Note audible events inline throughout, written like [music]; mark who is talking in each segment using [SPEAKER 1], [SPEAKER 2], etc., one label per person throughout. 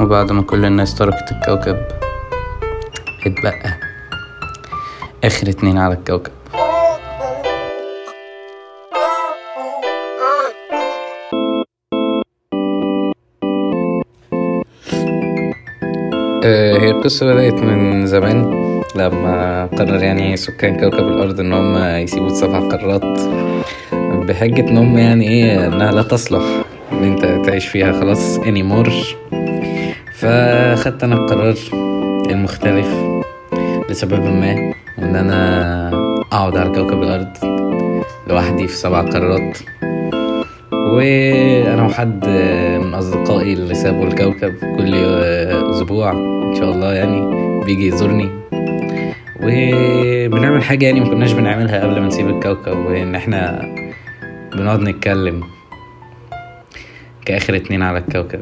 [SPEAKER 1] بعد ما كل الناس تركت الكوكب اتبقى آخر اتنين على الكوكب آه، هي القصة بدأت من زمان لما قرر يعني سكان كوكب الأرض إن هم يسيبوا سبع قارات بحجة إن هم يعني إيه إنها لا تصلح إن أنت تعيش فيها خلاص anymore فخدت أنا القرار المختلف لسبب ما إن أنا أقعد على كوكب الأرض لوحدي في سبع قارات وانا وحد من اصدقائي اللي سابوا الكوكب كل اسبوع ان شاء الله يعني بيجي يزورني وبنعمل حاجه يعني ما كناش بنعملها قبل ما نسيب الكوكب وان احنا بنقعد نتكلم كاخر اتنين على الكوكب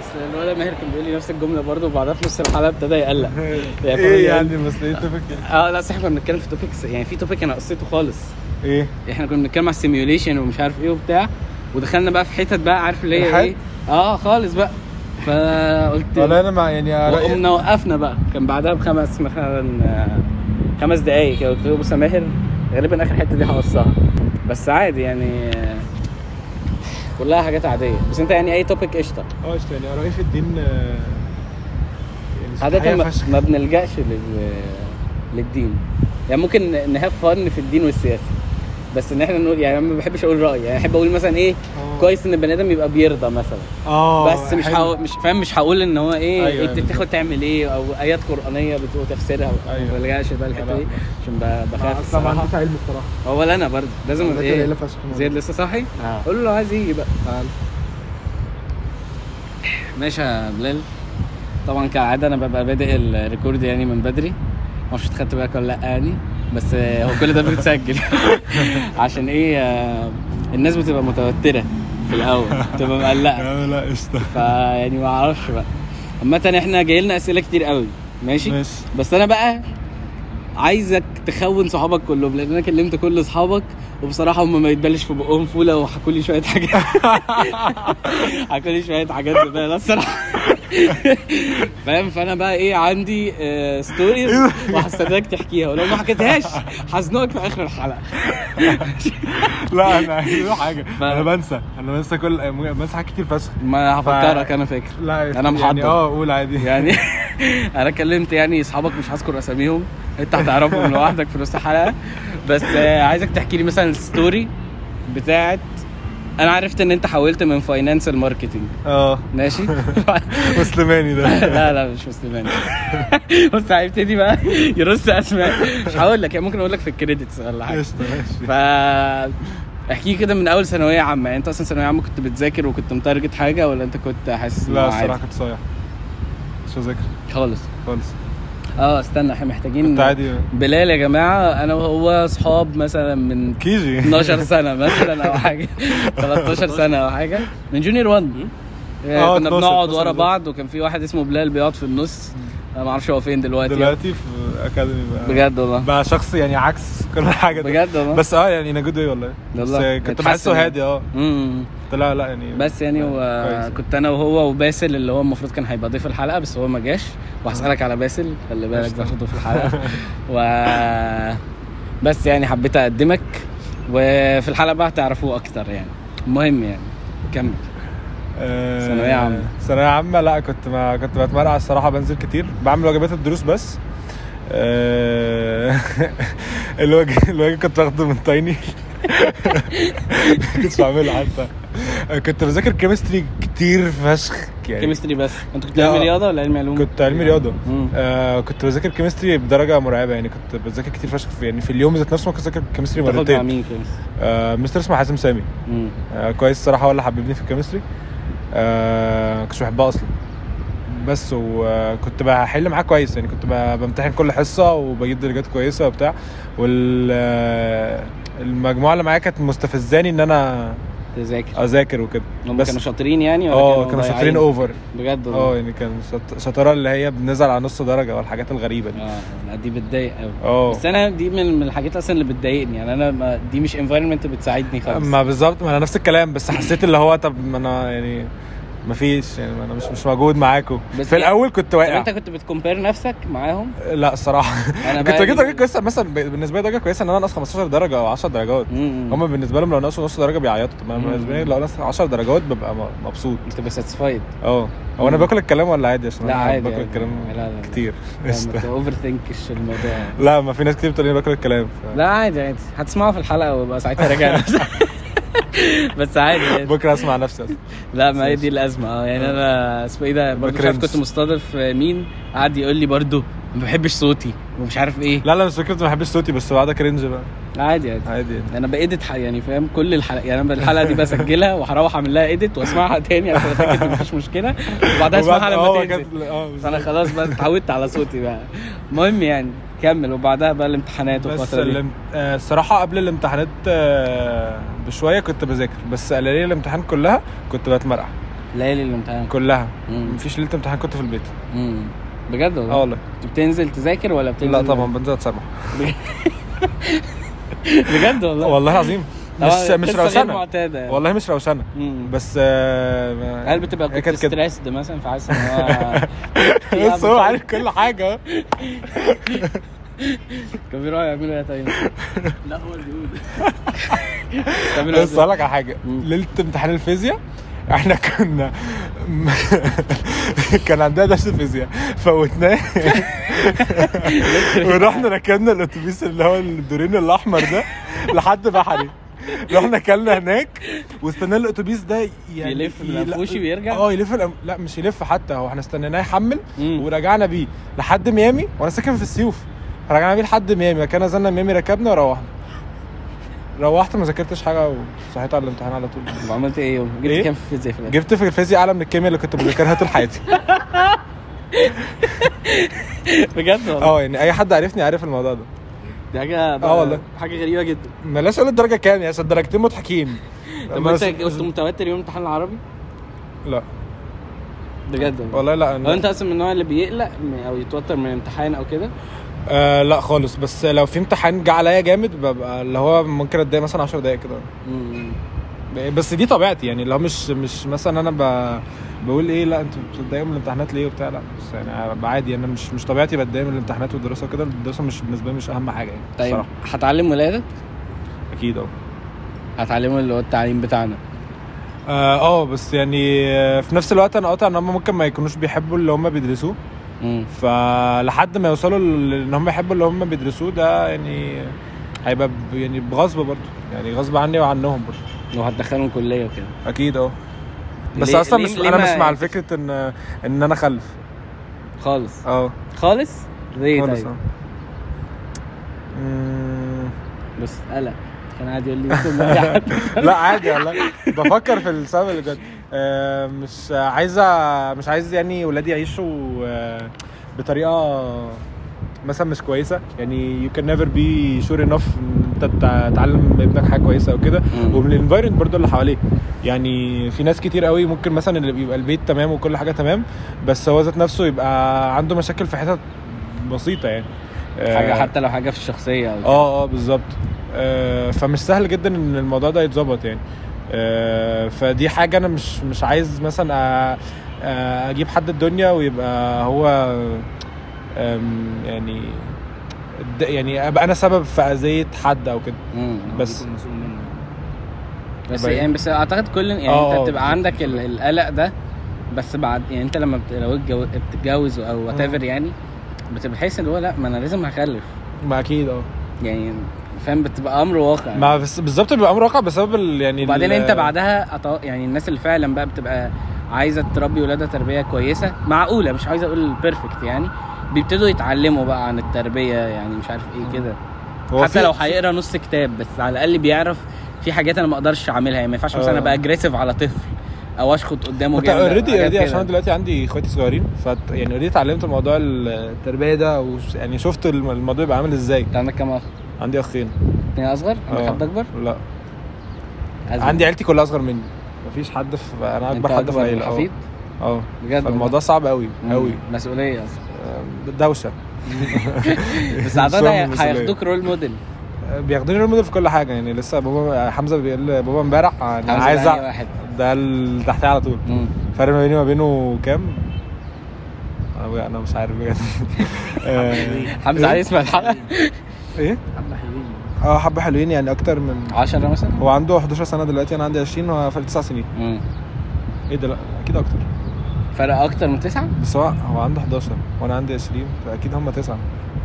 [SPEAKER 2] اصل الولد ماهر كان بيقول لي نفس الجمله برضه وبعدها في نص الحلقه ابتدى يقلق
[SPEAKER 3] [laughs] ايه يعني بس لقيت توبيك كده.
[SPEAKER 2] اه لا صح كنا بنتكلم في توبكس يعني في توبيك انا قصيته خالص
[SPEAKER 3] ايه
[SPEAKER 2] احنا كنا بنتكلم على السيميوليشن ومش عارف ايه وبتاع ودخلنا بقى في حتت بقى عارف اللي هي
[SPEAKER 3] الحاد؟
[SPEAKER 2] ايه اه خالص بقى
[SPEAKER 3] ولا
[SPEAKER 2] فقلت
[SPEAKER 3] انا مع يعني
[SPEAKER 2] وقمنا وقفنا بقى كان بعدها بخمس مثلا آه، خمس دقايق كده قلت له بص يا ماهر غالبا اخر حته دي هقصها بس عادي يعني آه، كلها حاجات عاديه بس انت يعني اي توبيك قشطه
[SPEAKER 3] اه قشطة، يعني رأي في الدين آه، يعني
[SPEAKER 2] عادة
[SPEAKER 3] صحية
[SPEAKER 2] ما,
[SPEAKER 3] فشخ.
[SPEAKER 2] ما بنلجأش لل... للدين يعني ممكن نهاف فن في الدين والسياسة بس ان احنا نقول يعني أنا ما بحبش اقول رأي يعني احب اقول مثلا ايه
[SPEAKER 3] آه.
[SPEAKER 2] كويس ان البني ادم يبقى بيرضى مثلا
[SPEAKER 3] اه
[SPEAKER 2] بس مش
[SPEAKER 3] حلو.
[SPEAKER 2] حاول مش فاهم مش هقول ان هو ايه
[SPEAKER 3] أيوة،
[SPEAKER 2] أيوة
[SPEAKER 3] أيوة.
[SPEAKER 2] انت بتاخد تعمل ايه او ايات قرانيه بتقول تفسيرها
[SPEAKER 3] أيوة. آه،
[SPEAKER 2] ما بلجأش بقى الحته
[SPEAKER 3] لا.
[SPEAKER 2] دي عشان ب-
[SPEAKER 3] أنا
[SPEAKER 2] بخاف
[SPEAKER 3] أصلاً ما
[SPEAKER 2] الصراحه
[SPEAKER 3] عنديش علم الصراحة
[SPEAKER 2] هو ولا انا برضه لازم
[SPEAKER 3] أنا
[SPEAKER 2] ايه
[SPEAKER 3] قليلة فشخ.
[SPEAKER 2] زياد لسه صاحي
[SPEAKER 3] اه
[SPEAKER 2] قول له لو عايز يجي بقى
[SPEAKER 3] تعال.
[SPEAKER 2] ماشي يا بلال طبعا كعاده انا ببقى بادئ الريكورد يعني من بدري معرفش خدت بالك ولا لا يعني بس آه، هو كل ده بيتسجل [laughs] عشان ايه آه، الناس بتبقى متوتره في الاول بتبقى مقلقه
[SPEAKER 3] لا لا قشطة
[SPEAKER 2] فيعني ما اعرفش بقى عامه احنا جاي لنا اسئله كتير قوي ماشي
[SPEAKER 3] ماشي
[SPEAKER 2] بس انا بقى عايزك تخون صحابك كلهم لان انا كلمت كل اصحابك وبصراحه هم ما يتبلش في بقهم فوله وحكوا لي شويه حاجات [laughs] حكوا لي شويه حاجات زباله الصراحه [laughs] فاهم فانا بقى ايه عندي آه ستوريز وهستناك تحكيها ولو ما حكيتهاش هزنقك في اخر الحلقه [laughs]
[SPEAKER 3] لا انا عايز حاجة
[SPEAKER 2] ف-
[SPEAKER 3] انا بنسى انا بنسى كل بنسى حاجات كتير فشخ
[SPEAKER 2] ما هفكرك انا فاكر
[SPEAKER 3] لا
[SPEAKER 2] أنا
[SPEAKER 3] يعني
[SPEAKER 2] محضر.
[SPEAKER 3] اه قول عادي [laughs]
[SPEAKER 2] يعني [laughs] انا كلمت يعني اصحابك مش هذكر اساميهم انت هتعرفهم لوحدك في نص الحلقه بس آه، عايزك تحكي لي مثلا الستوري بتاعت انا عرفت ان انت حولت من فاينانس الماركتنج
[SPEAKER 3] اه
[SPEAKER 2] ماشي [laughs]
[SPEAKER 3] مسلماني ده
[SPEAKER 2] لا لا مش مسلمان [laughs] بص هيبتدي بقى يرص اسماء مش هقول لك يعني ممكن اقول لك في الكريدتس ولا حاجه
[SPEAKER 3] قشطة ماشي
[SPEAKER 2] ف احكي لي كده من اول ثانويه عامه يعني انت اصلا ثانويه عامه كنت بتذاكر وكنت متارجت حاجه ولا انت كنت حاسس إن هو
[SPEAKER 3] لا
[SPEAKER 2] عادي؟
[SPEAKER 3] الصراحة كنت صايع مش هذاكر
[SPEAKER 2] خالص
[SPEAKER 3] خالص
[SPEAKER 2] اه استنى احنا محتاجين
[SPEAKER 3] كنت عادي
[SPEAKER 2] بلال يا جماعه انا وهو اصحاب مثلا من [laughs]
[SPEAKER 3] كيجي
[SPEAKER 2] 12 سنه مثلا او حاجه 13 سنه او حاجه من جونيور 1
[SPEAKER 3] آه،
[SPEAKER 2] كنا
[SPEAKER 3] 12
[SPEAKER 2] بنقعد
[SPEAKER 3] 12
[SPEAKER 2] ورا
[SPEAKER 3] بالظبط.
[SPEAKER 2] بعض وكان في واحد اسمه بلال بيقعد في النص انا ما اعرفش هو فين دلوقتي,
[SPEAKER 3] دلوقتي في اكاديمي بقى
[SPEAKER 2] بجد والله
[SPEAKER 3] بقى شخص يعني عكس كل حاجه ده.
[SPEAKER 2] بجد والله
[SPEAKER 3] بس اه يعني انا جود واي والله
[SPEAKER 2] والله.
[SPEAKER 3] بس كنت
[SPEAKER 2] اتحسن
[SPEAKER 3] بحسه
[SPEAKER 2] يعني.
[SPEAKER 3] هادي اه
[SPEAKER 2] مم.
[SPEAKER 3] طلع لا يعني
[SPEAKER 2] بس يعني و...
[SPEAKER 3] كويس.
[SPEAKER 2] كنت انا وهو وباسل اللي هو المفروض كان هيبقى ضيف الحلقه بس هو ما جاش وهسالك على باسل خلي بالك ده
[SPEAKER 3] قشطة.
[SPEAKER 2] ضيف
[SPEAKER 3] [laughs]
[SPEAKER 2] الحلقه و بس يعني حبيت اقدمك وفي الحلقه بقى هتعرفوه اكتر يعني المهم يعني كمل
[SPEAKER 3] آه،
[SPEAKER 2] ثانوية عامة.
[SPEAKER 3] ثانوية عامة لا كنت ما كنت بتمرقع الصراحة بنزل كتير بعمل واجبات الدروس بس آه، [laughs] الواجب الواجب كنت باخده من [laughs] تايني كنتش بعمله حتى كنت بذاكر كيمستري كتير فشخ يعني
[SPEAKER 2] كيمستري بس انت كنت
[SPEAKER 3] لا.
[SPEAKER 2] علمي رياضه ولا علمي علوم؟
[SPEAKER 3] كنت علمي رياضة
[SPEAKER 2] مم.
[SPEAKER 3] آه كنت بذاكر كيمستري بدرجة مرعبة يعني كنت بذاكر كتير فشخ في يعني في اليوم ذات نفسه ممكن اذاكر كيمستري
[SPEAKER 2] بتاخد يعني مع
[SPEAKER 3] مرتين
[SPEAKER 2] مين كيمستري؟
[SPEAKER 3] آه مستر اسمه حازم سامي
[SPEAKER 2] مم.
[SPEAKER 3] آه كويس الصراحه ولا حببني في الكيمستري آه كنتش بحبها اصلا بس وكنت بحل معاه كويس يعني كنت ب- بمتحن كل حصه وبجيب درجات كويسه وبتاع وال آه، المجموعه اللي معايا كانت مستفزاني ان انا
[SPEAKER 2] تذاكر
[SPEAKER 3] اذاكر وكده
[SPEAKER 2] هم
[SPEAKER 3] بس-
[SPEAKER 2] كانوا شاطرين يعني ولا
[SPEAKER 3] اه كانوا
[SPEAKER 2] ضايعين؟
[SPEAKER 3] شاطرين اوفر
[SPEAKER 2] بجد
[SPEAKER 3] اه
[SPEAKER 2] والله.
[SPEAKER 3] يعني كان شط- شطاره اللي هي بنزعل على نص درجه والحاجات الغريبه دي
[SPEAKER 2] اه لا، دي بتضايق قوي
[SPEAKER 3] اه
[SPEAKER 2] بس انا دي من من الحاجات اصلا اللي بتضايقني يعني انا ما دي مش انفايرمنت بتساعدني خالص
[SPEAKER 3] ما بالظبط ما انا نفس الكلام بس حسيت اللي هو طب ما انا يعني ما فيش يعني ما انا مش مش موجود معاكم
[SPEAKER 2] بس
[SPEAKER 3] في
[SPEAKER 2] يعني-
[SPEAKER 3] الاول كنت
[SPEAKER 2] طب
[SPEAKER 3] واقع
[SPEAKER 2] انت كنت بتكمبير نفسك معاهم
[SPEAKER 3] لا الصراحه
[SPEAKER 2] انا
[SPEAKER 3] [laughs] كنت
[SPEAKER 2] بقى يعني
[SPEAKER 3] بجيب درجه كويسه مثلا ب- بالنسبه لي درجه كويسه ان انا ناقص 15 درجه او 10 درجات
[SPEAKER 2] هم
[SPEAKER 3] هم بالنسبه لهم لو ناقصوا نص درجه بيعيطوا طب انا
[SPEAKER 2] مم.
[SPEAKER 3] بالنسبه لي لو ناقص 10 درجات ببقى م- مبسوط
[SPEAKER 2] بتبقى ساتسفايد
[SPEAKER 3] اه هو انا
[SPEAKER 2] مم.
[SPEAKER 3] باكل الكلام ولا عادي عشان
[SPEAKER 2] لا
[SPEAKER 3] أنا
[SPEAKER 2] عادي
[SPEAKER 3] باكل
[SPEAKER 2] عادي.
[SPEAKER 3] الكلام
[SPEAKER 2] لا، لا، لا.
[SPEAKER 3] كتير قشطة.
[SPEAKER 2] ما اوفر ثينكش الموضوع
[SPEAKER 3] [laughs]
[SPEAKER 2] يعني.
[SPEAKER 3] لا ما في ناس كتير بتقول لي باكل الكلام ف-
[SPEAKER 2] لا عادي عادي هتسمعه في الحلقه ويبقى ساعتها راجع
[SPEAKER 3] [laughs]
[SPEAKER 2] نفسك. [laughs] بس عادي يعني.
[SPEAKER 3] بكره اسمع نفسي أصلاً.
[SPEAKER 2] لا ما هي دي الازمه اه يعني
[SPEAKER 3] آه.
[SPEAKER 2] انا اسمه ايه ده برضه مش عارف
[SPEAKER 3] بكرنج.
[SPEAKER 2] كنت مستضيف مين قعد يقول لي برضه ما بحبش صوتي ومش عارف ايه
[SPEAKER 3] لا لا مش فكره ما بحبش صوتي بس بعدها كرنج بقى
[SPEAKER 2] عادي عادي
[SPEAKER 3] عادي يعني
[SPEAKER 2] انا بايديت ح- يعني فاهم كل الحلقه يعني انا الحلقه دي بسجلها وهروح اعمل لها ايديت واسمعها تاني عشان اتاكد إن مفيش مشكله وبعدها اسمعها
[SPEAKER 3] وبعد- آه،
[SPEAKER 2] لما تنزل
[SPEAKER 3] كانت- آه، بالظبط.
[SPEAKER 2] فانا خلاص بقى اتعودت على صوتي بقى المهم يعني كمل وبعدها بقى الامتحانات
[SPEAKER 3] بس
[SPEAKER 2] والفتره دي
[SPEAKER 3] الام- آه، الصراحه قبل الامتحانات آه، بشويه كنت بذاكر بس ليله الامتحان كلها كنت بتمرقع
[SPEAKER 2] ليالي الامتحان
[SPEAKER 3] كلها
[SPEAKER 2] مم.
[SPEAKER 3] مفيش ليله امتحان كنت في البيت
[SPEAKER 2] مم. بجد
[SPEAKER 3] اه
[SPEAKER 2] والله
[SPEAKER 3] والله
[SPEAKER 2] كنت بتنزل تذاكر ولا بتنزل
[SPEAKER 3] لا طبعا بنزل اتسمح
[SPEAKER 2] بجد والله
[SPEAKER 3] والله العظيم مش
[SPEAKER 2] طبعاً
[SPEAKER 3] مش
[SPEAKER 2] قصة غير
[SPEAKER 3] روشنه
[SPEAKER 2] معتاده يعني.
[SPEAKER 3] والله مش روشنه
[SPEAKER 2] مم.
[SPEAKER 3] بس آه،
[SPEAKER 2] هل بتبقى
[SPEAKER 3] هي
[SPEAKER 2] كنت يعني
[SPEAKER 3] كانت كده
[SPEAKER 2] ستريسد مثلا فحاسس ان هو
[SPEAKER 3] [laughs]
[SPEAKER 2] [laughs]
[SPEAKER 3] بس هو عارف كل حاجه
[SPEAKER 2] كان بيروحوا يعملوا ايه
[SPEAKER 3] [laughs]
[SPEAKER 2] طيب؟ لا هو اللي بيقول بيعملوا إيه
[SPEAKER 3] بس
[SPEAKER 2] طيب؟ [laughs]
[SPEAKER 3] اقول لك على حاجه
[SPEAKER 2] مم.
[SPEAKER 3] ليله امتحان الفيزياء احنا كنا [laughs] كان عندنا درس فيزياء
[SPEAKER 2] [laughs]
[SPEAKER 3] فوتناه ورحنا ركبنا الاتوبيس اللي هو الدورين الاحمر ده لحد بحري رحنا اكلنا هناك واستنينا الاتوبيس ده يعني
[SPEAKER 2] يلف
[SPEAKER 3] يلا-
[SPEAKER 2] الأنفوشي ويرجع؟
[SPEAKER 3] اه يلف الأم... لا مش يلف حتى هو احنا استنيناه يحمل
[SPEAKER 2] مم.
[SPEAKER 3] ورجعنا بيه لحد ميامي وانا ساكن في السيوف رجعنا بيه لحد ميامي كان نزلنا ميامي ركبنا وروحنا روحت ما ذاكرتش حاجه وصحيت على الامتحان على طول
[SPEAKER 2] طب عملت ايه يوم؟ جبت
[SPEAKER 3] إيه؟
[SPEAKER 2] كام في الفيزياء في الآخر؟
[SPEAKER 3] جبت في الفيزياء اعلى من الكيمياء اللي كنت بذاكرها طول حياتي
[SPEAKER 2] [laughs] بجد والله
[SPEAKER 3] اه يعني اي حد عارفني عارف الموضوع ده
[SPEAKER 2] دي حاجه
[SPEAKER 3] آه والله.
[SPEAKER 2] حاجه غريبه جدا
[SPEAKER 3] ملاش اقول الدرجه كام يا عشان درجتين مضحكين
[SPEAKER 2] طب
[SPEAKER 3] بس-
[SPEAKER 2] انت كنت متوتر يوم الامتحان العربي؟
[SPEAKER 3] لا
[SPEAKER 2] بجد والله
[SPEAKER 3] والله لا
[SPEAKER 2] هو
[SPEAKER 3] أنا...
[SPEAKER 2] انت اصلا من النوع اللي بيقلق م- او يتوتر من الامتحان او كده؟
[SPEAKER 3] آه لا خالص بس لو في امتحان جه عليا جامد ببقى اللي هو ممكن اتضايق مثلا 10 دقايق كده
[SPEAKER 2] مم.
[SPEAKER 3] بس دي طبيعتي يعني لو مش مش مثلا انا ب... بقول ايه لا انتوا بتتضايقوا من الامتحانات ليه وبتاع لا بس يعني أبقى عادي انا مش مش طبيعتي بتضايق من الامتحانات والدراسه وكده الدراسه مش بالنسبه لي مش اهم حاجه يعني
[SPEAKER 2] طيب
[SPEAKER 3] الصراحة.
[SPEAKER 2] هتعلم ولادك؟
[SPEAKER 3] اكيد اه
[SPEAKER 2] هتعلمه اللي هو التعليم بتاعنا
[SPEAKER 3] اه آه، بس يعني آه، في نفس الوقت انا قاطع ان هم ممكن ما يكونوش بيحبوا اللي هم بيدرسوه
[SPEAKER 2] مم.
[SPEAKER 3] فلحد ما يوصلوا ل- ان هم يحبوا اللي هم بيدرسوه ده يعني هيبقى ب- يعني بغصب برضه يعني غصب عني وعنهم برضه
[SPEAKER 2] لو هتدخلهم كليه وكده
[SPEAKER 3] اكيد اه بس
[SPEAKER 2] ليه-
[SPEAKER 3] اصلا
[SPEAKER 2] ليه-
[SPEAKER 3] مش
[SPEAKER 2] ليه
[SPEAKER 3] انا
[SPEAKER 2] ما-
[SPEAKER 3] مش مع فكره ان ان انا اخلف
[SPEAKER 2] خالص
[SPEAKER 3] اه
[SPEAKER 2] آه. خالص ليه
[SPEAKER 3] خالص
[SPEAKER 2] طيب
[SPEAKER 3] آه. مم،
[SPEAKER 2] بس آه. قلق كان قاعد يقول لي [laughs] يوسف ما قاعد.
[SPEAKER 3] [laughs] لا عادي والله بفكر في السبب اللي بجد آه، مش عايزه مش عايز يعني ولادي يعيشوا آه، بطريقه مثلا مش كويسه يعني يو كان نيفر بي شور انف انت تع- تعلم ابنك حاجه كويسه وكده
[SPEAKER 2] مم.
[SPEAKER 3] ومن الانفايرمنت برضو اللي حواليه يعني في ناس كتير قوي ممكن مثلا اللي بيبقى البيت تمام وكل حاجه تمام بس هو ذات نفسه يبقى عنده مشاكل في حتت بسيطه يعني آه،
[SPEAKER 2] حاجه حتى لو حاجه في الشخصيه او
[SPEAKER 3] اه اه بالظبط آه، فمش سهل جدا ان الموضوع ده يتظبط يعني آه، فدي حاجه انا مش مش عايز مثلا آه، آه، اجيب حد الدنيا ويبقى هو آم، يعني د- يعني ابقى انا سبب في اذيه حد او كده
[SPEAKER 2] مم.
[SPEAKER 3] بس
[SPEAKER 2] بس
[SPEAKER 3] باين.
[SPEAKER 2] يعني بس اعتقد كل يعني
[SPEAKER 3] آه،
[SPEAKER 2] انت
[SPEAKER 3] آه.
[SPEAKER 2] بتبقى عندك ال- القلق ده بس بعد يعني انت لما بت... لو اتجو- بتتجوز او وات
[SPEAKER 3] مم.
[SPEAKER 2] يعني بتحس ان هو لا ما انا لازم هخلف
[SPEAKER 3] ما اكيد اه
[SPEAKER 2] يعني فاهم بتبقى امر واقع
[SPEAKER 3] ما بس- بالظبط بيبقى امر واقع بسبب ال- يعني
[SPEAKER 2] آه. وبعدين
[SPEAKER 3] ال-
[SPEAKER 2] انت بعدها أطو... يعني الناس اللي فعلا بقى بتبقى عايزه تربي ولادها تربيه كويسه معقوله مش عايزه اقول بيرفكت يعني بيبتدوا يتعلموا بقى عن التربيه يعني مش عارف ايه كده
[SPEAKER 3] هو
[SPEAKER 2] حتى
[SPEAKER 3] في-
[SPEAKER 2] لو هيقرا نص كتاب بس على الاقل بيعرف في حاجات انا ما اقدرش اعملها يعني ما ينفعش مثلا
[SPEAKER 3] آه.
[SPEAKER 2] ابقى اجريسيف على طفل او اشخط قدامه
[SPEAKER 3] انت
[SPEAKER 2] جامد أو
[SPEAKER 3] اوريدي
[SPEAKER 2] حاجات
[SPEAKER 3] اوريدي
[SPEAKER 2] كده.
[SPEAKER 3] عشان أنا دلوقتي عندي اخواتي صغيرين ف يعني اوريدي اتعلمت الموضوع التربيه ده وش- يعني شفت الم- الموضوع بيبقى عامل ازاي
[SPEAKER 2] انت عندك كام اخ؟
[SPEAKER 3] عندي اخين
[SPEAKER 2] اتنين اصغر؟ عندك
[SPEAKER 3] آه.
[SPEAKER 2] حد اكبر؟
[SPEAKER 3] لا
[SPEAKER 2] أزمة.
[SPEAKER 3] آه. عندي عيلتي كلها اصغر مني مفيش حد في انا
[SPEAKER 2] أنت
[SPEAKER 3] اكبر حد في
[SPEAKER 2] أكبر
[SPEAKER 3] العيله اه
[SPEAKER 2] حفيد
[SPEAKER 3] اه
[SPEAKER 2] بجد والله.
[SPEAKER 3] فالموضوع صعب قوي قوي
[SPEAKER 2] مم. مسؤوليه اصلا
[SPEAKER 3] آه، دوشه [laughs]
[SPEAKER 2] بس
[SPEAKER 3] شغل
[SPEAKER 2] اعتقد
[SPEAKER 3] مسؤولية.
[SPEAKER 2] هياخدوك رول موديل
[SPEAKER 3] آه، بياخدوني رول موديل في كل حاجه يعني لسه بابا حمزه بيقول بابا امبارح
[SPEAKER 2] حمزة
[SPEAKER 3] انا عايز
[SPEAKER 2] ده أي
[SPEAKER 3] أ-
[SPEAKER 2] واحد
[SPEAKER 3] ده اللي تحتيه على طول
[SPEAKER 2] مم.
[SPEAKER 3] الفرق ما بيني وما بينه كام؟ انا بجد انا مش عارف
[SPEAKER 2] [laughs]
[SPEAKER 3] بجد آه،
[SPEAKER 2] حمزه عايز يسمع الحلقه
[SPEAKER 3] ايه؟
[SPEAKER 2] حبه حلوين
[SPEAKER 3] اه حبه حلوين يعني اكتر من
[SPEAKER 2] 10 مثلا
[SPEAKER 3] هو عنده 11 سنه دلوقتي انا عندي 20 هو فرق 9 سنين
[SPEAKER 2] مم.
[SPEAKER 3] ايه ده لا اكيد اكتر
[SPEAKER 2] فرق اكتر من تسعه
[SPEAKER 3] بس هو هو عنده 11 وانا عندي 20 فاكيد هم 9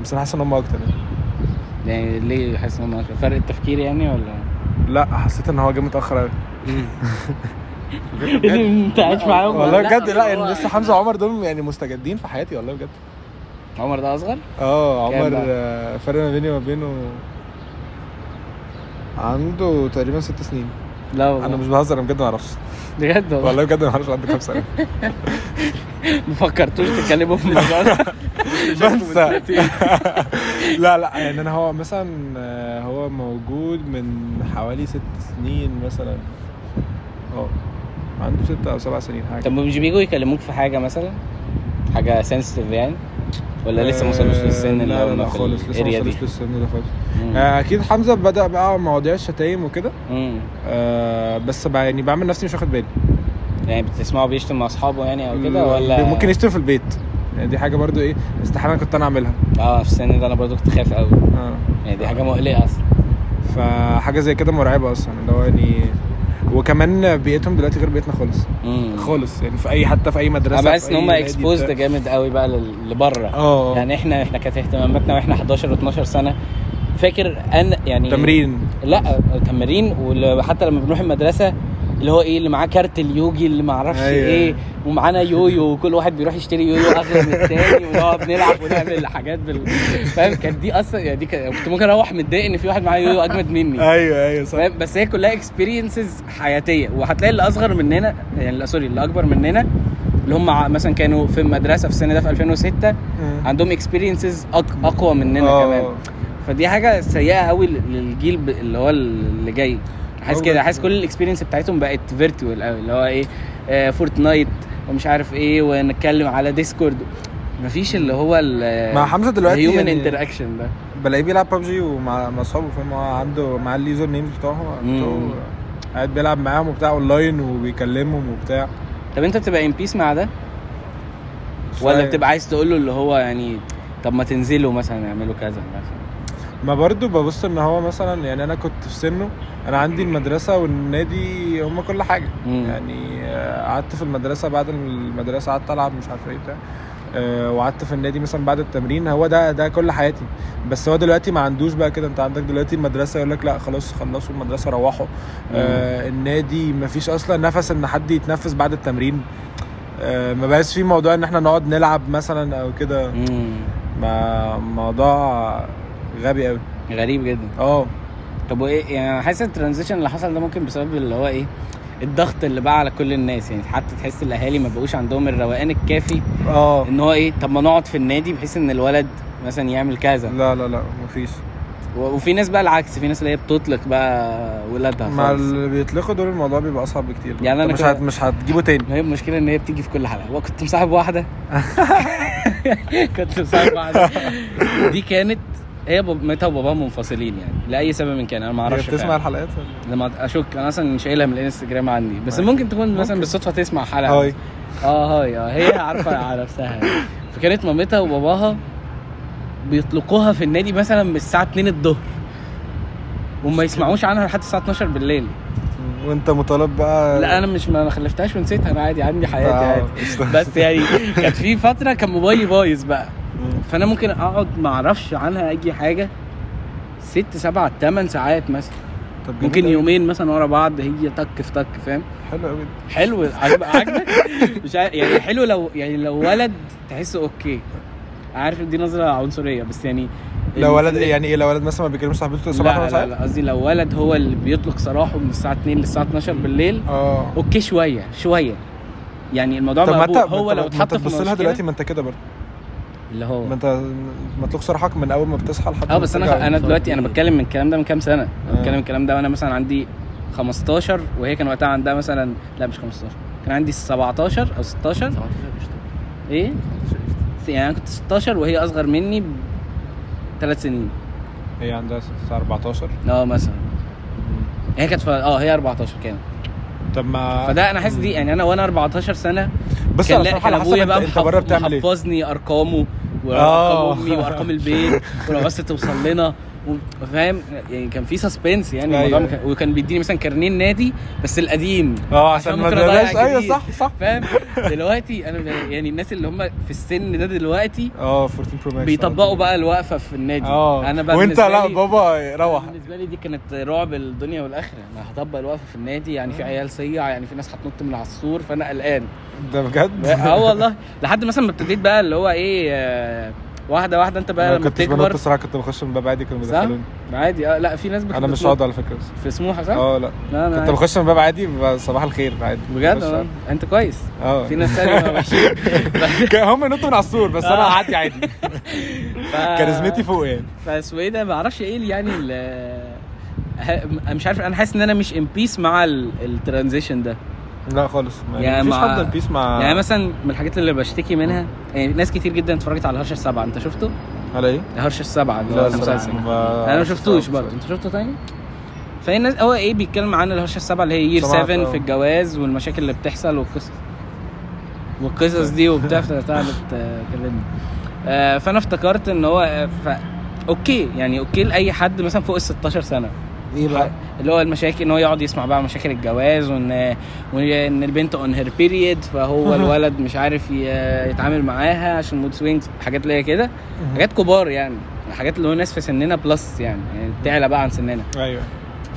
[SPEAKER 3] بس انا حاسس ان هم اكتر يعني.
[SPEAKER 2] يعني ليه حاسس ان هم أكتر؟ فرق التفكير يعني ولا
[SPEAKER 3] لا حسيت ان هو جه متاخر قوي
[SPEAKER 2] إيه [laughs] اللي انت عايش معاهم
[SPEAKER 3] والله
[SPEAKER 2] ولا؟
[SPEAKER 3] بجد لا يعني لسه حمزه وعمر دول يعني مستجدين في حياتي والله بجد
[SPEAKER 2] عمر ده اصغر
[SPEAKER 3] اه
[SPEAKER 2] كام
[SPEAKER 3] عمر
[SPEAKER 2] بقى؟
[SPEAKER 3] آه، فرق ما بيني وما بينه عنده تقريبا ست سنين
[SPEAKER 2] لا والله
[SPEAKER 3] انا مش بهزر انا بجد ما اعرفش
[SPEAKER 2] بجد والله
[SPEAKER 3] والله بجد ما اعرفش عنده كام سنه
[SPEAKER 2] ما فكرتوش تتكلموا في الموضوع ده
[SPEAKER 3] بنسى [laughs] لا لا يعني انا هو مثلا آه، هو موجود من حوالي ست سنين مثلا اه عنده ست او سبع سنين حاجه
[SPEAKER 2] [laughs] طب مش بيجوا يكلموك في حاجه مثلا حاجه سنسيتيف يعني ولا لسه ما وصلوش
[SPEAKER 3] آه،
[SPEAKER 2] للسن اللي
[SPEAKER 3] لا لا,
[SPEAKER 2] هم
[SPEAKER 3] لا
[SPEAKER 2] في
[SPEAKER 3] خالص لسه ما
[SPEAKER 2] الاريا دي
[SPEAKER 3] وصلوش للسن ده خالص
[SPEAKER 2] مم.
[SPEAKER 3] آه، اكيد حمزه بدا بقى مواضيع الشتايم وكده
[SPEAKER 2] مم.
[SPEAKER 3] آه، بس بقى يعني بعمل نفسي مش واخد بالي
[SPEAKER 2] يعني بتسمعه بيشتم مع اصحابه يعني او كده ولا
[SPEAKER 3] ممكن يشتم في البيت يعني دي حاجه برضو ايه استحاله كنت انا اعملها
[SPEAKER 2] اه في السن ده انا برضو كنت خايف قوي
[SPEAKER 3] اه
[SPEAKER 2] يعني دي حاجه مقلقه اصلا
[SPEAKER 3] فحاجه زي كده مرعبه اصلا اللي هو يعني وكمان بيئتهم دلوقتي غير بيئتنا خالص
[SPEAKER 2] مم.
[SPEAKER 3] خالص يعني في اي حتى في اي مدرسه
[SPEAKER 2] انا بحس
[SPEAKER 3] في
[SPEAKER 2] ان
[SPEAKER 3] أي
[SPEAKER 2] هم
[SPEAKER 3] نادي بتاع.
[SPEAKER 2] اكسبوزد جامد قوي بقى لل- لبره
[SPEAKER 3] اه يعني
[SPEAKER 2] يعني احنا احنا كانت اهتماماتنا واحنا 11 و12 سنه فاكر ان يعني
[SPEAKER 3] تمرين
[SPEAKER 2] لا تمارين وحتى لما بنروح المدرسه اللي هو ايه اللي معاه كارت اليوجي اللي ما اعرفش
[SPEAKER 3] أيوة.
[SPEAKER 2] ايه ومعانا يويو وكل واحد بيروح يشتري يويو اغلى من التاني ونقعد نلعب ونعمل حاجات بال... فاهم كانت دي اصلا يعني دي كان... كنت ممكن اروح متضايق ان في واحد معاه يويو اجمد مني
[SPEAKER 3] ايوه ايوه صح
[SPEAKER 2] فاهم بس هي كلها اكسبيرينسز حياتيه وهتلاقي اللي اصغر مننا يعني اللي- سوري اللي اكبر مننا اللي هم ع- مثلا كانوا في المدرسه في السنه ده في 2006
[SPEAKER 3] مم.
[SPEAKER 2] عندهم اكسبيرينسز أق... اقوى مننا
[SPEAKER 3] آه.
[SPEAKER 2] كمان فدي حاجه سيئه قوي للجيل ب- اللي هو اللي جاي حاسس
[SPEAKER 3] أول
[SPEAKER 2] كده
[SPEAKER 3] بس.
[SPEAKER 2] حاسس كل الاكسبيرينس بتاعتهم بقت فيرتوال قوي اللي هو ايه آه فورتنايت ومش عارف ايه ونتكلم على ديسكورد مفيش اللي هو ال
[SPEAKER 3] مع حمزه دلوقتي
[SPEAKER 2] هيومن
[SPEAKER 3] يعني
[SPEAKER 2] انتراكشن ده
[SPEAKER 3] بلاقيه بيلعب ببجي ومع مع اصحابه فاهم هو عنده مع اليوزر نيمز بتوعهم
[SPEAKER 2] مم.
[SPEAKER 3] بتوعه، قاعد بيلعب معاهم وبتاع اونلاين وبيكلمهم وبتاع
[SPEAKER 2] طب انت بتبقى ان بيس مع ده
[SPEAKER 3] مش
[SPEAKER 2] ولا
[SPEAKER 3] عارف.
[SPEAKER 2] بتبقى عايز تقول له اللي هو يعني طب ما تنزلوا مثلا يعملوا كذا مثلا
[SPEAKER 3] ما برضو ببص ان هو مثلا يعني انا كنت في سنه انا عندي المدرسه والنادي هم كل حاجه
[SPEAKER 2] مم.
[SPEAKER 3] يعني آه، قعدت في المدرسه بعد المدرسه قعدت العب مش عارف ايه بتاع آه، وقعدت في النادي مثلا بعد التمرين هو ده ده كل حياتي بس هو دلوقتي ما عندوش بقى كده انت عندك دلوقتي المدرسه يقول لك لا خلاص خلصوا المدرسه روحوا آه النادي ما فيش اصلا نفس ان حد يتنفس بعد التمرين آه ما بقاش في موضوع ان احنا نقعد نلعب مثلا او كده
[SPEAKER 2] مم.
[SPEAKER 3] ما موضوع غبي قوي
[SPEAKER 2] غريب جدا
[SPEAKER 3] اه
[SPEAKER 2] طب وايه يعني انا حاسس الترانزيشن اللي حصل ده ممكن بسبب اللي هو ايه الضغط اللي بقى على كل الناس يعني حتى تحس الاهالي ما بقوش عندهم الروقان الكافي
[SPEAKER 3] اه
[SPEAKER 2] ان هو ايه طب ما نقعد في النادي بحيث ان الولد مثلا يعمل كذا
[SPEAKER 3] لا لا لا مفيش
[SPEAKER 2] و- وفي ناس بقى العكس في ناس اللي هي بتطلق بقى ولادها
[SPEAKER 3] مع
[SPEAKER 2] خالص
[SPEAKER 3] اللي بيطلقوا دول الموضوع بيبقى اصعب بكتير
[SPEAKER 2] يعني أنا
[SPEAKER 3] مش
[SPEAKER 2] كده-
[SPEAKER 3] هت... مش هتجيبه تاني
[SPEAKER 2] ما هي المشكله ان هي بتيجي في كل حلقه وكنت مصاحب واحده [laughs] كنت مصاحب واحده دي كانت هي باب- مامتها وباباها منفصلين يعني لاي سبب من كان انا ما
[SPEAKER 3] هي
[SPEAKER 2] اعرفش
[SPEAKER 3] بتسمع
[SPEAKER 2] فعلاً.
[SPEAKER 3] الحلقات
[SPEAKER 2] لما اشك انا اصلا شايلها من الانستجرام عندي بس
[SPEAKER 3] ماشي.
[SPEAKER 2] ممكن تكون مثلا
[SPEAKER 3] ممكن.
[SPEAKER 2] بالصدفه تسمع حلقه
[SPEAKER 3] هاي
[SPEAKER 2] اه هاي اه هي عارفه على نفسها يعني. فكانت مامتها وباباها بيطلقوها في النادي مثلا من الساعه 2 الظهر وما يسمعوش عنها لحد الساعه 12 بالليل
[SPEAKER 3] وانت مطالب بقى
[SPEAKER 2] لا انا مش ما خلفتهاش ونسيتها انا عادي عندي حياتي
[SPEAKER 3] آه،
[SPEAKER 2] عادي
[SPEAKER 3] قشطة.
[SPEAKER 2] بس يعني كانت في فتره كان موبايلي بايظ بقى
[SPEAKER 3] مم.
[SPEAKER 2] فانا ممكن اقعد ما اعرفش عنها اي حاجه ست سبع ثمان ساعات مثلا
[SPEAKER 3] طب جميل
[SPEAKER 2] ممكن
[SPEAKER 3] أوي.
[SPEAKER 2] يومين مثلا ورا بعض هي تك في تك فاهم
[SPEAKER 3] حلو قوي
[SPEAKER 2] حلو عجب- عاجبك مش عارف- يعني حلو لو يعني لو ولد تحسه اوكي عارف إن دي نظره عنصريه بس يعني
[SPEAKER 3] لو ولد
[SPEAKER 2] لا
[SPEAKER 3] يعني ايه لو ولد مثلا ما بيكلمش صاحبته طول الصبح
[SPEAKER 2] لا لا قصدي لو ولد هو اللي بيطلق سراحه من الساعه 2 للساعه 12 بالليل
[SPEAKER 3] اه
[SPEAKER 2] اوكي شويه شويه يعني الموضوع
[SPEAKER 3] طب ما انت
[SPEAKER 2] مقبول
[SPEAKER 3] ما
[SPEAKER 2] هو
[SPEAKER 3] انت-
[SPEAKER 2] لو
[SPEAKER 3] ما انت
[SPEAKER 2] اتحط في
[SPEAKER 3] تبص لها
[SPEAKER 2] مشكله
[SPEAKER 3] دلوقتي ما انت كده برضه
[SPEAKER 2] اللي هو
[SPEAKER 3] ما انت مطلوب صراحك من اول ما بتصحى لحد
[SPEAKER 2] اه
[SPEAKER 3] ما
[SPEAKER 2] بس
[SPEAKER 3] بترجع
[SPEAKER 2] انا انا
[SPEAKER 3] البيت.
[SPEAKER 2] دلوقتي انا بتكلم من الكلام ده من كام سنه أنا
[SPEAKER 3] آه.
[SPEAKER 2] بتكلم الكلام ده وانا مثلا عندي 15 وهي كان وقتها عندها مثلا لا مش 15 كان عندي 17 او 16 ايه يعني انا كنت 16 وهي اصغر مني بثلاث سنين
[SPEAKER 3] هي عندها ست- 14
[SPEAKER 2] اه مثلا هي كانت ف- اه هي 14 كانت
[SPEAKER 3] طب ما
[SPEAKER 2] فده انا حاسس دي يعني انا وانا 14 سنه
[SPEAKER 3] بس
[SPEAKER 2] كان
[SPEAKER 3] على
[SPEAKER 2] لا
[SPEAKER 3] صراحه على
[SPEAKER 2] كان
[SPEAKER 3] حسب
[SPEAKER 2] ابويا
[SPEAKER 3] انت,
[SPEAKER 2] بقى
[SPEAKER 3] انت بره
[SPEAKER 2] محف-
[SPEAKER 3] بتعمل ايه
[SPEAKER 2] محفظني ارقامه
[SPEAKER 3] آه.
[SPEAKER 2] وارقام امي وارقام
[SPEAKER 3] [laughs]
[SPEAKER 2] البيت ولو عايز توصل لنا و- فاهم يعني كان في سسبنس يعني الموضوع
[SPEAKER 3] أيوة.
[SPEAKER 2] ما كان- وكان بيديني مثلا كارنيه النادي بس القديم
[SPEAKER 3] اه عشان
[SPEAKER 2] عشان
[SPEAKER 3] ما
[SPEAKER 2] ممكن أضيع
[SPEAKER 3] تضيعش ايوه
[SPEAKER 2] كتير.
[SPEAKER 3] صح صح
[SPEAKER 2] فاهم دلوقتي انا ب- يعني الناس اللي هم في السن ده دلوقتي
[SPEAKER 3] اه 14 برو ماكس
[SPEAKER 2] بيطبقوا بقى الوقفه في النادي
[SPEAKER 3] اه
[SPEAKER 2] انا بقى
[SPEAKER 3] وانت
[SPEAKER 2] بالنسبة
[SPEAKER 3] لا
[SPEAKER 2] لي-
[SPEAKER 3] بابا روح
[SPEAKER 2] بالنسبه لي دي كانت رعب الدنيا والاخره انا هطبق الوقفه في النادي يعني في عيال صيع يعني في ناس هتنط من على السور فانا قلقان
[SPEAKER 3] ده بجد
[SPEAKER 2] اه والله لحد مثلا ما ابتديت بقى اللي هو ايه آه، واحده واحده انت بقى
[SPEAKER 3] انا
[SPEAKER 2] لما
[SPEAKER 3] كنت بنط
[SPEAKER 2] بتكبر
[SPEAKER 3] الصراحه كنت بخش من باب عادي كانوا
[SPEAKER 2] صح؟
[SPEAKER 3] بيدخلوني
[SPEAKER 2] عادي اه لا في ناس
[SPEAKER 3] انا مش
[SPEAKER 2] بتنط
[SPEAKER 3] هقعد على فكره
[SPEAKER 2] في سموحه صح؟
[SPEAKER 3] اه لا
[SPEAKER 2] لا
[SPEAKER 3] كنت
[SPEAKER 2] انا عادي.
[SPEAKER 3] بخش من باب عادي بيبقى صباح الخير عادي
[SPEAKER 2] بجد
[SPEAKER 3] بخش
[SPEAKER 2] اه
[SPEAKER 3] عادي.
[SPEAKER 2] انت كويس
[SPEAKER 3] اه
[SPEAKER 2] في ناس تانية [laughs] وحشين
[SPEAKER 3] [laughs] كان هم ينطوا من على السور بس
[SPEAKER 2] [laughs]
[SPEAKER 3] انا
[SPEAKER 2] آه.
[SPEAKER 3] هعدي عادي
[SPEAKER 2] ف-
[SPEAKER 3] كاريزمتي فوق يعني
[SPEAKER 2] فاسمه ايه ده ما اعرفش ايه اللي يعني ال- ه- م- مش عارف انا حاسس ان انا مش ان بيس مع الترانزيشن ده
[SPEAKER 3] لا خالص
[SPEAKER 2] يعني
[SPEAKER 3] ما مفيش
[SPEAKER 2] مع-
[SPEAKER 3] حد بيس مع
[SPEAKER 2] يعني مثلا من الحاجات اللي بشتكي منها يعني ناس كتير جدا اتفرجت على هرش السبعه انت شفته؟
[SPEAKER 3] على ايه؟
[SPEAKER 2] هرش السبعه اللي هو المسلسل انا ما شفتوش برضه انت شفته تاني فهي الناس هو ايه بيتكلم عن الهرشه السبعه اللي هي يير
[SPEAKER 3] سمعت،
[SPEAKER 2] 7
[SPEAKER 3] اه.
[SPEAKER 2] في الجواز والمشاكل اللي بتحصل والقصص والقصص دي وبتاع فتعالى تكلمني آه، فانا افتكرت ان هو آه، ف... اوكي يعني اوكي لاي حد مثلا فوق ال 16 سنه
[SPEAKER 3] ايه بقى؟
[SPEAKER 2] اللي هو المشاكل ان هو يقعد يسمع بقى مشاكل الجواز وان وان البنت اون هير بيريد فهو الولد مش عارف ي- يتعامل معاها عشان مود سوينجز حاجات اللي هي كده حاجات كبار يعني حاجات اللي هو ناس في سننا بلس يعني, يعني تعلى بقى عن سننا
[SPEAKER 3] ايوه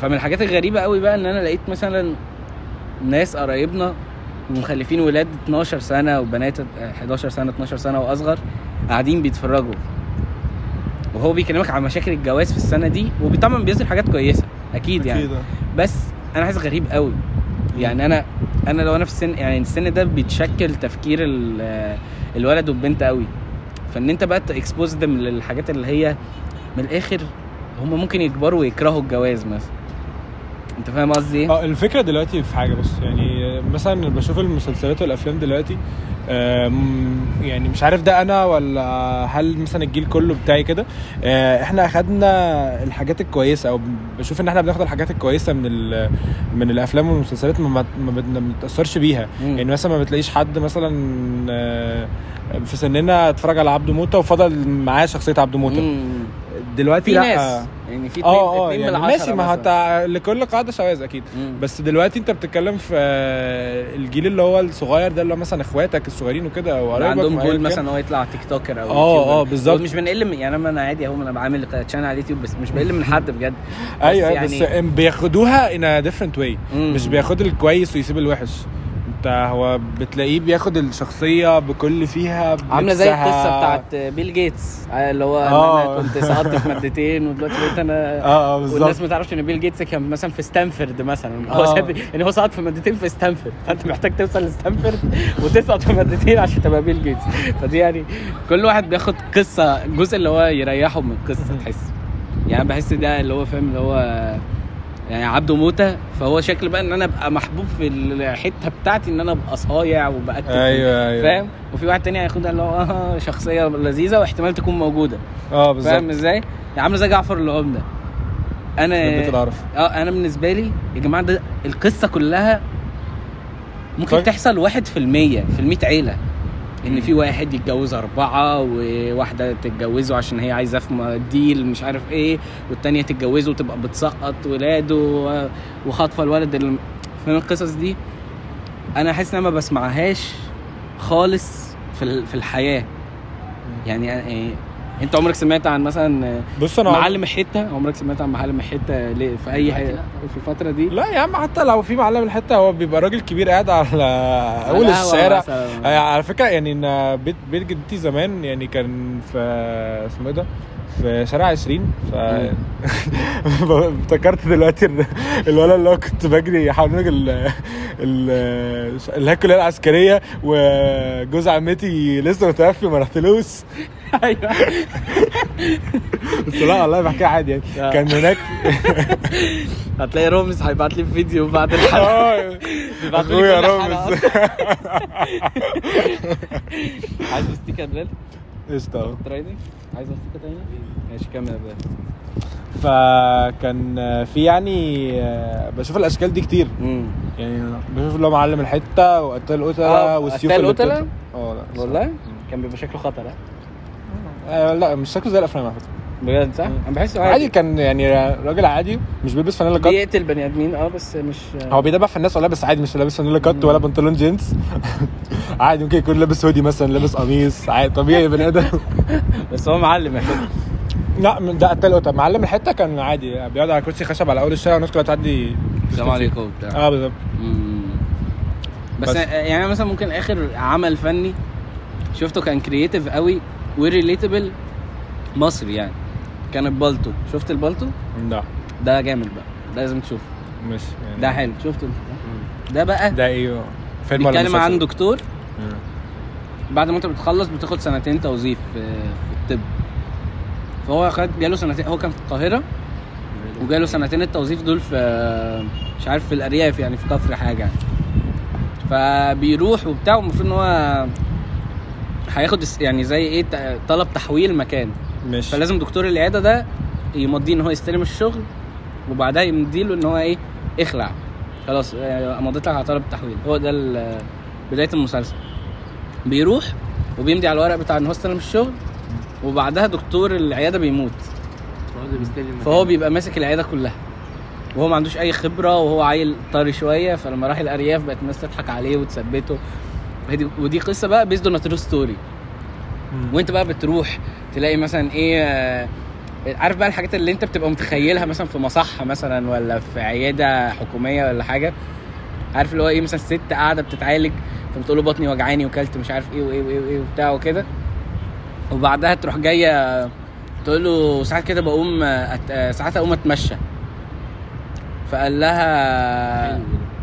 [SPEAKER 2] فمن الحاجات الغريبه قوي بقى ان انا لقيت مثلا ناس قرايبنا مخلفين ولاد 12 سنه وبنات 11 سنه 12 سنه واصغر قاعدين بيتفرجوا وهو بيكلمك عن مشاكل الجواز في السنه دي وطبعا بيظهر حاجات كويسه اكيد يعني
[SPEAKER 3] أكيد.
[SPEAKER 2] بس انا حاسس غريب قوي يعني انا انا لو انا في السن يعني السن ده بيتشكل تفكير ال- الولد والبنت قوي فان انت بقى تكسبوز دم للحاجات اللي هي من الاخر هم ممكن يكبروا ويكرهوا الجواز مثلا انت فاهم قصدي ايه؟
[SPEAKER 3] اه الفكره دلوقتي في حاجه بص يعني مثلا بشوف المسلسلات والافلام دلوقتي آم، يعني مش عارف ده انا ولا هل مثلا الجيل كله بتاعي كده آه، احنا اخدنا الحاجات الكويسه او بشوف ان احنا بناخد الحاجات الكويسه من ال- من الافلام والمسلسلات ما ما بت- ما بنتاثرش بيها
[SPEAKER 2] مم.
[SPEAKER 3] يعني مثلا ما بتلاقيش حد مثلا آه، في سننا اتفرج على عبده موته وفضل معاه شخصيه عبده موته
[SPEAKER 2] مم.
[SPEAKER 3] دلوقتي
[SPEAKER 2] في
[SPEAKER 3] لا
[SPEAKER 2] ناس يعني في اتنين,
[SPEAKER 3] اه اه
[SPEAKER 2] اتنين
[SPEAKER 3] يعني
[SPEAKER 2] من العشرة
[SPEAKER 3] ماشي ما هو
[SPEAKER 2] مثلاً.
[SPEAKER 3] انت لكل قاعده شواذ اكيد
[SPEAKER 2] مم.
[SPEAKER 3] بس دلوقتي انت بتتكلم في آه، الجيل اللي هو الصغير ده اللي هو مثلا اخواتك الصغيرين وكده او
[SPEAKER 2] اللي
[SPEAKER 3] قرايبك
[SPEAKER 2] عندهم
[SPEAKER 3] وأيا
[SPEAKER 2] جول
[SPEAKER 3] كان.
[SPEAKER 2] مثلا هو يطلع تيك توكر او
[SPEAKER 3] اه،
[SPEAKER 2] يوتيوبر.
[SPEAKER 3] اه، بالظبط.
[SPEAKER 2] هو مش بنقل من يعني انا عادي اهو انا بعمل تشانل على اليوتيوب بس مش بقل من حد بجد بس
[SPEAKER 3] ايوه
[SPEAKER 2] يعني-
[SPEAKER 3] بس, بس ام- بياخدوها ان ديفرنت واي
[SPEAKER 2] مم.
[SPEAKER 3] مش بياخد الكويس ويسيب الوحش انت هو بتلاقيه بياخد الشخصيه بكل فيها
[SPEAKER 2] عامله زي
[SPEAKER 3] بلبسها.
[SPEAKER 2] القصه بتاعت بيل جيتس اللي هو أنا- انا
[SPEAKER 3] آه.
[SPEAKER 2] كنت سقطت في مادتين ودلوقتي بقيت انا
[SPEAKER 3] اه اه
[SPEAKER 2] والناس
[SPEAKER 3] بالظبط
[SPEAKER 2] ما تعرفش ان بيل جيتس كان مثلا في ستانفورد مثلا هو
[SPEAKER 3] آه.
[SPEAKER 2] ساب ان هو سقط في مادتين في ستانفورد فانت محتاج توصل لستانفورد وتسقط في مادتين عشان تبقى بيل جيتس فدي يعني كل واحد بياخد قصه الجزء اللي هو يريحه من القصه تحس يعني بحس ده اللي هو فاهم اللي هو يعني عبده موته فهو شكل بقى ان انا ابقى محبوب في الحته بتاعتي ان انا ابقى صايع وبقى
[SPEAKER 3] ايوه ايوه
[SPEAKER 2] فاهم وفي واحد تاني هياخدها اللي هو آه شخصيه لذيذه واحتمال تكون موجوده
[SPEAKER 3] اه
[SPEAKER 2] فاهم
[SPEAKER 3] بالظبط
[SPEAKER 2] ازاي عامله زي جعفر العمده انا
[SPEAKER 3] بيت العرف
[SPEAKER 2] اه انا بالنسبه لي يا جماعه ده القصه كلها ممكن
[SPEAKER 3] طيب.
[SPEAKER 2] تحصل واحد في المية في المية عيلة ان
[SPEAKER 3] مم.
[SPEAKER 2] في واحد يتجوز أربعة وواحدة تتجوزه عشان هي عايزة في م- ديل مش عارف ايه والتانية تتجوزه وتبقى بتسقط ولاده و- وخاطفة الولد اللي فاهم القصص دي انا حاسس ان انا ما بسمعهاش خالص في ال- في الحياة يعني يعني انت عمرك سمعت عن مثلا
[SPEAKER 3] بص انا
[SPEAKER 2] معلم الحتة عمرك سمعت عن معلم الحتة ليه في اي حي... في الفترة دي
[SPEAKER 3] لا يا عم حتى لو في معلم الحته هو بيبقى راجل كبير قاعد على اول
[SPEAKER 2] القهوة
[SPEAKER 3] الشارع
[SPEAKER 2] مثلاً. [laughs]
[SPEAKER 3] آه، على فكره يعني ان بيت بيت جدتي زمان يعني كان في اسمه ايه ده في شارع 20 ف [laughs] افتكرت دلوقتي إن الولد اللي هو كنت بجري حوالين ال ال اللي هي الكليه العسكريه وجوز عمتي لسه متوفي ما رحتلوش
[SPEAKER 2] ايوه
[SPEAKER 3] بس لا والله بحكيها عادي يعني
[SPEAKER 2] آه.
[SPEAKER 3] كان هناك
[SPEAKER 2] هتلاقي رامز هيبعت لي فيديو [laughs] بعد الحلقه
[SPEAKER 3] اه
[SPEAKER 2] بيبعت لي
[SPEAKER 3] اخويا
[SPEAKER 2] كل حلقة
[SPEAKER 3] رامز
[SPEAKER 2] [laughs] عايز استيكه بلال
[SPEAKER 3] قشطه أهو.
[SPEAKER 2] ترايدنج عايز استيكه تاني ماشي كمل يا بلال
[SPEAKER 3] فكان في يعني آه، بشوف الاشكال دي كتير يعني بشوف اللي هو معلم الحته وقتال
[SPEAKER 2] آه،
[SPEAKER 3] القتله والسيوف
[SPEAKER 2] قتال
[SPEAKER 3] اللي
[SPEAKER 2] القتلة؟
[SPEAKER 3] بتقطع. اه لا الصراحة.
[SPEAKER 2] والله كان بيبقى شكله خطر ها؟
[SPEAKER 3] آه، لا مش شكله زي الافلام على فكره
[SPEAKER 2] بجد صح؟
[SPEAKER 3] مم.
[SPEAKER 2] انا بحسه
[SPEAKER 3] عادي
[SPEAKER 2] عادي
[SPEAKER 3] كان يعني راجل عادي مش بيلبس فانيلا كات
[SPEAKER 2] بيقتل بني ادمين اه بس مش
[SPEAKER 3] هو بيدبح في الناس ولا بس عادي مش لابس فانيلا كات
[SPEAKER 2] مم.
[SPEAKER 3] ولا بنطلون جينز [laughs] عادي ممكن يكون لابس هودي مثلا لابس قميص عادي طبيعي
[SPEAKER 2] [laughs]
[SPEAKER 3] بني ادم
[SPEAKER 2] بس هو معلم يا حبيبي.
[SPEAKER 3] لا ده قتال القتله معلم الحته كان عادي بيقعد على كرسي خشب على اول الشارع والناس كلها تعدي
[SPEAKER 2] السلام عليكم وبتاع
[SPEAKER 3] اه بالظبط
[SPEAKER 2] مم. بس,
[SPEAKER 3] بس.
[SPEAKER 2] يعني أنا مثلا ممكن اخر عمل فني شفته كان كرييتيف قوي وريليتبل مصري يعني كان البالتو شفت البالتو
[SPEAKER 3] لا
[SPEAKER 2] ده جامد بقى ده لازم تشوفه
[SPEAKER 3] مش يعني
[SPEAKER 2] ده حلو شفته انت؟ ده بقى
[SPEAKER 3] ده ايه فيلم ولا
[SPEAKER 2] بيتكلم
[SPEAKER 3] مسلسل؟
[SPEAKER 2] عن دكتور
[SPEAKER 3] مم.
[SPEAKER 2] بعد ما انت بتخلص بتاخد سنتين توظيف في, في الطب فهو خد جاله سنتين هو كان في القاهره وجاله سنتين التوظيف دول في مش عارف في الارياف يعني في كفر حاجه يعني. فبيروح وبتاع والمفروض ان هو هياخد اس- يعني زي ايه ت- طلب تحويل مكان
[SPEAKER 3] مش
[SPEAKER 2] فلازم دكتور العياده ده يمضيه ان هو يستلم الشغل وبعدها يمديله ان هو ايه اخلع خلاص آه، مضيت لك على طلب التحويل هو ده ال- بدايه المسلسل بيروح وبيمضي على الورق بتاع ان هو استلم الشغل وبعدها دكتور العياده بيموت فهو بيبقى ماسك العياده كلها وهو ما عندوش اي خبره وهو عيل طري شويه فلما راح الارياف بقت الناس تضحك عليه وتثبته ودي- ودي قصه بقى بيزد اون ترو ستوري
[SPEAKER 3] مم.
[SPEAKER 2] وانت بقى بتروح تلاقي مثلا ايه آه، عارف بقى الحاجات اللي انت بتبقى متخيلها مثلا في مصحة مثلا ولا في عيادة حكومية ولا حاجة عارف اللي هو ايه مثلا ست قاعدة بتتعالج فبتقول له بطني وجعاني وكلت مش عارف ايه وايه وايه وايه وبتاع وكده وبعدها تروح جاية تقول له ساعات كده بقوم آه، أت... آه، ساعات اقوم اتمشى فقال لها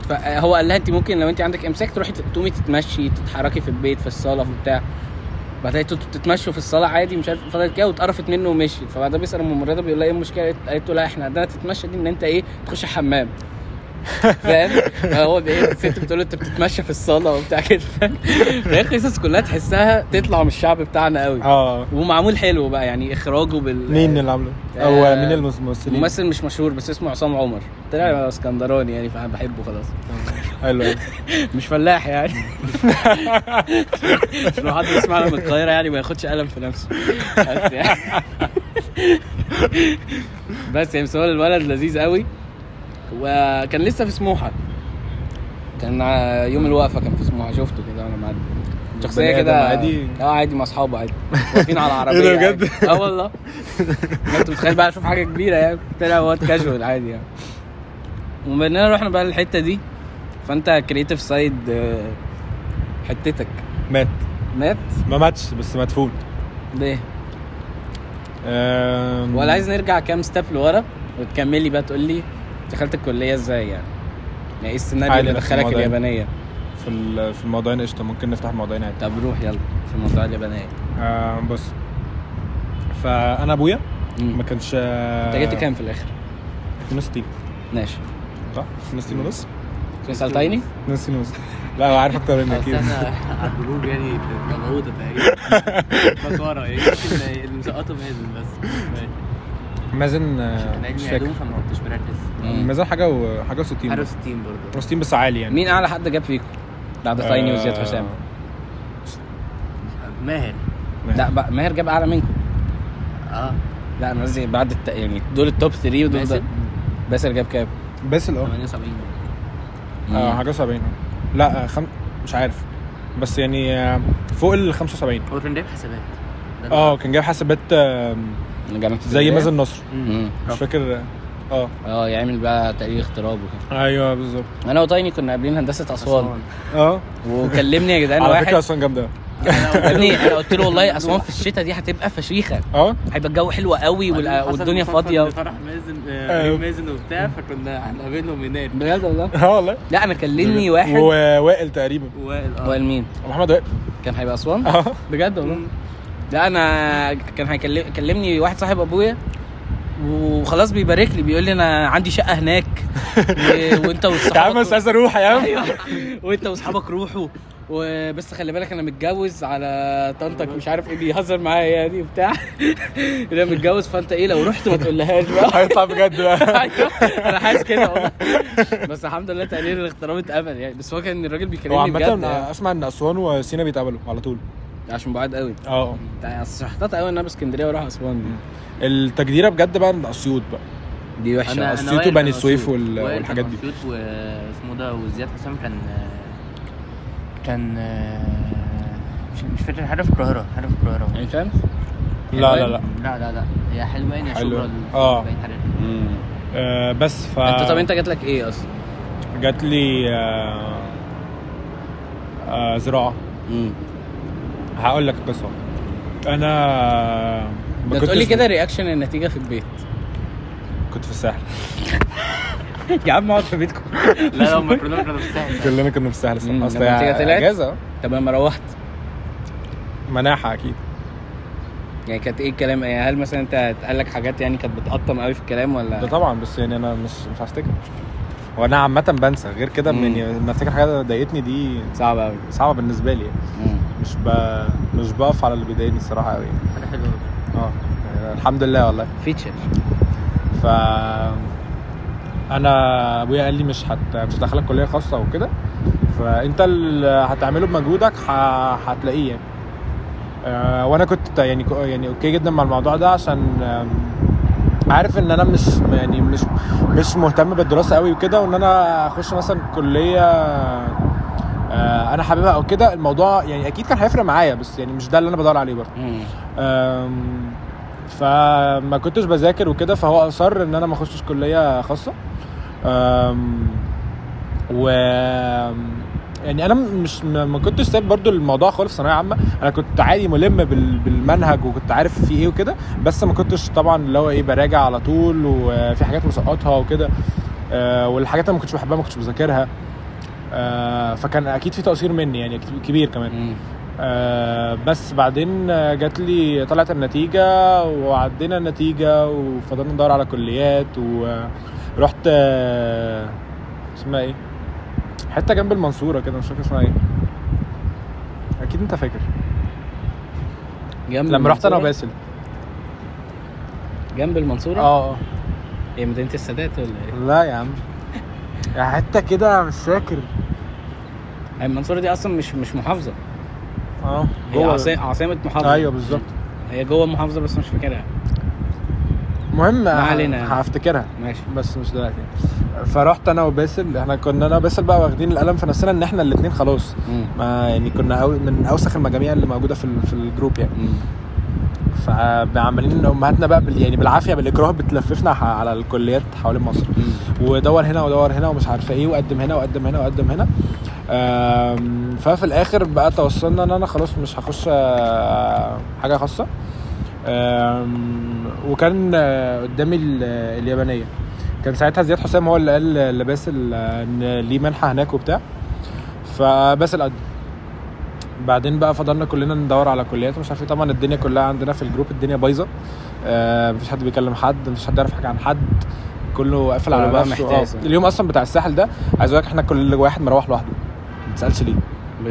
[SPEAKER 2] فهو قال لها انت ممكن لو انت عندك امساك تروحي ت- تقومي تتمشي تتحركي في البيت في الصاله في بتاع بعدين انتوا بتتمشوا في الصاله عادي مش عارف فضلت كده واتقرفت منه ومشيت فبعدها بيسال الممرضه بيقول لها ايه المشكله قالت له لا احنا عندنا تتمشى دي ان انت ايه تخش الحمام فاهم هو ايه الست بتقول له انت بتتمشى في الصاله وبتاع كده فاهم فهي القصص كلها تحسها تطلع من الشعب بتاعنا قوي
[SPEAKER 3] اه
[SPEAKER 2] ومعمول حلو بقى يعني اخراجه بال
[SPEAKER 3] مين اللي عامله؟
[SPEAKER 2] آه،
[SPEAKER 3] او مين الممثلين؟
[SPEAKER 2] ممثل مش مشهور بس اسمه عصام عمر طلع اسكندراني يعني فانا بحبه خلاص
[SPEAKER 3] حلو أوي.
[SPEAKER 2] مش فلاح يعني مش لو حد بيسمعنا من القاهره يعني ما ياخدش قلم في نفسه بس يعني بس يعني بس هو الولد لذيذ قوي وكان لسه في سموحه كان ع- يوم الوقفه كان في سموحه شفته كده وانا معدي شخصيه
[SPEAKER 3] بني آدم
[SPEAKER 2] كده
[SPEAKER 3] عادي؟
[SPEAKER 2] اه عادي مع اصحابه عادي واقفين على عربيه
[SPEAKER 3] [laughs] إيه ده بجد؟
[SPEAKER 2] عادي. اه والله انت متخيل بقى اشوف حاجه كبيره يعني طلع واد كاجوال عادي يعني وبعدين رحنا بقى للحته دي فانت كريتيف سايد حتتك
[SPEAKER 3] مات
[SPEAKER 2] مات
[SPEAKER 3] ما ماتش بس مدفون
[SPEAKER 2] ليه
[SPEAKER 3] آم،
[SPEAKER 2] ولا عايز نرجع كام ستيب لورا وتكملي بقى تقول لي دخلت الكليه ازاي يعني يعني ايه السيناريو
[SPEAKER 3] عادي
[SPEAKER 2] اللي
[SPEAKER 3] نفس
[SPEAKER 2] دخلك
[SPEAKER 3] الموضوع يعني.
[SPEAKER 2] اليابانيه
[SPEAKER 3] في ال- في الموضوعين قشطه ممكن نفتح موضوعين عادي
[SPEAKER 2] طب روح يلا في موضوع اليابانيه
[SPEAKER 3] آم، بص فانا ابويا
[SPEAKER 2] مم.
[SPEAKER 3] ما كانش
[SPEAKER 2] انت جبت كام في الاخر
[SPEAKER 3] 62
[SPEAKER 2] ماشي
[SPEAKER 3] صح 62 ونص
[SPEAKER 2] تسال تايني
[SPEAKER 3] 62 ونص لا هو عارف اكتر مني اكيد
[SPEAKER 4] على الجروب يعني كانت مغوطه تقريبا
[SPEAKER 3] [laughs]
[SPEAKER 4] كانت ورا ايه اللي مسقطه مازن بس
[SPEAKER 3] مازن
[SPEAKER 4] كان
[SPEAKER 3] آه، مش
[SPEAKER 4] علمي
[SPEAKER 3] فاكر
[SPEAKER 4] علوم فما كنتش بركز
[SPEAKER 2] مم.
[SPEAKER 3] مازن حاجه و... حاجه و60
[SPEAKER 4] حاجه 60 برضه
[SPEAKER 3] 60 بس عالي يعني
[SPEAKER 2] مين اعلى حد جاب فيكم بعد تايني وزياد
[SPEAKER 3] آه،
[SPEAKER 2] حسام
[SPEAKER 4] ماهر
[SPEAKER 2] لا بقى ماهر جاب اعلى منكم آه.
[SPEAKER 4] اه
[SPEAKER 2] لا انا قصدي بعد الت... يعني دول التوب 3 ودول
[SPEAKER 4] باسل
[SPEAKER 2] ده باسل جاب كام؟
[SPEAKER 3] باسل اه
[SPEAKER 4] 78
[SPEAKER 3] آه، حاجه 70 لا آه، خم... مش عارف بس يعني آه، فوق ال 75
[SPEAKER 4] هو كان جايب حسابات [laughs] ده
[SPEAKER 3] اه كان جايب حسابات آم،
[SPEAKER 2] جامعة
[SPEAKER 3] زي
[SPEAKER 2] اسكندرية.
[SPEAKER 3] مازن نصر
[SPEAKER 4] مم.
[SPEAKER 2] مم. آه.
[SPEAKER 4] رب.
[SPEAKER 3] مش فاكر اه
[SPEAKER 2] اه يعمل بقى تقرير اختراب وكده
[SPEAKER 3] ايوه بالظبط
[SPEAKER 2] انا وتايني كنا قابلين هندسه اسوان
[SPEAKER 4] أسوان.
[SPEAKER 3] اه
[SPEAKER 2] وكلمني يا جدعان
[SPEAKER 3] على
[SPEAKER 2] واحد
[SPEAKER 3] فكره اصلا جامده
[SPEAKER 2] يا ابني انا قلت له والله اسوان في الشتاء دي هتبقى فشيخه
[SPEAKER 3] [laughs] اه
[SPEAKER 2] هيبقى الجو حلو قوي والأ-
[SPEAKER 4] حصل
[SPEAKER 2] والدنيا
[SPEAKER 4] مسافر
[SPEAKER 2] فاضيه
[SPEAKER 4] لفرح مازن
[SPEAKER 3] آه.
[SPEAKER 4] آه، قريب مازن وبتاع فكنا هنقابلهم هناك
[SPEAKER 2] بجد والله
[SPEAKER 3] اه والله
[SPEAKER 2] لا انا كلمني واحد
[SPEAKER 3] ووائل تقريبا
[SPEAKER 4] وائل اه
[SPEAKER 2] وقال مين
[SPEAKER 3] محمد وائل
[SPEAKER 2] كان هيبقى اسوان
[SPEAKER 3] اه
[SPEAKER 2] بجد والله
[SPEAKER 4] مم.
[SPEAKER 2] لا انا كان هيكلم- كلمني واحد صاحب ابويا وخلاص بيبارك لي بيقول لي انا عندي شقه
[SPEAKER 3] [laughs]
[SPEAKER 2] هناك و- وانت
[SPEAKER 3] يا عم
[SPEAKER 2] واصحابك
[SPEAKER 3] مش عايز اروح يا عم
[SPEAKER 2] أيوه. وانت واصحابك روحوا وبس خلي بالك انا متجوز على طنطك مش عارف ايه بيهزر معايا يعني وبتاع [laughs] انا متجوز فانت ايه لو رحت ما تقولهاش بقى
[SPEAKER 3] [laughs]
[SPEAKER 2] [laughs]
[SPEAKER 3] هيطلع بجد بقى
[SPEAKER 2] أيوة، انا حاسس كده والله بس الحمد لله تقليل الاغتراب اتقبل يعني بس هو كان الراجل
[SPEAKER 3] هو
[SPEAKER 2] بيكلمني بجد
[SPEAKER 3] عامة
[SPEAKER 2] يعني.
[SPEAKER 3] اسمع ان اسوان وسينا بيتقابلوا على طول
[SPEAKER 2] عشان بعاد قوي
[SPEAKER 3] اه
[SPEAKER 2] شحطات قوي ان انا باسكندريه واروح اسوان
[SPEAKER 3] التجديره بجد بقى من اسيوط بقى
[SPEAKER 2] دي وحشه
[SPEAKER 3] أنا-
[SPEAKER 2] أنا...
[SPEAKER 3] أسيوط
[SPEAKER 4] وائل
[SPEAKER 3] وبني
[SPEAKER 4] كان
[SPEAKER 3] سويف
[SPEAKER 4] مبسوط.
[SPEAKER 3] وال-
[SPEAKER 4] وائل كان
[SPEAKER 3] والحاجات دي.
[SPEAKER 4] مبسوط واسمه ده وزياد حسام كان آه، كان آه، مش- مش فاكر حاجه في القاهره حاجه في القاهره
[SPEAKER 3] أيوه.
[SPEAKER 2] عين شمس يعني
[SPEAKER 3] لا لا لا
[SPEAKER 4] لا لا لا هي حلوه يا
[SPEAKER 3] حلوة.
[SPEAKER 4] شبرا
[SPEAKER 3] آه.
[SPEAKER 4] باقي الحاجات
[SPEAKER 3] آه، بس ف
[SPEAKER 2] انت طب انت جات لك ايه اصلا؟
[SPEAKER 3] جات لي آه، آه، زراعه هقول لك قصه انا ما
[SPEAKER 2] ده
[SPEAKER 3] كنتش-
[SPEAKER 2] تقول لي كده رياكشن النتيجه في البيت
[SPEAKER 3] كنت في الساحل [laughs]
[SPEAKER 2] يا عم اقعد في بيتكم
[SPEAKER 4] لا لو مكرونه كانت بتستاهل
[SPEAKER 3] كلنا كنا في الساحل
[SPEAKER 2] مم،
[SPEAKER 3] صح اصل
[SPEAKER 2] لما النتيجة طلعت؟
[SPEAKER 3] اجازه
[SPEAKER 2] طب لما روحت
[SPEAKER 3] مناحه اكيد
[SPEAKER 2] يعني كانت ايه الكلام يعني هل مثلا انت اتقال لك حاجات يعني كانت بتقطم قوي في الكلام
[SPEAKER 3] ده
[SPEAKER 2] ولا
[SPEAKER 3] طبعا بس يعني انا مش مش هفتكر وانا عامه بنسى غير كده
[SPEAKER 2] مم.
[SPEAKER 3] يعني لما افتكر حاجه ضايقتني دي
[SPEAKER 2] صعب قوي
[SPEAKER 3] صعبه بالنسبه لي يعني. مش ب... مش بقف على اللي بيضايقني الصراحه قوي يعني.
[SPEAKER 4] حاجه حلوه
[SPEAKER 3] اه الحمد لله والله
[SPEAKER 2] فيتشر
[SPEAKER 3] ف انا ابويا قال لي مش هت مش هدخلك كليه خاصه وكده فانت اللي هتعمله بمجهودك ه... هتلاقيه يعني آه، وانا كنت يعني كو- يعني اوكي جدا مع الموضوع ده عشان آم، عارف ان انا مش يعني مش مش مهتم بالدراسه قوي وكده وان انا اخش مثلا كليه آه، انا حاببها او كده الموضوع يعني اكيد كان هيفرق معايا بس يعني مش ده اللي انا بدور عليه برضه أم، فما كنتش بذاكر وكده فهو اصر ان انا ما اخشش كليه خاصه أم، و يعني انا مش ما ما كنتش سايب برضو الموضوع خالص ثانويه عامه انا كنت عادي ملم بال- بالمنهج وكنت عارف في ايه وكده بس ما كنتش طبعا اللي هو ايه براجع على طول وفي حاجات مسقطها وكده أه، والحاجات اللي ما كنتش بحبها ما كنتش بذاكرها أه، فكان اكيد في تقصير مني يعني كبير كمان آه، بس بعدين آه، جات لي طلعت النتيجة وعدينا النتيجة وفضلنا ندور على كليات ورحت آه، اسمها ايه؟ حتة جنب المنصورة كده مش فاكر اسمها ايه أكيد أنت فاكر
[SPEAKER 2] جنب
[SPEAKER 3] لما رحت أنا
[SPEAKER 2] المنصورة؟
[SPEAKER 3] وباسل
[SPEAKER 2] جنب المنصوره
[SPEAKER 3] اه اه
[SPEAKER 2] هي مدينه السادات ولا ايه؟
[SPEAKER 3] لا يا عم يا حتة كده مش فاكر
[SPEAKER 2] يعني المنصوره دي اصلا مش مش محافظه
[SPEAKER 3] اه
[SPEAKER 2] هي عاصمه عاصمه محافظه
[SPEAKER 3] ايوه بالظبط
[SPEAKER 2] هي جوه المحافظه بس مش فاكرها
[SPEAKER 3] المهم آه،
[SPEAKER 2] علينا.
[SPEAKER 3] هفتكرها
[SPEAKER 2] ماشي
[SPEAKER 3] بس مش دلوقتي فرحت انا وباسل احنا كنا انا وباسل بقى واخدين القلم في نفسنا ان احنا الاثنين خلاص ما يعني كنا أو من اوسخ المجاميع اللي موجوده في ال- في الجروب يعني
[SPEAKER 1] 嗯
[SPEAKER 3] فعمالين امهاتنا بقى بال يعني بالعافيه بالاكراه بتلففنا ح- على الكليات حوالين مصر
[SPEAKER 1] 嗯
[SPEAKER 3] ودور هنا ودور هنا ومش عارفه ايه وقدم هنا وقدم هنا وقدم هنا آم، ففي الاخر بقى توصلنا ان انا خلاص مش هخش آه، حاجه خاصه آم، وكان آه، قدامي ال- اليابانيه كان ساعتها زياد حسام هو اللي قال لباسل آه، ان ليه منحه هناك وبتاع فباسل قدم بعدين بقى فضلنا كلنا ندور على كليات ومش عارف ايه طبعا الدنيا كلها عندنا في الجروب الدنيا بايظه آه، مفيش حد بيكلم حد مفيش حد يعرف حاجه عن حد كله قافل
[SPEAKER 2] كله
[SPEAKER 3] على
[SPEAKER 2] بقى
[SPEAKER 3] نفسه آه.
[SPEAKER 2] محتاس يعني.
[SPEAKER 3] اليوم اصلا بتاع الساحل ده عايز اقول لك احنا كل واحد مروح لوحده ما تسالش ليه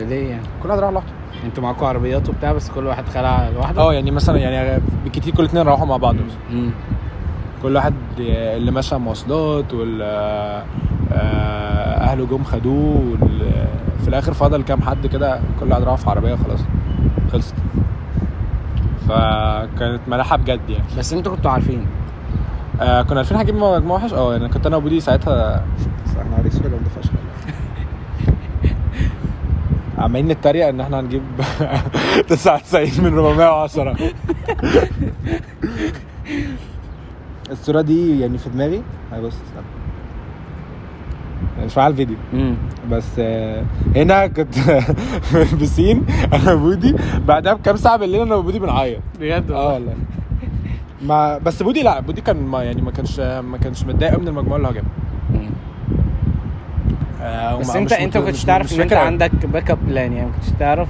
[SPEAKER 2] ليه يعني؟
[SPEAKER 3] كل واحد راح لوحده
[SPEAKER 2] انتوا معاكم عربيات وبتاع بس كل واحد خلع لوحده؟
[SPEAKER 3] اه يعني مثلا يعني بالكتير كل اتنين روحوا مع بعض مثلا
[SPEAKER 2] مم.
[SPEAKER 3] كل واحد اللي مشى مواصلات وال آه، اهله جم خدوه وال- في الاخر فضل كام حد كده كل واحد راح في عربيه خلاص خلصت فكانت ملاحه بجد يعني
[SPEAKER 2] بس انتوا كنتوا عارفين
[SPEAKER 3] آه كنا عارفين هجيب مجموع وحش اه يعني كنت انا وبودي ساعتها احنا عريس ولا ده فشخ [laughs] عمالين نتريق ان احنا هنجيب [laughs] 99 من [laughs] 410 الصوره دي يعني في دماغي هاي بص استنى مش معاها الفيديو بس آه، هنا كنت [laughs] في البسين انا وبودي بعدها بكام ساعه بالليل انا وبودي بنعيط
[SPEAKER 2] بجد
[SPEAKER 3] اه والله ما بس بودي لا بودي كان ما يعني ما كانش ما كانش متضايق أوي من المجموعه اللي هجيبها آه
[SPEAKER 2] بس
[SPEAKER 3] وما-
[SPEAKER 2] انت
[SPEAKER 3] مش
[SPEAKER 2] انت
[SPEAKER 3] مت-
[SPEAKER 2] ما كنتش
[SPEAKER 3] مش-
[SPEAKER 2] تعرف
[SPEAKER 3] مش
[SPEAKER 2] ان انت
[SPEAKER 3] فاكر أوي.
[SPEAKER 2] عندك باك اب بلان يعني ما كنتش تعرف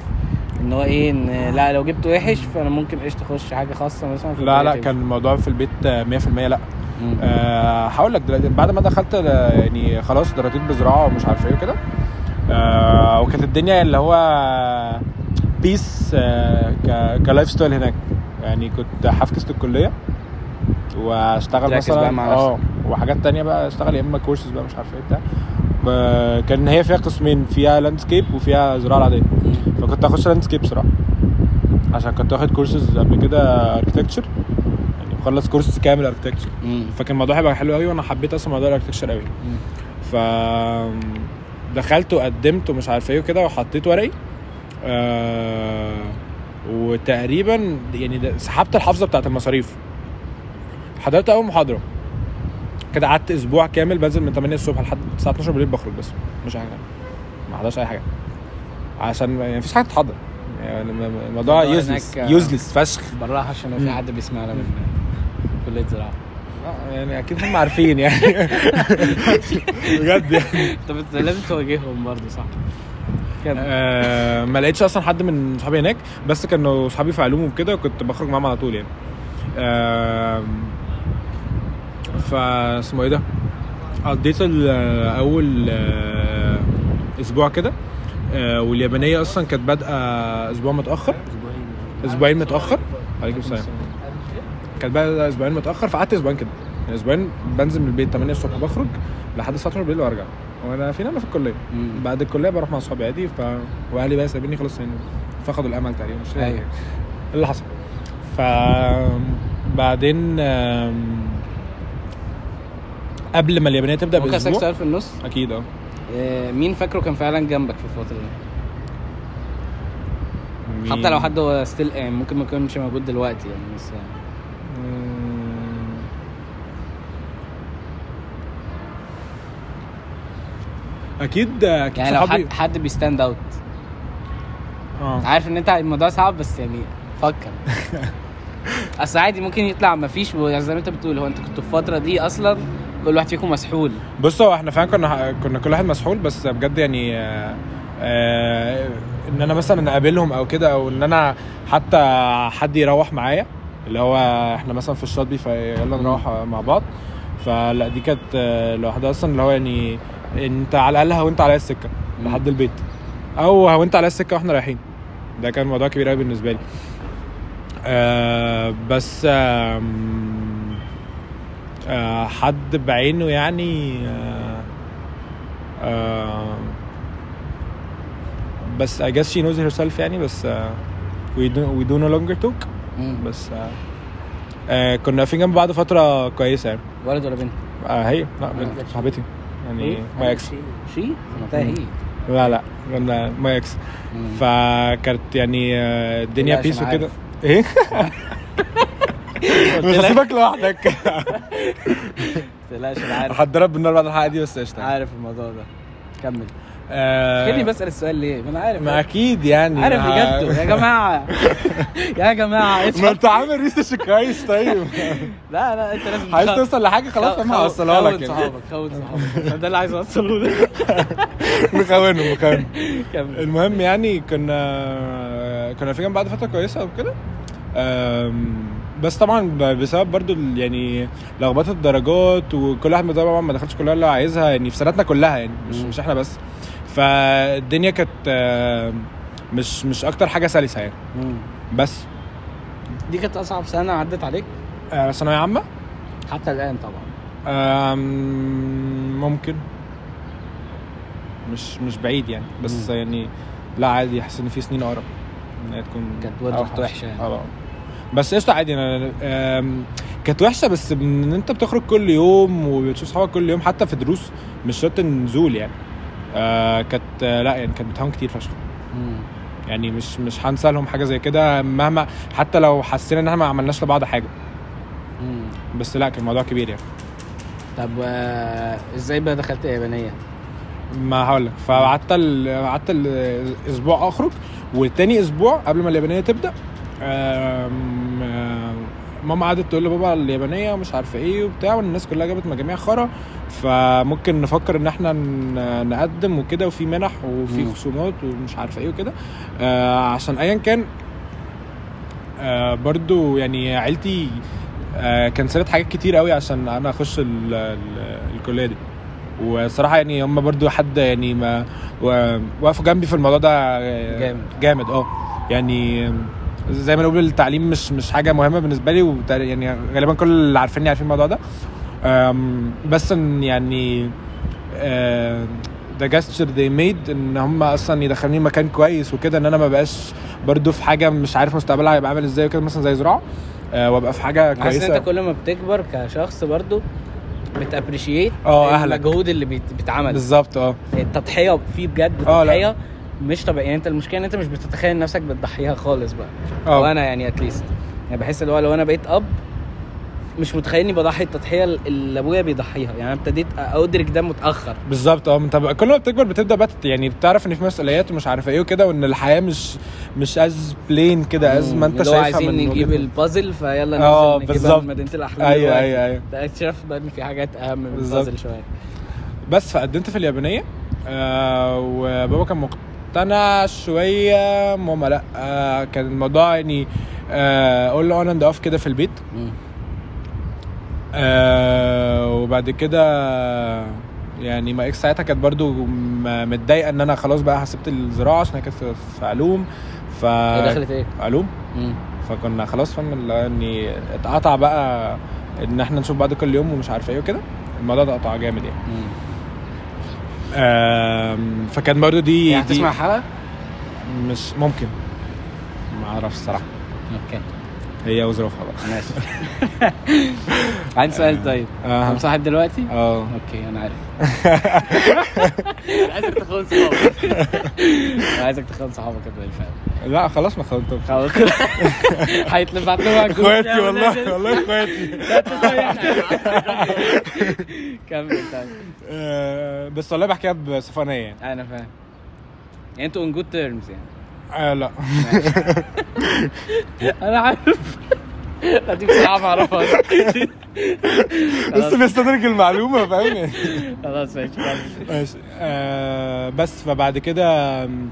[SPEAKER 2] ان هو ايه ان لا لو جبت وحش فانا ممكن ايش تخش حاجه خاصه مثلا في
[SPEAKER 3] لا لا
[SPEAKER 2] الكلية
[SPEAKER 3] كان الموضوع في البيت آه، 100% لا
[SPEAKER 2] مم.
[SPEAKER 3] آه، هقول لك دلوقتي بعد ما دخلت آه، يعني خلاص دراسات بزراعه ومش عارف ايه وكده آه، وكانت الدنيا اللي هو آه، بيس كلايف ستايل هناك يعني كنت هفكس الكليه واشتغل
[SPEAKER 2] تركز
[SPEAKER 3] مثلا
[SPEAKER 2] بقى مع
[SPEAKER 3] اه وحاجات تانية بقى اشتغل يا اما كورسز بقى مش عارف ايه بتاع آه، كان هي فيها قسمين فيها لاندسكيب وفيها زراعه العاديه فكنت هخش لاندسكيب بصراحه عشان كنت واخد كورسز قبل كده اركتكتشر يعني مخلص كورس كامل اركتكتشر
[SPEAKER 2] مم.
[SPEAKER 3] فكان الموضوع هيبقى حلو قوي وانا حبيت اصلا موضوع الاركتكشر قوي ف دخلت وقدمت ومش عارف ايه وكده وحطيت ورقي آه... وتقريبا يعني ده- سحبت الحافظه بتاعت المصاريف حضرت اول محاضره كده قعدت اسبوع كامل بنزل من 8 الصبح لحد الساعه 12 بالليل بخرج بس مش حاجه ما حضرش اي حاجه عشان يعني مفيش حاجه تتحضر يعني الموضوع
[SPEAKER 2] الموضوع
[SPEAKER 3] يوزلس
[SPEAKER 2] هناك-
[SPEAKER 3] يوزلس فشخ
[SPEAKER 2] بالراحه عشان لو في حد بيسمعنا من كليه زراعه
[SPEAKER 3] آه، يعني اكيد هم عارفين يعني [laughs] بجد يعني
[SPEAKER 2] [laughs] طب انت لازم تواجههم برضه صح؟ كمل
[SPEAKER 3] آه، ما لقيتش اصلا حد من صحابي هناك بس كانوا صحابي في علوم وكده كنت بخرج معاهم على طول يعني آه، فا اسمه ايه ده قضيت ال- اول آه، اسبوع كده آه، واليابانيه اصلا كانت بادئه اسبوع متاخر
[SPEAKER 4] اسبوعين
[SPEAKER 3] اسبوعين متاخر عليكم السلام كانت بقى اسبوعين متاخر فقعدت اسبوعين كده يعني اسبوعين بنزل من البيت 8 الصبح بخرج لحد الساعه 12 بالليل وارجع وانا فين انا في الكليه
[SPEAKER 2] مم.
[SPEAKER 3] بعد الكليه بروح مع اصحابي عادي ف واهلي بقى سايبيني خلاص يعني فقدوا الامل تقريبا مش فاهم
[SPEAKER 2] أيوة.
[SPEAKER 3] إيه اللي حصل ف بعدين آم، قبل ما اليابانيه تبدا
[SPEAKER 2] ممكن اسالك
[SPEAKER 3] باسبوع
[SPEAKER 2] سؤال في النص؟
[SPEAKER 3] اكيد اه
[SPEAKER 2] آه، مين فاكره كان فعلا جنبك في الفتره دي؟ حتى
[SPEAKER 3] مين؟
[SPEAKER 2] لو حد هو ستيل يعني ممكن ما يكونش موجود دلوقتي يعني بس
[SPEAKER 3] مم. اكيد اكيد
[SPEAKER 2] يعني لو
[SPEAKER 3] صحابي
[SPEAKER 2] حد حد بيستاند اوت
[SPEAKER 3] اه
[SPEAKER 2] عارف ان انت الموضوع صعب بس يعني
[SPEAKER 3] [laughs]
[SPEAKER 2] فكر اصل عادي ممكن يطلع ما فيش زي ما انت بتقول هو انت كنت في الفتره دي اصلا كل واحد فيكم مسحول
[SPEAKER 3] بص هو احنا فعلا كنا كنا كل واحد مسحول بس بجد يعني آه، آه، ان انا مثلا اقابلهم او كده او ان انا حتى حد يروح معايا اللي هو احنا مثلا في الشاطبي فيلا نروح مع بعض فلا دي كانت آه، لوحدها اصلا اللي هو يعني انت على الاقل هونت عليا السكه
[SPEAKER 2] مم.
[SPEAKER 3] لحد البيت او هونت عليا السكه واحنا رايحين ده كان موضوع كبير قوي بالنسبه لي آه بس آم، آه حد بعينه يعني آه آه بس I guess she knows herself يعني بس آه we do we do no longer talk
[SPEAKER 2] مم.
[SPEAKER 3] بس آه آه كنا واقفين جنب بعض فترة كويسة يعني
[SPEAKER 2] ولد ولا بنت
[SPEAKER 3] آه هي لا بنت صاحبتي يعني ماي اكس
[SPEAKER 2] شي سمعتها هي
[SPEAKER 3] لا لا كنا ماي اكس
[SPEAKER 2] مم.
[SPEAKER 3] فكانت يعني آه، الدنيا
[SPEAKER 2] لا، عشان
[SPEAKER 3] بيس وكده
[SPEAKER 2] عارف.
[SPEAKER 3] ايه
[SPEAKER 2] قلت
[SPEAKER 3] [laughs] مش
[SPEAKER 2] لك-
[SPEAKER 3] هسيبك لوحدك
[SPEAKER 2] قلت لا عشان عارف
[SPEAKER 3] هتضرب بالنار بعد الحلقه دي بس قشطه
[SPEAKER 2] عارف الموضوع ده كمل
[SPEAKER 3] آه،
[SPEAKER 2] خليني بسال السؤال ليه ما انا عارف
[SPEAKER 3] ما اكيد يعني
[SPEAKER 2] عارف
[SPEAKER 3] ما-
[SPEAKER 2] اجابته يا جماعه يا جماعه
[SPEAKER 3] [laughs] ما
[SPEAKER 2] اصحى
[SPEAKER 3] انت عامل ريسيرش كويس
[SPEAKER 2] [laughs]
[SPEAKER 3] طيب
[SPEAKER 2] لا لا انت لازم
[SPEAKER 3] عايز
[SPEAKER 2] تخاف.
[SPEAKER 3] توصل لحاجه خلاص انا هوصلها لك
[SPEAKER 2] خون
[SPEAKER 3] يعني
[SPEAKER 2] صحابك خون صحابك
[SPEAKER 3] [laughs]
[SPEAKER 2] ده اللي عايز اوصله ده
[SPEAKER 3] مخونه مخونه
[SPEAKER 2] [laughs] كمل
[SPEAKER 3] المهم يعني كنا كنا في جنب بعد فتره كويسه وكده أم، بس طبعا ب- بسبب برضو ال- يعني لخبطه الدرجات وكل واحد طبعا ما دخلش الكليه اللي هو عايزها يعني في سنتنا كلها يعني مش
[SPEAKER 2] مم.
[SPEAKER 3] مش احنا بس فالدنيا كانت أم، مش مش اكتر حاجه سلسه يعني بس
[SPEAKER 2] دي كانت اصعب سنه عدت عليك
[SPEAKER 3] أه، ثانويه عامه
[SPEAKER 2] حتى الان طبعا
[SPEAKER 3] أم، ممكن مش مش بعيد يعني بس
[SPEAKER 2] مم.
[SPEAKER 3] يعني لا عادي حاسس ان في سنين اقرب انها تكون
[SPEAKER 2] كانت برضه
[SPEAKER 3] أوحش.
[SPEAKER 2] كانت وحشة يعني.
[SPEAKER 3] اه بس قشطه عادي انا أم، كانت وحشه بس ان انت بتخرج كل يوم وبتشوف صحابك كل يوم حتى في دروس مش شرط نزول يعني آه كانت آه، لا يعني كانت بتهون كتير فشخ يعني مش مش هنسى لهم حاجه زي كده مهما حتى لو حسينا ان احنا ما عملناش لبعض حاجه
[SPEAKER 2] مم.
[SPEAKER 3] بس لا كان الموضوع كبير يعني
[SPEAKER 2] طب آه، ازاي بقى دخلت يابانيه؟
[SPEAKER 3] ما هقول لك فقعدت ال- قعدت الاسبوع اخرج والتاني اسبوع قبل ما اليابانيه تبدا آم، آم، ماما قعدت تقول لبابا اليابانيه ومش عارفه ايه وبتاع والناس كلها جابت مجاميع خرا فممكن نفكر ان احنا ن- نقدم وكده وفي منح وفي
[SPEAKER 2] مم.
[SPEAKER 3] خصومات ومش عارفه ايه وكده آه عشان ايا كان آه برضو يعني عيلتي آه كنسلت حاجات كتير قوي عشان انا اخش ال- ال- الكليه دي وصراحه يعني هم برضو حد يعني ما و- وقفوا جنبي في الموضوع ده آه،
[SPEAKER 2] جامد.
[SPEAKER 3] جامد اه يعني زي ما نقول التعليم مش مش حاجه مهمه بالنسبه لي وبتاع- يعني غالبا كل اللي عارفيني عارفين الموضوع ده أم، بس ان يعني ذا جاستشر they made ان هم اصلا يدخلوني مكان كويس وكده ان انا ما بقاش برضو في حاجه مش عارف مستقبلها هيبقى عامل ازاي وكده مثلا زي زراعه أه، وابقى في حاجه
[SPEAKER 2] حاسس إن
[SPEAKER 3] كويسه
[SPEAKER 2] انت كل ما بتكبر كشخص برضو بتابريشيت
[SPEAKER 3] اه اهلك
[SPEAKER 2] المجهود اللي بيت- بيتعمل
[SPEAKER 3] بالظبط اه
[SPEAKER 2] التضحيه فيه بجد
[SPEAKER 3] آه، لا.
[SPEAKER 2] تضحيه مش طبيعي يعني انت المشكله ان انت مش بتتخيل نفسك بتضحيها خالص بقى
[SPEAKER 3] اه
[SPEAKER 2] وانا يعني اتليست يعني بحس اللي هو لو انا بقيت اب مش متخيل اني بضحي التضحيه اللي ابويا بيضحيها يعني انا ابتديت ادرك ده متاخر
[SPEAKER 3] بالظبط اه انت بقى- كل ما بتكبر بتبدا بقى تت- يعني بتعرف ان في مسؤوليات ومش عارفه ايه وكده وان الحياه مش مش از بلين كده از ما انت
[SPEAKER 2] اللي هو
[SPEAKER 3] شايفها
[SPEAKER 2] عايزين
[SPEAKER 3] من
[SPEAKER 2] نجيب
[SPEAKER 3] وجهة-
[SPEAKER 2] البازل فيلا
[SPEAKER 3] آه،
[SPEAKER 2] ننزل نجيبها
[SPEAKER 3] بالظبط.
[SPEAKER 2] من مدينه الاحلام
[SPEAKER 3] ايوه
[SPEAKER 2] دلوقتي.
[SPEAKER 3] ايوه ايوه
[SPEAKER 2] ده اكتشفت بقى ان في حاجات اهم من
[SPEAKER 3] بالظبط.
[SPEAKER 2] البازل شويه
[SPEAKER 3] بس فقدمت في اليابانيه آه وبابا كان مقتنع شويه ماما لا آه كان الموضوع يعني آه اقول له انا اند اوف كده في البيت آه وبعد كده يعني ما اكس ساعتها كانت برضو م- متضايقه ان انا خلاص بقى سبت الزراعه عشان هي كانت في في علوم ف
[SPEAKER 2] هي دخلت ايه؟
[SPEAKER 3] علوم
[SPEAKER 2] مم.
[SPEAKER 3] فكنا خلاص فاهم اللي هو يعني اتقطع بقى ان احنا نشوف بعض كل يوم ومش عارف ايه وكده الموضوع ده اتقطع جامد يعني
[SPEAKER 2] مم.
[SPEAKER 3] آم، فكان برضو دي
[SPEAKER 2] يعني
[SPEAKER 3] دي-
[SPEAKER 2] هتسمع الحلقه؟
[SPEAKER 3] مش ممكن ما اعرفش الصراحه
[SPEAKER 2] اوكي
[SPEAKER 3] هي وظروفها بقى [laughs]
[SPEAKER 2] ماشي عندي سؤال طيب
[SPEAKER 3] آه.
[SPEAKER 2] انت مصاحب دلوقتي؟
[SPEAKER 3] اه
[SPEAKER 2] اوكي انا عارف عايزك تخون صحابك عايزك تخون صحابك يا فعلا
[SPEAKER 3] لا خلاص ما خلطت
[SPEAKER 2] [laughs] خلاص هيتلف عندهم على الجروب
[SPEAKER 3] اخواتي
[SPEAKER 2] ده
[SPEAKER 3] والله
[SPEAKER 2] ونازل.
[SPEAKER 3] والله اخواتي
[SPEAKER 2] لا تزيح. طيب. [laughs] كمل طيب
[SPEAKER 3] آه، بس والله بحكيها بسفانيه يعني
[SPEAKER 2] انا فاهم يعني انتوا ان جود تيرمز يعني
[SPEAKER 3] آه لا
[SPEAKER 2] انا عارف [laughs] لا دي بصراحه ما اعرفهاش
[SPEAKER 3] بس بستدرك المعلومه فاهم يعني
[SPEAKER 2] خلاص ماشي كمل.
[SPEAKER 3] ماشي آه بس فبعد كده آم،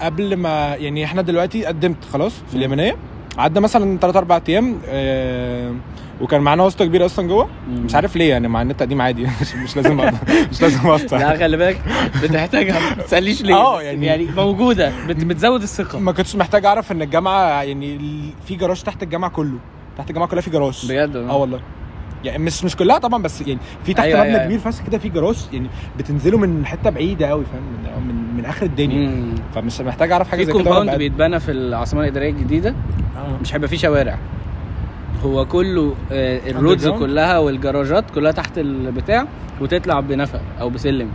[SPEAKER 3] قبل ما يعني احنا دلوقتي قدمت خلاص في اليمنيه عدى مثلا 3 4 ايام آه وكان معانا واسطه كبيره اصلا جوه
[SPEAKER 2] مم.
[SPEAKER 3] مش عارف ليه يعني مع ان التقديم عادي [laughs] مش, مش لازم أقدر- مش لازم واسطه
[SPEAKER 2] لا خلي بالك بتحتاجها ما تساليش ليه
[SPEAKER 3] آه،
[SPEAKER 2] بس
[SPEAKER 3] طيب. يعني-
[SPEAKER 2] يعني موجوده بت- بتزود الثقه
[SPEAKER 3] ما كنتش محتاج اعرف ان الجامعه يعني ال- في جراج تحت الجامعه كله تحت الجامعه كلها في جراج
[SPEAKER 2] بجد
[SPEAKER 3] اه والله يعني مش مش كلها طبعا بس يعني في تحت
[SPEAKER 2] أيوة،
[SPEAKER 3] أيوة مبنى
[SPEAKER 2] أيوة،
[SPEAKER 3] أيوة كبير فشخ كده في جراج يعني بتنزلوا من حته بعيده قوي فاهم من, من, من اخر الدنيا
[SPEAKER 2] مم.
[SPEAKER 3] فمش محتاج اعرف
[SPEAKER 2] في
[SPEAKER 3] حاجه زي كده وأنا
[SPEAKER 2] كومباوند
[SPEAKER 3] بقدم.
[SPEAKER 2] بيتبنى في العاصمه الاداريه الجديده
[SPEAKER 3] آه.
[SPEAKER 2] مش هيبقى فيه شوارع هو كله آه، الرودز
[SPEAKER 3] Underground؟
[SPEAKER 2] كلها والجراجات كلها تحت البتاع وتطلع بنفق او بسلم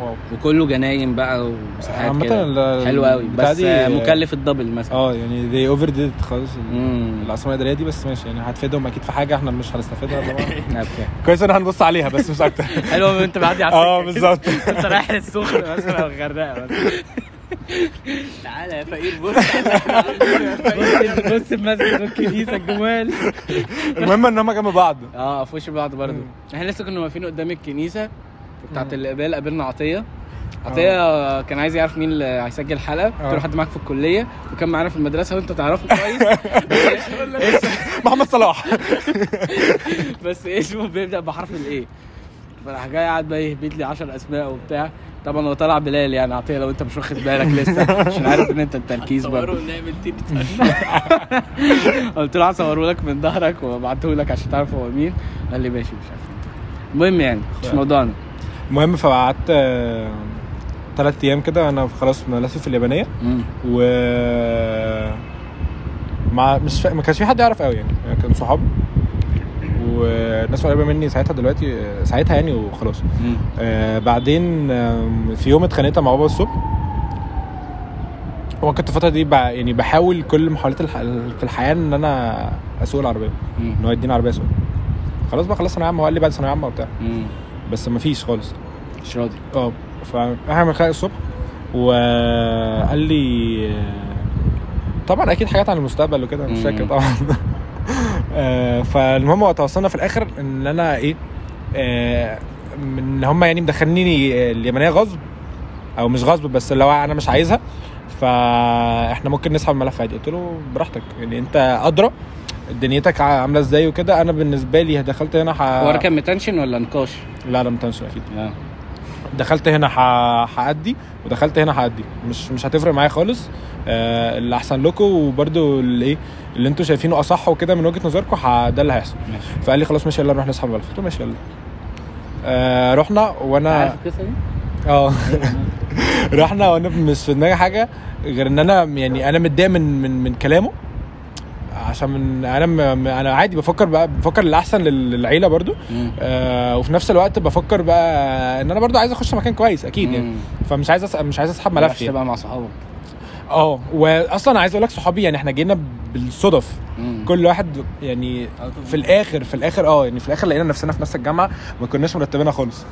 [SPEAKER 3] واو
[SPEAKER 2] وكله جناين بقى ومساحات
[SPEAKER 3] عامة
[SPEAKER 2] كده
[SPEAKER 3] ال-
[SPEAKER 2] حلو قوي
[SPEAKER 3] البتاع
[SPEAKER 2] بس
[SPEAKER 3] دي-
[SPEAKER 2] آه، مكلف الدبل مثلا
[SPEAKER 3] اه يعني they overdid خالص ال-
[SPEAKER 2] امم
[SPEAKER 3] العاصمه الاداريه دي بس ماشي يعني هتفيدهم اكيد في حاجه احنا مش هنستفيدها طبعا
[SPEAKER 2] اوكي
[SPEAKER 3] كويس ان هنبص عليها بس مش اكتر
[SPEAKER 2] حلو أوي انت بعدي على
[SPEAKER 3] اه
[SPEAKER 2] السكة.
[SPEAKER 3] بالظبط
[SPEAKER 2] [laughs] انت رايح للسخنه مثلا او الغردقه مثلا
[SPEAKER 4] تعالى يا فقير
[SPEAKER 2] [laughs]
[SPEAKER 4] بص
[SPEAKER 2] بص بص المسجد والكنيسه الجمال
[SPEAKER 3] المهم ان هم جنب بعض
[SPEAKER 2] اه في وش بعض برضه
[SPEAKER 3] مم.
[SPEAKER 2] احنا لسه كنا واقفين قدام الكنيسه بتاعت
[SPEAKER 3] مم.
[SPEAKER 2] الاقبال قابلنا عطيه عطيه كان عايز يعرف مين اللي هيسجل حلقه قلت له
[SPEAKER 3] آه.
[SPEAKER 2] حد معاك في الكليه وكان معانا في المدرسه وانت تعرفه [laughs] كويس بس
[SPEAKER 3] محمد صلاح
[SPEAKER 2] [laughs] بس اسمه بيبدا بحرف الايه فراح جاي قاعد بقى يهبط لي 10 اسماء وبتاع طبعا هو طلع بلال يعني عطيه لو انت مش واخد بالك لسه عشان عارف ان انت التركيز برضه
[SPEAKER 4] صوروا نعمل تيت
[SPEAKER 2] [laughs] قلت له هصوره لك من ظهرك وابعته لك عشان تعرف هو مين قال لي ماشي مش عارف إيه. المهم يعني مش موضوعنا
[SPEAKER 3] المهم فقعدت ثلاث ايام كده انا خلاص لسه في اليابانيه
[SPEAKER 2] مم.
[SPEAKER 3] و مع مش فا... ما كانش في حد يعرف قوي يعني كان صحابي والناس قريبه مني ساعتها دلوقتي ساعتها يعني وخلاص
[SPEAKER 2] مم.
[SPEAKER 3] آه بعدين آم، في يوم اتخانقت مع بابا الصبح هو كنت الفتره دي بع... يعني بحاول كل محاولات الح... في الحياه ان انا اسوق العربيه
[SPEAKER 2] مم.
[SPEAKER 3] ان هو يديني عربيه اسوق خلاص بقى خلاص ثانويه عامه هو قال لي بعد ثانويه عامه وبتاع
[SPEAKER 2] مم.
[SPEAKER 3] بس مفيش خالص
[SPEAKER 2] مش راضي
[SPEAKER 3] اه فاحنا بنتخانق الصبح وقال لي طبعا اكيد حاجات عن المستقبل وكده مش
[SPEAKER 2] مم.
[SPEAKER 3] فاكر طبعا [laughs] آه، فالمهم هو توصلنا في الاخر ان انا ايه آه، من ان هم يعني مدخليني اليمنيه غصب او مش غصب بس اللي هو انا مش عايزها فاحنا ممكن نسحب الملف عادي قلت له براحتك يعني انت ادرى دنيتك عامله ازاي وكده انا بالنسبه لي دخلت هنا ح...
[SPEAKER 2] ورا كان متنشن ولا نقاش؟
[SPEAKER 3] لا لا ما تنسوا اكيد
[SPEAKER 2] اه
[SPEAKER 3] دخلت هنا ح- هأدي ودخلت هنا هأدي مش مش هتفرق معايا خالص آه اللي احسن لكم وبرده الايه اللي انتوا شايفينه اصح وكده من وجهه نظركم ح- ده اللي هيحصل
[SPEAKER 2] ماشي
[SPEAKER 3] فقال لي خلاص ماشي يلا نروح نسحب الملف قلت له ماشي يلا آه رحنا وانا
[SPEAKER 2] عارف القصه دي؟
[SPEAKER 3] اه [laughs] رحنا وانا مش في دماغي حاجه غير ان انا يعني انا متضايق من من من كلامه عشان من انا م- انا عادي بفكر بقى بفكر للاحسن لل- للعيله برضو
[SPEAKER 2] مم.
[SPEAKER 3] آه وفي نفس الوقت بفكر بقى ان انا برضو عايز اخش مكان كويس اكيد يعني
[SPEAKER 2] مم.
[SPEAKER 3] فمش عايز أس... مش عايز اسحب
[SPEAKER 2] ما
[SPEAKER 3] ملفي
[SPEAKER 2] تعرفش
[SPEAKER 3] يعني.
[SPEAKER 2] تبقى مع صحابك
[SPEAKER 3] اه واصلا عايز اقول لك صحابي يعني احنا جينا بالصدف
[SPEAKER 2] مم.
[SPEAKER 3] كل واحد يعني في الاخر في الاخر اه يعني في الاخر لقينا نفسنا في نفس الجامعه ما كناش مرتبينها خالص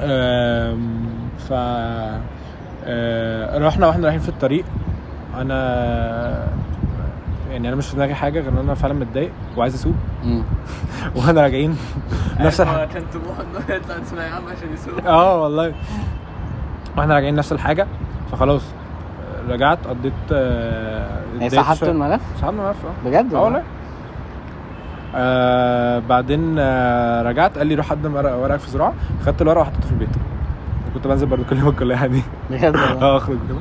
[SPEAKER 3] آم، ف آه، رحنا واحنا رايحين في الطريق انا يعني انا مش في دماغي حاجه غير ان انا فعلا متضايق وعايز [laughs] اسوق
[SPEAKER 2] مم.
[SPEAKER 3] واحنا راجعين [laughs] نفس الحاجه
[SPEAKER 4] عشان تروح يطلع تسمع يا عم عشان يسوق
[SPEAKER 3] اه والله واحنا راجعين نفس الحاجه فخلاص آه، رجعت قضيت آه،
[SPEAKER 2] يعني
[SPEAKER 3] اتضايقت
[SPEAKER 2] سحبت
[SPEAKER 3] شوية.
[SPEAKER 2] الملف؟
[SPEAKER 3] سحبنا ملف اه
[SPEAKER 2] بجد؟
[SPEAKER 3] اه والله آه بعدين آه رجعت قال لي روح قدم ورق- ورقك في زراعه خدت الورقه وحطيته في البيت كنت بنزل برضه كل يوم الكليه عادي
[SPEAKER 2] بجد والله.
[SPEAKER 3] اه اخرج كده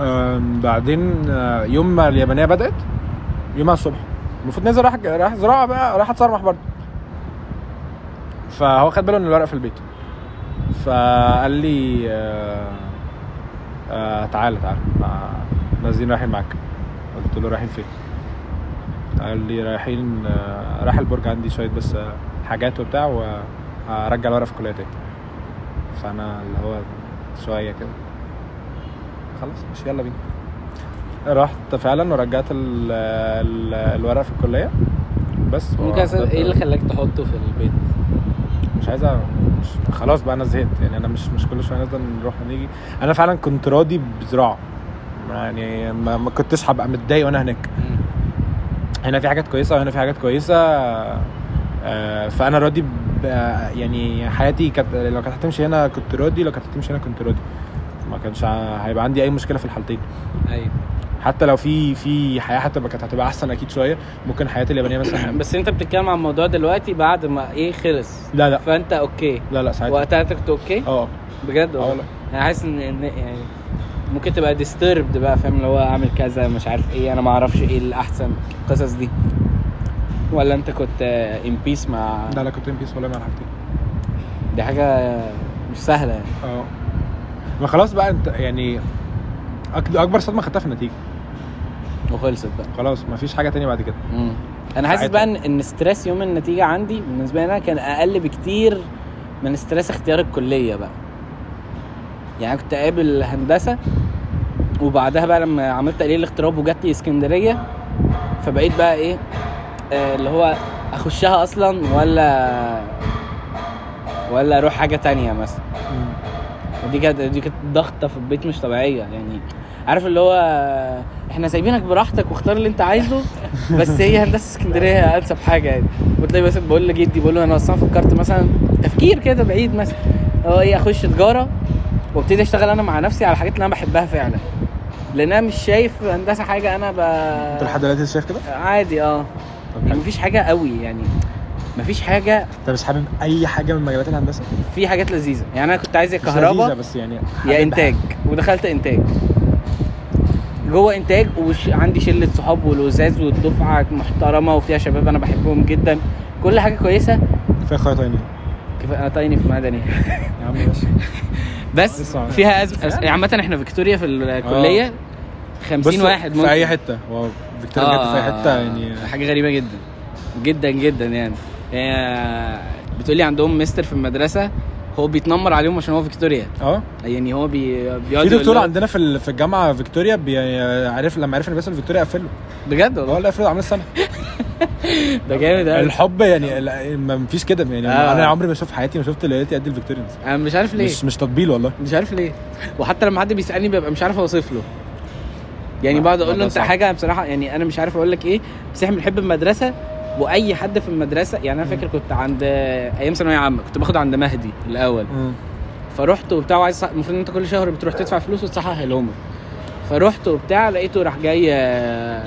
[SPEAKER 3] آم، بعدين آه، يوم ما اليابانيه بدات يومها الصبح المفروض ننزل راح راح زراعه بقى راح اتصرمح برضه فهو خد باله ان الورق في البيت فقال لي آه، آه، تعالى تعالى آه، نازلين رايحين معاك قلت له رايحين فين قال لي رايحين آه، رايح البرج عندي شويه بس آه، حاجات وبتاع وهرجع الورق في الكليه تاني فانا اللي هو شويه كده خلاص مش يلا بينا رحت فعلا ورجعت ال ال الورق في الكليه بس
[SPEAKER 2] ممكن أسأل ايه
[SPEAKER 3] آه.
[SPEAKER 2] اللي خلاك تحطه في البيت؟
[SPEAKER 3] مش عايز أ- مش خلاص بقى انا زهقت يعني انا مش مش كل شويه نقدر نروح ونيجي انا فعلا كنت راضي بزراعه يعني ما, ما كنتش هبقى متضايق وانا هناك
[SPEAKER 2] مم.
[SPEAKER 3] هنا في حاجات كويسه وهنا في حاجات كويسه آه، فانا راضي ب- آه، يعني حياتي كانت لو كانت هتمشي هنا كنت راضي لو كانت هتمشي هنا كنت راضي ما كانش ع- هيبقى عندي اي مشكله في الحالتين
[SPEAKER 2] ايوه
[SPEAKER 3] حتى لو في في حياه هتبقى كانت هتبقى احسن اكيد شويه ممكن حياتي اليابانيه [coughs] مثلا
[SPEAKER 2] بس انت بتتكلم عن الموضوع دلوقتي بعد ما ايه خلص
[SPEAKER 3] لا لا
[SPEAKER 2] فانت اوكي
[SPEAKER 3] لا لا ساعتها
[SPEAKER 2] وقتها انت كنت اوكي
[SPEAKER 3] اه
[SPEAKER 2] بجد
[SPEAKER 3] اه
[SPEAKER 2] والله
[SPEAKER 3] لا.
[SPEAKER 2] انا حاسس ان إن- يعني ممكن تبقى ديستربد بقى فاهم اللي هو اعمل كذا مش عارف ايه انا ما اعرفش ايه الاحسن القصص دي ولا انت كنت ان بيس مع
[SPEAKER 3] لا لا كنت ان بيس والله مع الحاجتين
[SPEAKER 2] دي حاجه مش سهله يعني
[SPEAKER 3] اه ما خلاص بقى انت يعني أك- اكبر صدمه خدتها في النتيجه
[SPEAKER 2] وخلصت بقى
[SPEAKER 3] خلاص مفيش حاجه تانية بعد كده
[SPEAKER 2] مم. انا حاسس
[SPEAKER 3] ساعتها.
[SPEAKER 2] بقى ان ان ستريس يوم النتيجه عندي بالنسبه لي انا كان اقل بكتير من ستريس اختيار الكليه بقى يعني كنت قابل هندسه وبعدها بقى لما عملت تقليل الاغتراب وجات لي اسكندريه فبقيت بقى ايه آه، اللي هو اخشها اصلا ولا ولا اروح حاجه تانية مثلا دي كانت دي كانت ضغطه في البيت مش طبيعيه يعني عارف اللي هو احنا سايبينك براحتك واختار اللي انت عايزه بس هي هندسه اسكندريه انسب حاجه يعني وتلاقي مثلا بقول لجدي بقول له انا اصلا فكرت مثلا تفكير كده بعيد مثلا هو ايه اخش تجاره وابتدي اشتغل انا مع نفسي على الحاجات اللي انا بحبها فعلا لان انا مش شايف هندسه حاجه انا ب
[SPEAKER 3] انت لحد دلوقتي شايف كده؟
[SPEAKER 2] عادي اه
[SPEAKER 3] طب
[SPEAKER 2] يعني
[SPEAKER 3] حلو.
[SPEAKER 2] مفيش حاجه قوي يعني مفيش حاجه
[SPEAKER 3] انت مش حابب اي حاجه من مجالات الهندسه؟ مش
[SPEAKER 2] في حاجات لذيذه يعني انا كنت عايز يا
[SPEAKER 3] لذيذة
[SPEAKER 2] كهرباء
[SPEAKER 3] بس يعني
[SPEAKER 2] يا
[SPEAKER 3] حاببها.
[SPEAKER 2] انتاج ودخلت انتاج جوه انتاج وعندي شله صحاب ولزاز والدفعه محترمه وفيها شباب انا بحبهم جدا كل حاجه كويسه
[SPEAKER 3] كفايه اخويا تاني
[SPEAKER 2] كفايه انا تايني في مدني
[SPEAKER 3] يا عم ماشي
[SPEAKER 2] بس
[SPEAKER 3] لسه-
[SPEAKER 2] فيها ازمه عامه احنا فيكتوريا في الكليه 50
[SPEAKER 3] آه. بص،
[SPEAKER 2] واحد آه.
[SPEAKER 3] في اي حته هو فيكتوريا بجد في اي حته يعني
[SPEAKER 2] حاجه غريبه جدا جدا جدا يعني هي بتقولي عندهم مستر في المدرسه هو بيتنمر عليهم عشان هو فيكتوريا
[SPEAKER 3] اه
[SPEAKER 2] يعني هو بي بيقعد
[SPEAKER 3] في
[SPEAKER 2] يقول
[SPEAKER 3] دكتور
[SPEAKER 2] له-
[SPEAKER 3] عندنا في ال- في الجامعه فيكتوريا بي- عارف لما عرف ان بيسال فيكتوريا قفله
[SPEAKER 2] بجد
[SPEAKER 3] هو
[SPEAKER 2] والله
[SPEAKER 3] [laughs] اللي قفله عامل السنه
[SPEAKER 2] ده جامد أوي.
[SPEAKER 3] الحب يعني ال- ما مفيش كده يعني
[SPEAKER 2] آه.
[SPEAKER 3] انا عمري ما اشوف حياتي ما شفت ليلتي قد الفيكتوريانز
[SPEAKER 2] انا مش عارف ليه
[SPEAKER 3] مش مش تطبيل والله
[SPEAKER 2] مش عارف ليه وحتى لما حد بيسالني ببقى مش عارف اوصف له يعني
[SPEAKER 1] ما-
[SPEAKER 2] بقعد
[SPEAKER 1] ما
[SPEAKER 2] اقول
[SPEAKER 1] ده
[SPEAKER 2] له انت
[SPEAKER 1] صعب.
[SPEAKER 2] حاجه بصراحه يعني انا مش عارف اقول لك ايه بس احنا بنحب المدرسه واي حد في المدرسه يعني انا فاكر كنت عند ايام ثانويه عامه كنت باخد عند مهدي الاول
[SPEAKER 3] مم.
[SPEAKER 2] فرحت وبتاع وعايز المفروض ان انت كل شهر بتروح تدفع فلوس وتصحح الهوم فرحت وبتاع لقيته راح جاي آه،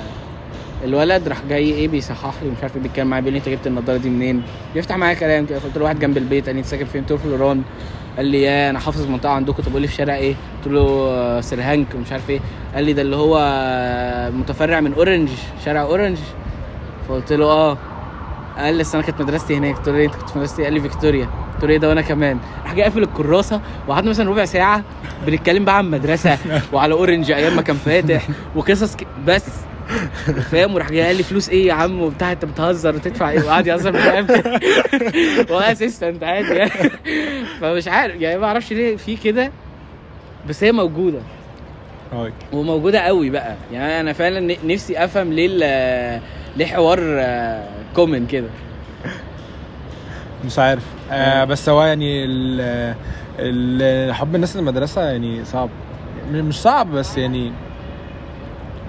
[SPEAKER 2] الولد راح جاي ايه بيصحح لي مش عارف إيه بيتكلم معايا بيقول لي انت جبت النضاره دي منين؟ بيفتح معايا كلام كده فقلت له واحد جنب البيت قال لي انت ساكن فين؟ قلت له في لوران قال لي يا انا حافظ المنطقه عندكم طب قول لي في شارع ايه؟ قلت له آه، سرهانك ومش عارف ايه قال لي ده اللي هو آه، متفرع من اورنج شارع اورنج فقلت له اه قال لي أصل انا كانت مدرستي هناك قلت له إيه انت كنت في مدرستي قال لي فيكتوريا قلت له ايه ده وانا كمان راح جاي قافل الكراسه وقعدنا مثلا ربع ساعه بنتكلم بقى عن مدرسه وعلى اورنج ايام ما كان فاتح وقصص ك... بس فاهم وراح جاي قال لي فلوس ايه يا عم وبتاع انت بتهزر وتدفع ايه وقعد يهزر معايا [laughs] واسيستنت عادي يعني [laughs] فمش عارف يعني ما اعرفش ليه في كده بس هي موجوده
[SPEAKER 3] رايك
[SPEAKER 2] وموجوده قوي بقى يعني انا فعلا ن- نفسي افهم ليه ال- ليه حوار كومن كده
[SPEAKER 3] مش عارف آه بس هو يعني ال- ال- حب الناس للمدرسه يعني صعب م- مش صعب بس يعني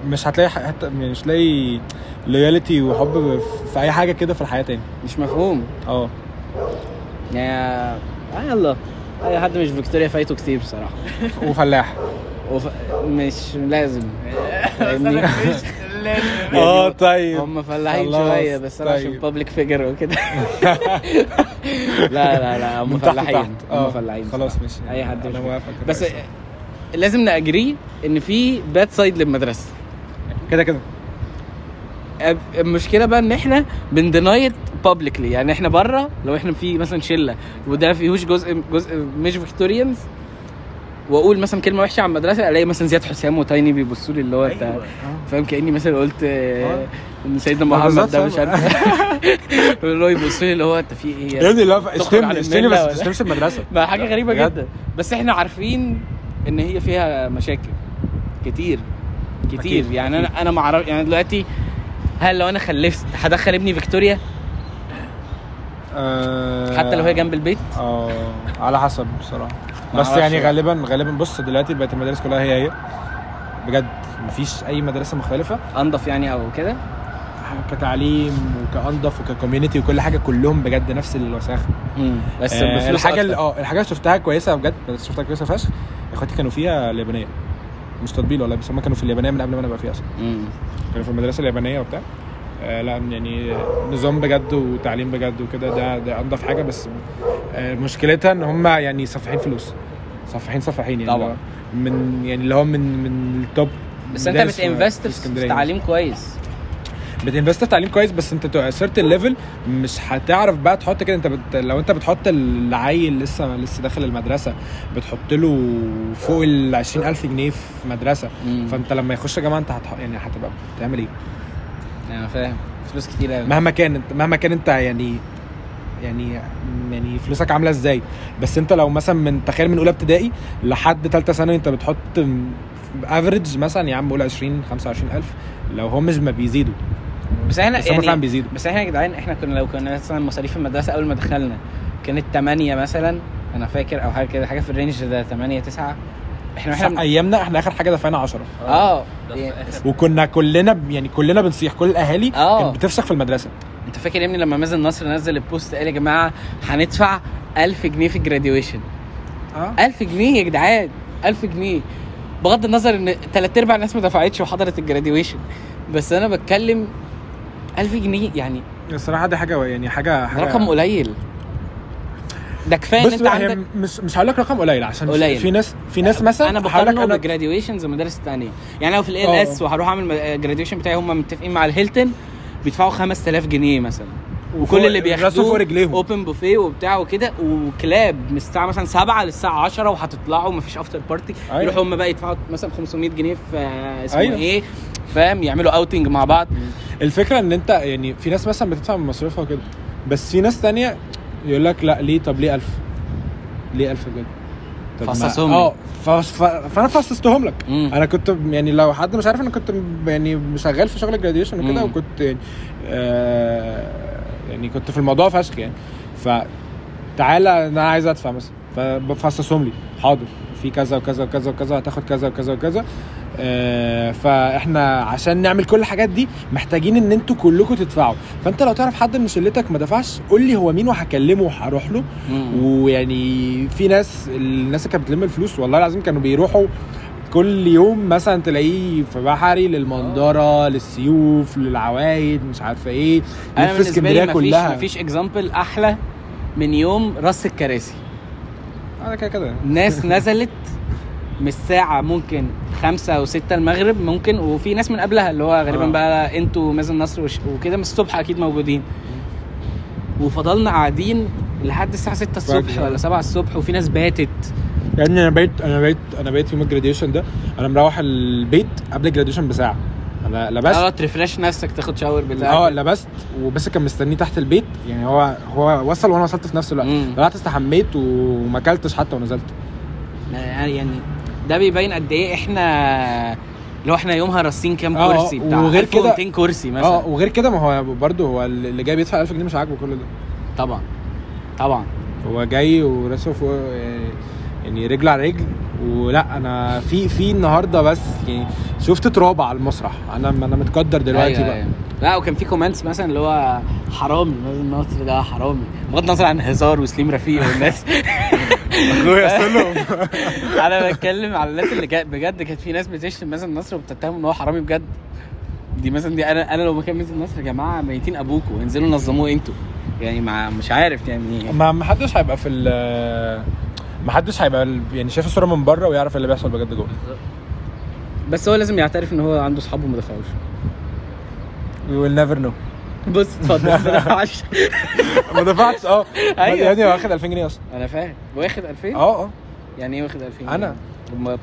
[SPEAKER 3] مش هتلاقي ح- حتى يعني مش هتلاقي لويالتي وحب في- في اي حاجه كده في الحياه تاني
[SPEAKER 2] مش مفهوم
[SPEAKER 3] اه
[SPEAKER 2] يعني آه يلا اي حد مش فيكتوريا فايته كتير بصراحه [laughs]
[SPEAKER 3] وفلاح
[SPEAKER 2] وف... مش لازم
[SPEAKER 3] [laughs]
[SPEAKER 2] فاهمني آه،
[SPEAKER 3] اه طيب
[SPEAKER 2] هم فلاحين
[SPEAKER 3] خلاص،
[SPEAKER 2] شويه بس انا عشان
[SPEAKER 3] طيب.
[SPEAKER 2] بابليك فيجر
[SPEAKER 3] [laughs]
[SPEAKER 2] وكده لا لا لا هم
[SPEAKER 3] من تحت
[SPEAKER 2] فلاحين
[SPEAKER 3] لتحت.
[SPEAKER 2] هم
[SPEAKER 3] آه،
[SPEAKER 2] فلاحين
[SPEAKER 3] خلاص
[SPEAKER 2] بصراحة.
[SPEAKER 3] ماشي
[SPEAKER 2] اي حد
[SPEAKER 3] انا
[SPEAKER 2] مش-
[SPEAKER 3] موافق
[SPEAKER 2] بس لازم نأجري ان في باد سايد للمدرسه
[SPEAKER 3] كده كده
[SPEAKER 2] أب- المشكله بقى ان احنا بندنايت بابليكلي يعني احنا بره لو احنا في مثلا شله وده فيهوش جزء جزء مش فيكتوريانز واقول مثلا كلمه وحشه عن المدرسه الاقي مثلا زياد حسام وتايني بيبصوا لي اللي هو انت
[SPEAKER 4] أيوة.
[SPEAKER 2] فاهم كاني مثلا قلت آه، ان سيدنا
[SPEAKER 3] ما
[SPEAKER 2] محمد
[SPEAKER 3] بالظبط،
[SPEAKER 2] ده مش عارف [laughs] اللي هو يبصوا لي اللي هو انت في ايه
[SPEAKER 3] يا
[SPEAKER 2] يعني؟
[SPEAKER 3] ابني لا
[SPEAKER 2] تخرج
[SPEAKER 3] اشتمني
[SPEAKER 2] على
[SPEAKER 3] اشتمني
[SPEAKER 2] الملة
[SPEAKER 3] بس ما
[SPEAKER 2] ولا-
[SPEAKER 3] تشتمش المدرسه
[SPEAKER 2] [laughs] ما حاجه
[SPEAKER 3] لا،
[SPEAKER 2] غريبه
[SPEAKER 3] بجد.
[SPEAKER 2] جدا بس احنا عارفين ان هي فيها مشاكل كتير كتير
[SPEAKER 3] أكيد،
[SPEAKER 2] يعني انا انا ما اعرف يعني دلوقتي هل لو انا خلفت هدخل ابني فيكتوريا
[SPEAKER 3] آه،
[SPEAKER 2] حتى لو هي جنب البيت
[SPEAKER 3] اه على حسب بصراحه
[SPEAKER 2] ما
[SPEAKER 3] بس
[SPEAKER 2] أعرفش
[SPEAKER 3] يعني
[SPEAKER 2] بقى.
[SPEAKER 3] غالبا غالبا بص دلوقتي بقت المدارس كلها هي هي بجد مفيش اي مدرسه مختلفه
[SPEAKER 2] انضف يعني او كده
[SPEAKER 3] كتعليم وكانضف وككوميونتي وكل حاجه كلهم بجد نفس الوساخه
[SPEAKER 2] بس
[SPEAKER 3] آه
[SPEAKER 2] بفلوس
[SPEAKER 3] الحاجه اللي
[SPEAKER 2] أكتر.
[SPEAKER 3] اه الحاجه اللي شفتها كويسه بجد بس شفتها كويسه فشخ اخواتي كانوا فيها اليابانيه مش تطبيل والله بس هم كانوا في اليابانيه من قبل ما انا ابقى فيها اصلا
[SPEAKER 2] مم.
[SPEAKER 3] كانوا في المدرسه اليابانيه وبتاع آه لا يعني نظام بجد وتعليم بجد وكده ده ده انضف حاجه بس آه مشكلتها ان هم يعني صفحين فلوس صفحين صفحين يعني
[SPEAKER 2] طبعا.
[SPEAKER 3] اللي هو من يعني اللي هو من من التوب
[SPEAKER 2] بس انت
[SPEAKER 3] مدارس
[SPEAKER 2] بتنفست
[SPEAKER 3] اسكندرية
[SPEAKER 2] في
[SPEAKER 3] يعني.
[SPEAKER 2] تعليم كويس
[SPEAKER 3] بتنفست في تعليم كويس بس انت سيرت الليفل مش هتعرف بقى تحط كده انت بت... لو انت بتحط العيل لسه لسه داخل المدرسه بتحط له فوق ال 20000 جنيه في مدرسه
[SPEAKER 2] مم.
[SPEAKER 3] فانت لما يخش يا جماعه انت هتح... يعني هتبقى بتعمل ايه؟
[SPEAKER 2] انا فاهم فلوس كتير قوي
[SPEAKER 3] مهما كان انت مهما كان انت يعني يعني يعني فلوسك عامله ازاي بس انت لو مثلا من تخيل من اولى ابتدائي لحد ثالثه ثانوي انت بتحط افريج مثلا يا عم قول 20 25000 لو هم مش ما بيزيدوا
[SPEAKER 2] بس احنا
[SPEAKER 3] بس هم فعلا
[SPEAKER 2] يعني
[SPEAKER 3] بيزيدوا
[SPEAKER 2] بس احنا يا جدعان احنا كنا لو كنا مثلا مصاريف المدرسه اول ما دخلنا كانت 8 مثلا انا فاكر او حاجه كده حاجه في الرينج ده 8 9 احنا
[SPEAKER 3] احنا
[SPEAKER 2] احنا
[SPEAKER 3] ايامنا احنا اخر حاجه دفعنا 10
[SPEAKER 2] اه
[SPEAKER 4] آه. ده في
[SPEAKER 2] يعني
[SPEAKER 4] آخر.
[SPEAKER 3] وكنا كلنا ب- يعني كلنا بنصيح كل الاهالي
[SPEAKER 2] اه.
[SPEAKER 3] كانت بتفشخ في المدرسه
[SPEAKER 2] انت فاكر يا ابني لما مازن نصر نزل البوست قال يا جماعه هندفع 1000 جنيه في الجراديويشن
[SPEAKER 3] اه
[SPEAKER 2] 1000 جنيه يا جدعان 1000 جنيه بغض النظر ان تلات ارباع الناس ما دفعتش وحضرت الجراديويشن بس انا بتكلم 1000 جنيه يعني
[SPEAKER 3] الصراحه دي حاجه يعني حاجه
[SPEAKER 2] ده
[SPEAKER 3] حاجه
[SPEAKER 2] رقم قليل ده كفايه ان
[SPEAKER 3] بص
[SPEAKER 2] انت
[SPEAKER 3] بقى، هي
[SPEAKER 2] عندك
[SPEAKER 3] مش مش هقول لك رقم قليل عشان
[SPEAKER 2] قليل.
[SPEAKER 3] في- في ناس في ناس مثلا
[SPEAKER 2] انا
[SPEAKER 3] هقول لك
[SPEAKER 2] بقارنه بالجراديويشنز المدارس الثانيه يعني لو في الاي
[SPEAKER 3] آه.
[SPEAKER 2] ال اس وهروح اعمل جراديويشن بتاعي هم متفقين مع الهيلتون بيدفعوا 5000 جنيه مثلا وكل اللي
[SPEAKER 3] راسه فوق
[SPEAKER 2] بياخدوه
[SPEAKER 3] رجليهم
[SPEAKER 2] اوبن بوفيه وبتاع وكده وكلاب من الساعه مثلا 7 للساعه 10 وهتطلعوا مفيش افتر بارتي
[SPEAKER 3] أيوة.
[SPEAKER 2] يروحوا هم بقى يدفعوا مثلا 500 جنيه في آه، اسمه
[SPEAKER 3] أيوة.
[SPEAKER 2] ايه فاهم يعملوا اوتنج مع بعض
[SPEAKER 3] الفكره ان انت يعني في ناس مثلا بتدفع من مصروفها وكده بس في ناس تانية يقول لك لا ليه طب ليه 1000 ليه 1000 بجد طب ما-
[SPEAKER 2] فصصهم
[SPEAKER 3] اه فص- ف- فانا فصصتهم لك
[SPEAKER 2] مم.
[SPEAKER 3] انا كنت يعني لو حد مش عارف انا كنت م- يعني شغال في شغل الجراديويشن وكده
[SPEAKER 2] مم.
[SPEAKER 3] وكنت يعني آه يعني كنت في الموضوع فشخ يعني فتعالى انا عايز ادفع مثلا فبفصصهم لي حاضر في كذا وكذا وكذا وكذا هتاخد كذا وكذا وكذا آه، فاحنا عشان نعمل كل الحاجات دي محتاجين ان انتوا كلكم تدفعوا فانت لو تعرف حد من شلتك ما دفعش قول لي هو مين وهكلمه وهروح له
[SPEAKER 2] مم.
[SPEAKER 3] ويعني في ناس الناس اللي كانت بتلم الفلوس والله العظيم كانوا بيروحوا كل يوم مثلا تلاقيه في بحري للمنظره للسيوف للعوايد مش عارفه ايه
[SPEAKER 2] انا
[SPEAKER 3] لف
[SPEAKER 2] بالنسبه
[SPEAKER 3] اسكندرية
[SPEAKER 2] لي مفيش
[SPEAKER 3] كلها.
[SPEAKER 2] مفيش اكزامبل احلى من يوم راس الكراسي
[SPEAKER 3] انا كده كده
[SPEAKER 2] ناس نزلت من الساعة ممكن خمسة أو ستة المغرب ممكن وفي ناس من قبلها اللي هو غالبا
[SPEAKER 3] آه.
[SPEAKER 2] بقى انتوا مازن نصر وش- وكده من الصبح أكيد موجودين وفضلنا قاعدين لحد الساعة 6 الصبح
[SPEAKER 3] فجأة.
[SPEAKER 2] ولا 7 الصبح وفي ناس باتت
[SPEAKER 3] يعني انا بقيت انا بقيت انا بقيت يوم الجراديويشن ده انا مروح البيت قبل الجراديويشن بساعه انا لبست
[SPEAKER 2] اه ترفرش نفسك تاخد شاور بالله
[SPEAKER 3] اه لبست وبس كان مستنيه تحت البيت يعني هو هو وصل وانا وصلت في نفس الوقت
[SPEAKER 2] مم.
[SPEAKER 3] طلعت استحميت وما اكلتش حتى ونزلت
[SPEAKER 2] يعني ده بيبين قد ايه احنا لو احنا يومها راسين كام
[SPEAKER 3] آه، آه،
[SPEAKER 2] كرسي بتاع
[SPEAKER 3] وغير
[SPEAKER 2] 1200
[SPEAKER 3] كده-
[SPEAKER 2] كرسي مثلا
[SPEAKER 3] اه وغير كده ما هو برضه هو اللي جاي بيدفع 1000 جنيه مش عاجبه كل ده
[SPEAKER 2] طبعا طبعا
[SPEAKER 3] هو جاي وراسه فوق يعني- يعني رجل على رجل ولا انا في في النهارده بس يعني شفت تراب على المسرح انا انا متقدر دلوقتي
[SPEAKER 2] أيوة
[SPEAKER 3] بقى
[SPEAKER 2] أيوة. لا وكان في كومنتس مثلا اللي هو حرامي مازن نصر ده حرامي بغض النظر عن هزار وسليم رفيق
[SPEAKER 3] [laughs]
[SPEAKER 2] والناس
[SPEAKER 3] اخويا
[SPEAKER 2] [laughs]
[SPEAKER 3] سلم
[SPEAKER 2] انا بتكلم على الناس اللي جا- بجد كانت في ناس بتشتم مازن نصر وبتتهم ان هو حرامي بجد دي مثلا دي انا انا لو مكان مازن نصر يا جماعه ميتين ابوكوا انزلوا نظموه انتوا يعني مع مش عارف يعني
[SPEAKER 3] ما ما حدش هيبقى في ال ما حدش هيبقى ال- يعني شايف الصوره من بره ويعرف اللي بيحصل بجد جوه
[SPEAKER 2] بس هو لازم يعترف ان هو عنده اصحاب وما دفعوش
[SPEAKER 3] وي ويل نيفر نو
[SPEAKER 2] بص اتفضل ما دفعش
[SPEAKER 3] [laughs] ما دفعتش اه
[SPEAKER 2] [laughs] أيوة. إيه؟
[SPEAKER 3] يعني واخد 2000 جنيه اصلا
[SPEAKER 2] انا فاهم واخد 2000
[SPEAKER 3] اه اه
[SPEAKER 2] يعني ايه واخد 2000
[SPEAKER 3] أنا.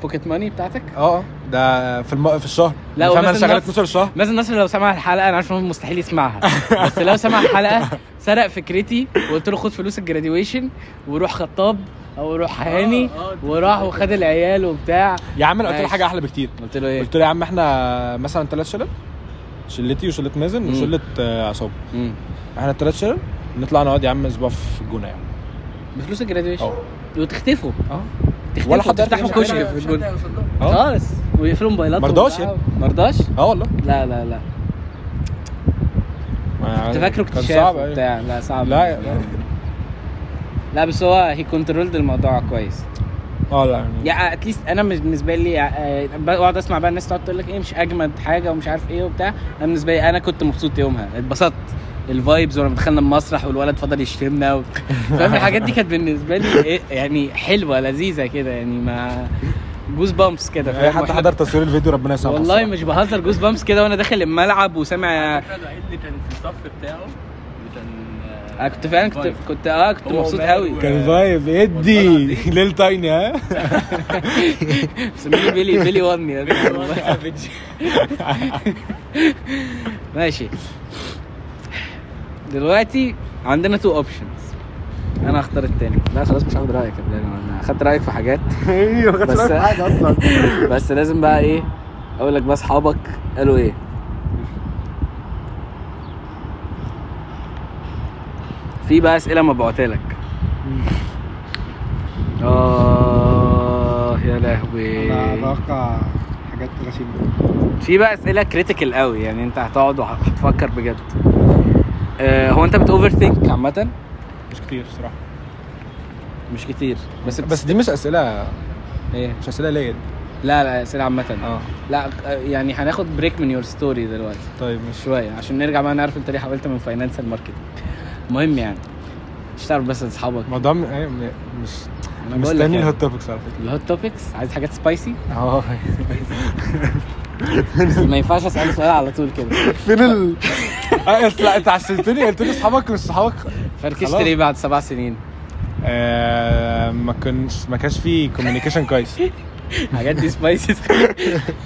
[SPEAKER 2] بوكيت ماني بتاعتك
[SPEAKER 3] اه اه ده في الم... في الشهر
[SPEAKER 2] لا،
[SPEAKER 3] فاهم انا
[SPEAKER 2] ومازن
[SPEAKER 3] شغال
[SPEAKER 2] نصر.
[SPEAKER 3] 12 شهر
[SPEAKER 2] مازن نصر لو سمع الحلقه انا عارف ان هو مستحيل
[SPEAKER 3] [laughs]
[SPEAKER 2] يسمعها بس لو سمع الحلقه سرق فكرتي وقلت له خد فلوس الجراديويشن وروح خطاب او روح
[SPEAKER 3] آه،
[SPEAKER 2] هاني وراح وخد العيال وبتاع
[SPEAKER 3] يا عم انا قلت له
[SPEAKER 2] ماشي.
[SPEAKER 3] حاجه احلى بكتير
[SPEAKER 2] قلت له ايه؟
[SPEAKER 3] قلت له إيه؟ يا عم احنا مثلا ثلاث شلل شلتي وشله مازن
[SPEAKER 2] مم.
[SPEAKER 3] وشله آه، عصام
[SPEAKER 2] مم.
[SPEAKER 3] احنا الثلاث شلل نطلع نقعد يا عم اسبوع في الجونه يعني
[SPEAKER 2] بفلوس الجراديويشن
[SPEAKER 3] اه
[SPEAKER 2] وتختفوا
[SPEAKER 3] اه
[SPEAKER 2] تختفوا
[SPEAKER 3] ولا حد يعرف
[SPEAKER 2] تفتحوا
[SPEAKER 3] يمشي
[SPEAKER 2] كشك
[SPEAKER 3] علينا.
[SPEAKER 2] في الجون
[SPEAKER 3] آه.
[SPEAKER 2] خالص ويقفلوا موبايلاتهم
[SPEAKER 3] مرضاش
[SPEAKER 2] وبتاع.
[SPEAKER 3] يعني.
[SPEAKER 2] مرضاش؟
[SPEAKER 3] اه والله
[SPEAKER 2] لا لا لا
[SPEAKER 3] ما-
[SPEAKER 2] كنت فاكره
[SPEAKER 3] يعني كان
[SPEAKER 2] اكتشاف
[SPEAKER 3] صعب، أيوة.
[SPEAKER 2] وبتاع لا صعب
[SPEAKER 3] لا لا.
[SPEAKER 2] لا بس هو هي كنترولد الموضوع كويس
[SPEAKER 3] اه لا يعني
[SPEAKER 2] يعني اتليست انا مش- بالنسبه لي آه، بقعد اسمع بقى الناس تقعد تقول لك ايه مش اجمد حاجه ومش عارف ايه وبتاع انا بالنسبه لي انا كنت مبسوط يومها اتبسطت الفايبز ولما دخلنا المسرح والولد فضل يشتمنا و... فاهم الحاجات دي كانت بالنسبه لي إيه يعني حلوه لذيذه كده يعني ما جوز بامبس كده
[SPEAKER 3] اي
[SPEAKER 2] فاهم؟
[SPEAKER 3] حد
[SPEAKER 2] وإحنا-
[SPEAKER 3] حضر تصوير الفيديو ربنا يسامحه
[SPEAKER 2] والله
[SPEAKER 3] الصراحة.
[SPEAKER 2] مش بهزر جوز بامبس كده وانا داخل الملعب وسامع
[SPEAKER 4] الوحيد اللي كان في الصف بتاعه اللي كان آه،
[SPEAKER 2] انا آه، كنت فعلا كنت كنت اه كنت
[SPEAKER 4] هو
[SPEAKER 2] مبسوط
[SPEAKER 4] ومال
[SPEAKER 2] قوي
[SPEAKER 4] و-
[SPEAKER 3] كان فايب ادي ليل تايني ها
[SPEAKER 2] مسميني بيلي بيلي واني [laughs] ماشي دلوقتي عندنا تو اوبشنز انا هختار التاني لا خلاص مش هاخد رايك يا بلال انا اخدت رايك في حاجات
[SPEAKER 3] ايوه ما
[SPEAKER 2] بس-
[SPEAKER 3] كانش عارف حاجه اصلا
[SPEAKER 2] [laughs] بس لازم بقى ايه اقول لك بقى اصحابك قالوا ايه في بقى اسئله مبعوتها لك اه يا لهوي
[SPEAKER 5] انا اتوقع حاجات غشيمه
[SPEAKER 2] في بقى اسئله كريتيكال قوي يعني انت هتقعد وهتفكر بجد آه، هو انت بتوفر ثينك عامه
[SPEAKER 3] مش كتير الصراحه
[SPEAKER 2] مش كتير بس
[SPEAKER 3] بس دي مش اسئله
[SPEAKER 2] ايه
[SPEAKER 3] مش اسئله ليا دي.
[SPEAKER 2] لا لا اسئله عامه
[SPEAKER 3] اه
[SPEAKER 2] لا آه، يعني هناخد بريك من يور ستوري دلوقتي
[SPEAKER 3] طيب مش
[SPEAKER 2] شويه عشان نرجع بقى نعرف انت ليه حاولت من فاينانشال ماركتنج المهم يعني مش تعرف بس اصحابك
[SPEAKER 3] الموضوع م- إيه، م- مش
[SPEAKER 2] انا بقول لك
[SPEAKER 3] مستني
[SPEAKER 2] يعني.
[SPEAKER 3] الهوت توبكس على فكره
[SPEAKER 2] الهوت توبكس عايز حاجات سبايسي
[SPEAKER 3] اه
[SPEAKER 2] ما ينفعش اسال سؤال على طول كده
[SPEAKER 3] فين ال آه، أصل انت عشتني قلت لي اصحابك مش صحابك
[SPEAKER 2] فركشت
[SPEAKER 3] خلاص.
[SPEAKER 2] ليه بعد سبع سنين
[SPEAKER 3] آه، ما كنتش ما كانش في كوميونيكيشن كويس
[SPEAKER 2] حاجات دي سبايسي
[SPEAKER 3] [laughs]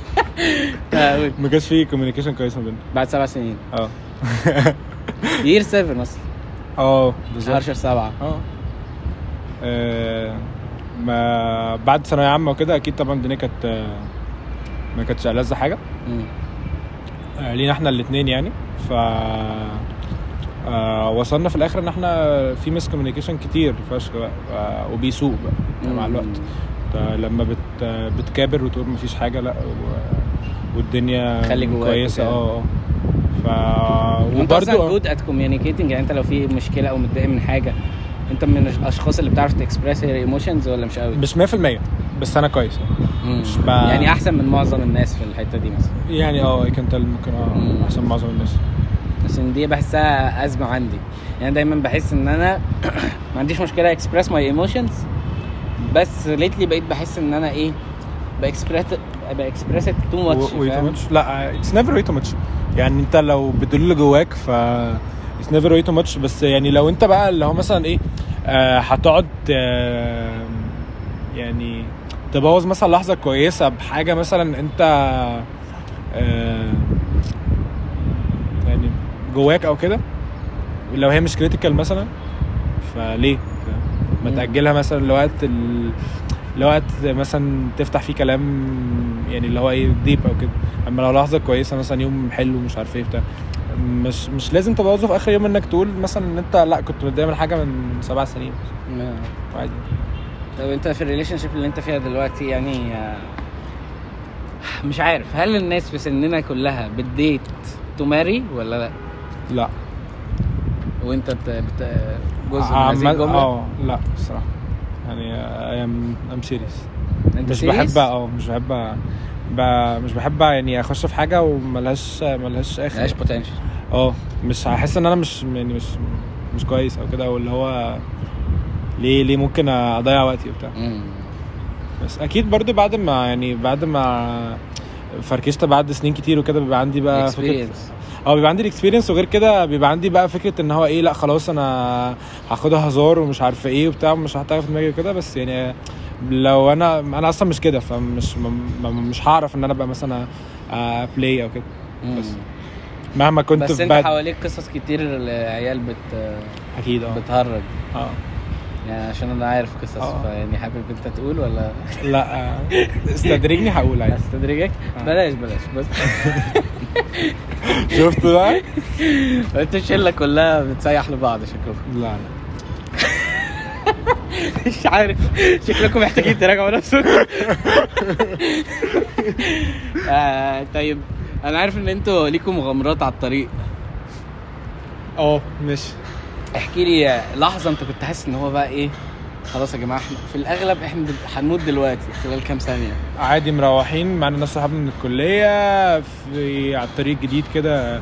[SPEAKER 2] لا، قول.
[SPEAKER 3] ما كانش في كوميونيكيشن كويس ما بيننا
[SPEAKER 2] بعد سبع سنين
[SPEAKER 3] اه
[SPEAKER 2] يير 7 اصلا
[SPEAKER 3] اه
[SPEAKER 2] شهر
[SPEAKER 3] بالظبط
[SPEAKER 2] شهر سبعه
[SPEAKER 3] اه آه، ما بعد ثانويه عامه وكده اكيد طبعا الدنيا كانت آه، ما كانتش ألذ حاجه
[SPEAKER 2] مم.
[SPEAKER 3] آه، لينا احنا الاثنين يعني ف آه وصلنا في الاخر ان احنا في مس كوميونيكيشن كتير فشخ بقى آه وبيسوق بقى مع الوقت انت لما بت بتكابر وتقول مفيش حاجه لا و- والدنيا
[SPEAKER 2] خلي جواك
[SPEAKER 3] كويسه
[SPEAKER 2] وكده.
[SPEAKER 3] اه اه ف
[SPEAKER 2] وانت اصلا
[SPEAKER 3] وبرده
[SPEAKER 2] جود ات كوميونيكيتنج يعني انت لو في مشكله او متضايق من حاجه انت من الاشخاص اللي بتعرف تكسبرس هير ايموشنز ولا مش قوي؟
[SPEAKER 3] مش 100% بس انا كويس مش ب-
[SPEAKER 2] يعني احسن من معظم الناس في الحته دي مثلا
[SPEAKER 3] يعني اه اي كان تل ممكن
[SPEAKER 2] مم.
[SPEAKER 3] اه احسن معظم الناس
[SPEAKER 2] عشان دي بحسها ازمه عندي يعني دايما بحس ان انا [clears throat] ما عنديش مشكله اكسبرس ماي ايموشنز بس ليتلي بقيت بحس ان انا ايه باكسبرس باكسبرس تو ماتش
[SPEAKER 3] و- way too much. لا اتس نيفر واي تو ماتش يعني انت لو بتقول اللي جواك ف اتس نيفر واي تو ماتش بس يعني لو انت بقى اللي هو مثلا ايه آه، هتقعد آه، يعني تبوظ مثلا لحظه كويسه بحاجه مثلا انت آه، يعني جواك او كده لو هي مش كريتيكال مثلا فليه ما
[SPEAKER 2] مم.
[SPEAKER 3] تاجلها مثلا لوقت ال... لوقت مثلا تفتح فيه كلام يعني اللي هو ايه ديب او كده اما لو لحظه كويسه مثلا يوم حلو مش عارف ايه بتاع مش مش لازم تبوظه في اخر يوم انك تقول مثلا ان انت لا كنت متضايق من حاجه من سبع سنين عادي
[SPEAKER 2] طب انت في الريليشن شيب اللي انت فيها دلوقتي يعني آه، مش عارف هل الناس في سننا كلها بتديت تماري ولا لا
[SPEAKER 3] لا
[SPEAKER 2] وانت بت... بت... جزء من
[SPEAKER 3] آه، عمال-
[SPEAKER 2] هذه الجمله
[SPEAKER 3] اه لا الصراحه يعني ام ام سيريس
[SPEAKER 2] انت
[SPEAKER 3] مش
[SPEAKER 2] serious؟
[SPEAKER 3] بحب اه مش بحب ب- مش بحب يعني اخش في حاجه وملهاش ملهاش اخر
[SPEAKER 2] ملهاش بوتنشال
[SPEAKER 3] اه مش هحس ان انا مش يعني مش مش كويس او كده او اللي هو ليه ليه ممكن اضيع وقتي وبتاع بس اكيد برضو بعد ما يعني بعد ما فركشت بعد سنين كتير وكده بيبقى عندي بقى فكره
[SPEAKER 2] اكسبيرينس
[SPEAKER 3] اه بيبقى عندي الاكسبيرينس وغير كده بيبقى عندي بقى فكره ان هو ايه لا خلاص انا هاخدها هزار ومش عارف ايه وبتاع ومش هحطها في دماغي وكده بس يعني لو انا انا اصلا مش كده فمش م- م- مش هعرف ان انا بقى مثلا بلاي او آه، كده بس مهما كنت
[SPEAKER 2] بس
[SPEAKER 3] في
[SPEAKER 2] انت
[SPEAKER 3] باد-
[SPEAKER 2] حواليك قصص كتير العيال بت...
[SPEAKER 3] اكيد اه
[SPEAKER 2] بتهرج
[SPEAKER 3] اه
[SPEAKER 2] يعني عشان انا عارف قصص
[SPEAKER 3] اه.
[SPEAKER 2] فيعني حابب انت تقول ولا
[SPEAKER 3] لا آه. استدرجني هقول عادي
[SPEAKER 2] استدرجك
[SPEAKER 3] اه.
[SPEAKER 2] بلاش بلاش بس [laughs]
[SPEAKER 3] شفت بقى؟
[SPEAKER 2] انتوا الشله كلها بتسيح لبعض شكلكم
[SPEAKER 3] لا
[SPEAKER 2] مش عارف شكلكم محتاجين تراجعوا نفسكم آه طيب انا عارف ان انتوا ليكم مغامرات على الطريق
[SPEAKER 3] اه ماشي
[SPEAKER 2] احكي لي لحظه انت كنت حاسس ان هو بقى ايه خلاص يا جماعه احنا في الاغلب احنا دل- هنموت دلوقتي خلال كام ثانيه
[SPEAKER 3] عادي مروحين معانا ناس صحابنا من الكليه في على الطريق جديد كده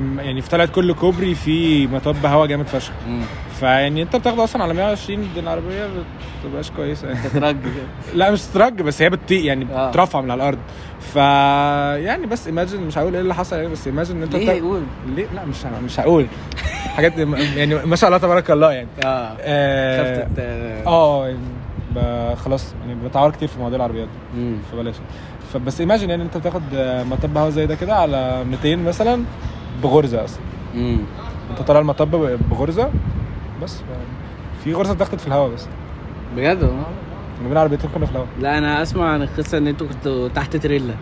[SPEAKER 3] م- يعني في طلعت كل كوبري في مطب هوا جامد فشخ
[SPEAKER 2] مم.
[SPEAKER 3] فيعني انت بتاخده اصلا على 120 دي العربيه ما بتبقاش كويسه يعني.
[SPEAKER 2] تترج كده
[SPEAKER 3] [laughs] لا مش ترج بس هي بتطيق يعني
[SPEAKER 2] اه.
[SPEAKER 3] بترفع من على الارض ف يعني بس ايماجن مش هقول ايه اللي حصل يعني بس ايماجن ان انت
[SPEAKER 2] ليه
[SPEAKER 3] بتاخ-
[SPEAKER 2] يقول
[SPEAKER 3] ليه لا مش ه- مش هقول [laughs] حاجات يعني ما شاء الله تبارك الله يعني
[SPEAKER 2] اه
[SPEAKER 3] آه،
[SPEAKER 2] خفت اه
[SPEAKER 3] اه يعني ب- خلاص يعني بتعور كتير في مواضيع العربيات دي،
[SPEAKER 2] مم.
[SPEAKER 3] فبلاش فبس ايماجن يعني انت بتاخد آه، مطب هوا زي ده كده على 200 مثلا بغرزه اصلا
[SPEAKER 2] مم.
[SPEAKER 3] انت طالع المطب بغرزه بس في غرزه اتاخدت في الهوا بس
[SPEAKER 2] بجد والله
[SPEAKER 3] من بين عربيتين كنا في الهوا
[SPEAKER 2] لا انا اسمع عن القصه ان انتوا كنتوا تحت تريلا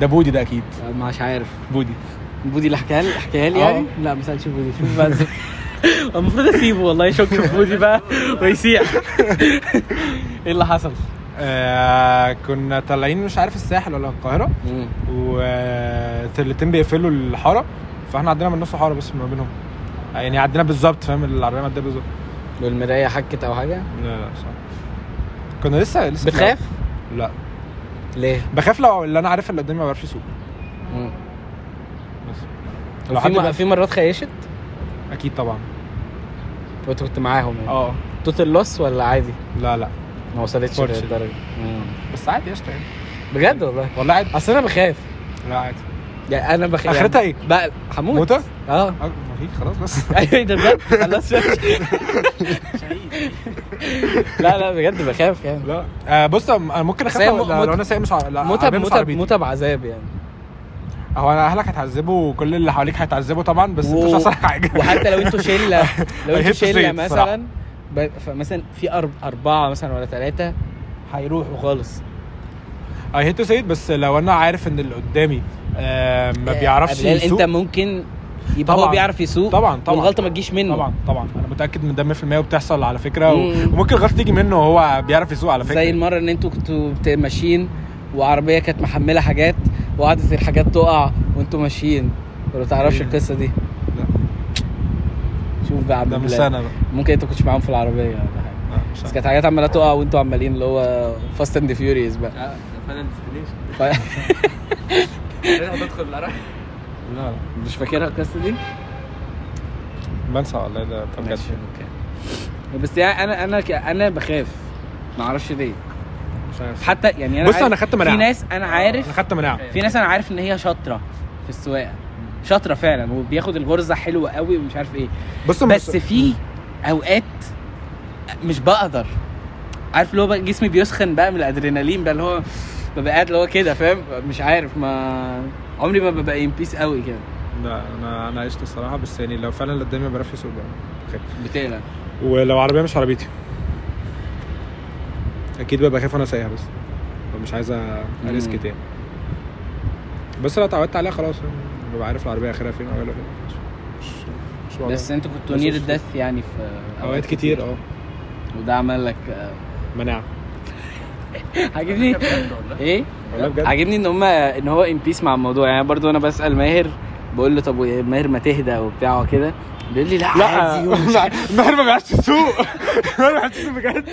[SPEAKER 3] ده بودي ده اكيد
[SPEAKER 2] مش عارف
[SPEAKER 3] بودي
[SPEAKER 2] بودي اللي حكاها لي حكاها لي
[SPEAKER 3] اه.
[SPEAKER 2] يعني؟ لا ما سالش بودي شوف بقى ازاي. [laughs] المفروض اسيبه والله يشك في بودي بقى ويسيح [laughs] ايه اللي حصل؟
[SPEAKER 3] آه كنا طالعين مش عارف الساحل ولا القاهره وتلتين بيقفلوا الحاره فاحنا عدينا من نص حاره بس ما بينهم يعني عدينا بالظبط فاهم العربيه معديه بالظبط
[SPEAKER 2] والمرايه حكت او حاجه؟
[SPEAKER 3] لا لا صح كنا لسه لسه في
[SPEAKER 2] بتخاف؟
[SPEAKER 3] لا
[SPEAKER 2] ليه؟
[SPEAKER 3] بخاف لو اللي انا عارف اللي قدامي ما بيعرفش يسوق بس لو
[SPEAKER 2] في
[SPEAKER 3] حد
[SPEAKER 2] م-
[SPEAKER 3] بقى
[SPEAKER 2] في مرات خيشت
[SPEAKER 3] اكيد طبعا
[SPEAKER 2] وانت كنت معاهم يعني
[SPEAKER 3] اه
[SPEAKER 2] توتال لوس ولا عادي؟
[SPEAKER 3] لا لا
[SPEAKER 2] ما وصلتش
[SPEAKER 3] فورش.
[SPEAKER 2] للدرجه
[SPEAKER 3] بس عادي قشطه يعني
[SPEAKER 2] بجد والله
[SPEAKER 3] والله عادي
[SPEAKER 2] اصل انا بخاف
[SPEAKER 3] لا عادي
[SPEAKER 2] يعني انا بخاف
[SPEAKER 3] اخرتها ايه؟
[SPEAKER 2] بقى هموت
[SPEAKER 3] موتة؟
[SPEAKER 2] [laughs] اه
[SPEAKER 3] اه مفيش خلاص بس
[SPEAKER 2] ايوه ده بجد [laughs] خلاص لا لا بجد بخاف يعني
[SPEAKER 3] [laughs] لا آه بص انا ممكن اخاف
[SPEAKER 2] بس هي
[SPEAKER 3] لو-
[SPEAKER 2] م-
[SPEAKER 3] لو
[SPEAKER 2] مت-
[SPEAKER 3] انا سايق مش ع... لا،
[SPEAKER 2] متعب
[SPEAKER 3] عربية مش
[SPEAKER 2] متعب
[SPEAKER 3] عربيتي.
[SPEAKER 2] متعب عذاب يعني
[SPEAKER 3] هو انا اهلك هيتعذبوا وكل اللي حواليك هيتعذبوا طبعا بس انت مش
[SPEAKER 2] و-
[SPEAKER 3] هتحصل حاجه [laughs]
[SPEAKER 2] وحتى لو انتوا شله لو
[SPEAKER 3] I hate
[SPEAKER 2] انتوا
[SPEAKER 3] to say
[SPEAKER 2] شله
[SPEAKER 3] it صراحة.
[SPEAKER 2] مثلا ب- فمثلا في أرب- اربعه مثلا ولا ثلاثه هيروحوا خالص
[SPEAKER 3] اي هيت تو بس لو انا عارف ان اللي قدامي آه ما بيعرفش
[SPEAKER 2] قبلال
[SPEAKER 3] يسوق
[SPEAKER 2] انت ممكن يبقى هو
[SPEAKER 3] طبعاً.
[SPEAKER 2] بيعرف يسوق
[SPEAKER 3] طبعا طبعا
[SPEAKER 2] والغلطه ما تجيش منه
[SPEAKER 3] طبعا طبعا انا متاكد من ده 100% وبتحصل على فكره و...
[SPEAKER 2] مم.
[SPEAKER 3] وممكن الغلطه تيجي منه وهو بيعرف يسوق على فكره
[SPEAKER 2] زي المره ان انتوا كنتوا بت- ماشيين وعربيه كانت محمله حاجات وقعدت الحاجات تقع وانتوا ماشيين ولا تعرفش
[SPEAKER 3] إيه.
[SPEAKER 2] القصه دي
[SPEAKER 3] لا.
[SPEAKER 2] شوف بقى عبد
[SPEAKER 3] ده مش
[SPEAKER 2] الله
[SPEAKER 3] انا بقى
[SPEAKER 2] ممكن انت كنتش معاهم في العربيه ولا حاجه
[SPEAKER 3] لا، مش
[SPEAKER 2] بس
[SPEAKER 3] أنا.
[SPEAKER 2] كانت حاجات عماله تقع وانتوا عمالين اللي هو فاست اند فيوريوس بقى
[SPEAKER 4] اه ده فعلا
[SPEAKER 2] [laughs]
[SPEAKER 4] ديستنيشن
[SPEAKER 2] ف...
[SPEAKER 4] هتدخل العراق
[SPEAKER 3] لا لا
[SPEAKER 2] مش فاكرها القصه دي
[SPEAKER 3] بنسى والله ده طب بجد
[SPEAKER 2] ماشي اوكي بس يعني انا انا ك- انا بخاف ما اعرفش ليه
[SPEAKER 3] مش عارف.
[SPEAKER 2] حتى يعني انا
[SPEAKER 3] بص
[SPEAKER 2] عارف-
[SPEAKER 3] انا خدت
[SPEAKER 2] في
[SPEAKER 3] آه. مناعه
[SPEAKER 2] ناس انا
[SPEAKER 3] انا
[SPEAKER 2] عارف
[SPEAKER 3] خدت مناعه
[SPEAKER 2] في ناس انا عارف ان هي شاطره في السواقه شاطره فعلا وبياخد الغرزه حلوه قوي ومش عارف ايه
[SPEAKER 3] بص
[SPEAKER 2] بس في اوقات مش بقدر عارف اللي هو بقى جسمي بيسخن بقى من الادرينالين بقى اللي هو ببقى قاعد اللي هو كده فاهم مش عارف ما عمري ما ببقى ان بيس قوي كده
[SPEAKER 3] لا انا انا عشت الصراحه بس يعني لو فعلا اللي قدامي ما بعرفش يسوق بقى خير.
[SPEAKER 2] بتقلق
[SPEAKER 3] ولو عربيه مش عربيتي اكيد ببقى خايف وانا سايقها بس مش عايز اريسك
[SPEAKER 2] مم.
[SPEAKER 3] تاني بس لو اتعودت عليها خلاص يعني ببقى عارف العربيه اخرها فين او ولا فين مش مش- مش موضوع.
[SPEAKER 2] بس انتوا كنتوا
[SPEAKER 3] بس
[SPEAKER 2] نير
[SPEAKER 3] مش-
[SPEAKER 2] الدث يعني في
[SPEAKER 3] اوقات كتير اه
[SPEAKER 2] وده عمل لك [laughs] آه،
[SPEAKER 3] مناعه
[SPEAKER 2] عاجبني ايه
[SPEAKER 3] والله بجد
[SPEAKER 2] عاجبني ان هم ان هو ان بيس مع الموضوع يعني برضو انا بسال ماهر بقول له طب وإيه، ماهر ما تهدى وبتاع وكده بيقول لي لا
[SPEAKER 3] [laughs]
[SPEAKER 2] عادي ومش
[SPEAKER 3] ماهر ما بيعرفش يسوق [laughs] ماهر ما بيعرفش يسوق بجد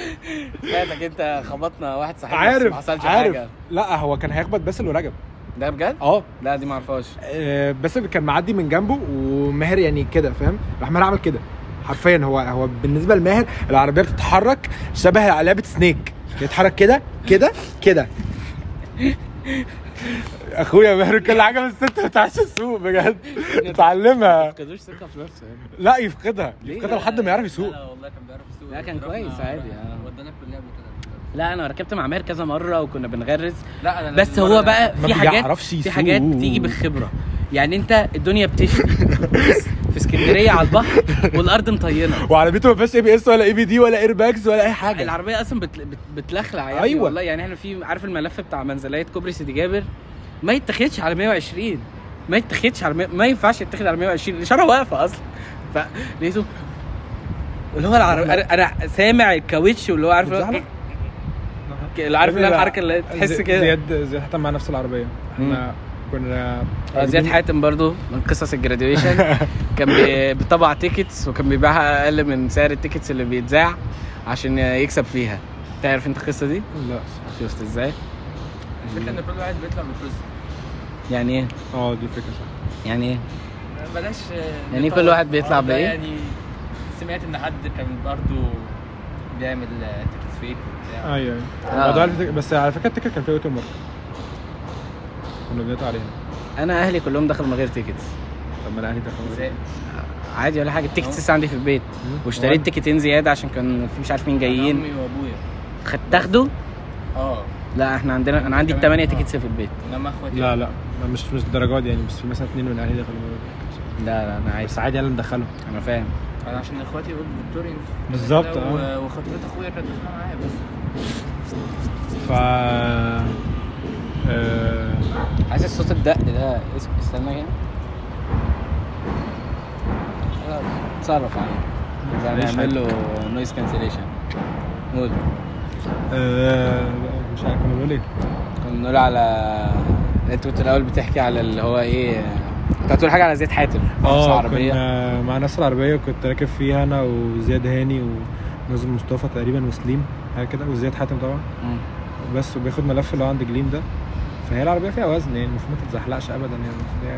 [SPEAKER 2] فاتك انت خبطنا واحد صاحبنا بس ما
[SPEAKER 3] عارف
[SPEAKER 2] حصلش
[SPEAKER 3] عارف
[SPEAKER 2] حاجه
[SPEAKER 3] لا هو كان هيخبط باسل ورجب
[SPEAKER 2] ده بجد
[SPEAKER 3] اه
[SPEAKER 2] لا دي ما اعرفهاش
[SPEAKER 3] آه، باسل كان معدي من جنبه وماهر يعني كده فاهم راح ماهر عمل كده حرفيا هو هو بالنسبه لماهر العربيه بتتحرك شبه لعبه سنيك بتتحرك كده كده كده اخويا ماهر كل حاجه بس انت ما بتعرفش تسوق بجد اتعلمها
[SPEAKER 2] تفقدوش ثقه في نفسه يعني
[SPEAKER 3] لا يفقدها
[SPEAKER 2] ليه؟
[SPEAKER 3] يفقدها لحد ما يعرف يسوق
[SPEAKER 4] لا والله كان بيعرف يسوق
[SPEAKER 2] لا، كان
[SPEAKER 4] ضربنا-
[SPEAKER 2] كويس عادي، آه.
[SPEAKER 4] ودانا الكليه قبل كده
[SPEAKER 2] لا انا ركبت مع ماهر كذا مره وكنا بنغرز
[SPEAKER 4] لا انا
[SPEAKER 2] بس هو بقى
[SPEAKER 3] ما
[SPEAKER 2] في حاجات
[SPEAKER 3] بيعرفش
[SPEAKER 2] في
[SPEAKER 3] يسوق.
[SPEAKER 2] حاجات بتيجي بالخبره يعني انت الدنيا
[SPEAKER 3] [laughs]
[SPEAKER 2] بتشتي في اسكندريه على البحر والارض مطينه
[SPEAKER 3] وعربيته ما فيهاش اي بي اس ولا اي بي دي ولا اير باكس ولا اي حاجه
[SPEAKER 2] العربيه اصلا بت... بت... بتلخلع يعني أيوة.
[SPEAKER 3] أيوة.
[SPEAKER 2] والله يعني احنا في عارف الملف بتاع منزليه كوبري سيدي جابر ما يتاخدش على 120 ما يتاخدش على 100 ما ينفعش يتاخد على 120 الاشاره واقفه اصلا فلقيته اللي هو العربي انا أنا سامع الكاوتش واللي هو عارف اللي هو-
[SPEAKER 3] متزحلق؟
[SPEAKER 2] اللي عارف اللي هي الحركه اللي تحس
[SPEAKER 3] زي-
[SPEAKER 2] كده
[SPEAKER 3] زياد زياد حتى مع نفس العربيه احنا كنا
[SPEAKER 2] آه، زياد
[SPEAKER 3] يعني
[SPEAKER 2] حاتم برضو من قصص الجراديويشن كان بي- بيطبع تيكتس وكان بيبيعها اقل من سعر التيكتس اللي بيتذاع عشان يكسب فيها تعرف انت القصه دي
[SPEAKER 3] لا
[SPEAKER 2] شفت ازاي
[SPEAKER 4] الفكره ان كل واحد بيطلع من القصه
[SPEAKER 2] يعني ايه
[SPEAKER 3] اه دي فكره صح
[SPEAKER 2] يعني ايه
[SPEAKER 4] بلاش
[SPEAKER 2] يعني إيه كل واحد بيطلع
[SPEAKER 4] النهاردة
[SPEAKER 2] بإيه؟
[SPEAKER 4] يعني سمعت ان حد كان برضه بيعمل تيكت فيك وبتاع
[SPEAKER 3] ايوه
[SPEAKER 2] آه.
[SPEAKER 3] ايوه موضوع الفكرة- بس على فكره التيكت كان فيه اوتو ماركت كنا بنقطع عليها
[SPEAKER 2] انا اهلي كلهم دخلوا من غير تيكتس
[SPEAKER 3] طب ما انا اهلي دخلوا
[SPEAKER 4] ازاي؟
[SPEAKER 2] عادي ولا حاجه التيكتس لسه عندي في البيت واشتريت تيكتين زياده عشان كان في مش عارف مين جايين
[SPEAKER 4] امي وابويا
[SPEAKER 2] خدت تاخده
[SPEAKER 4] اه
[SPEAKER 2] لا احنا عندنا انا عندي
[SPEAKER 4] كمان؟
[SPEAKER 2] الثمانيه
[SPEAKER 4] آه.
[SPEAKER 2] تيكتس في البيت
[SPEAKER 4] انما اخواتي
[SPEAKER 3] لا لا ما- مش مش الدرجات دي يعني بس في مثلا اثنين من اهلي دخلوا يعني من غير تيكت.
[SPEAKER 2] لا لا انا عايز
[SPEAKER 3] بس عادي انا مدخلهم
[SPEAKER 2] انا فاهم
[SPEAKER 4] انا عشان اخواتي يقولوا فيكتوريان
[SPEAKER 3] بالظبط،
[SPEAKER 4] اه
[SPEAKER 3] آه.
[SPEAKER 4] وخطيبه اخويا كانت بتسمع معايا بس
[SPEAKER 3] ف آه،
[SPEAKER 2] عايز الصوت الدق ده اس- استنى كده خلاص، اتصرف يعني
[SPEAKER 3] معلش.
[SPEAKER 2] نعمل له نويز كانسليشن قول
[SPEAKER 3] آه، مش عارف انا بقول ايه
[SPEAKER 2] كنا بنقول على انت كنت الاول بتحكي على اللي هو ايه كنت هتقول حاجه على زياد حاتم مهندس
[SPEAKER 3] اه
[SPEAKER 2] عربية.
[SPEAKER 3] كنا مع ناس العربيه كنت راكب فيها انا وزياد هاني ونازل مصطفى تقريبا وسليم حاجه كده وزياد حاتم طبعا
[SPEAKER 2] مم.
[SPEAKER 3] بس وبياخد ملف اللي هو عند جليم ده فهي العربيه فيها وزن يعني المفروض ما تتزحلقش ابدا يعني المفروض هي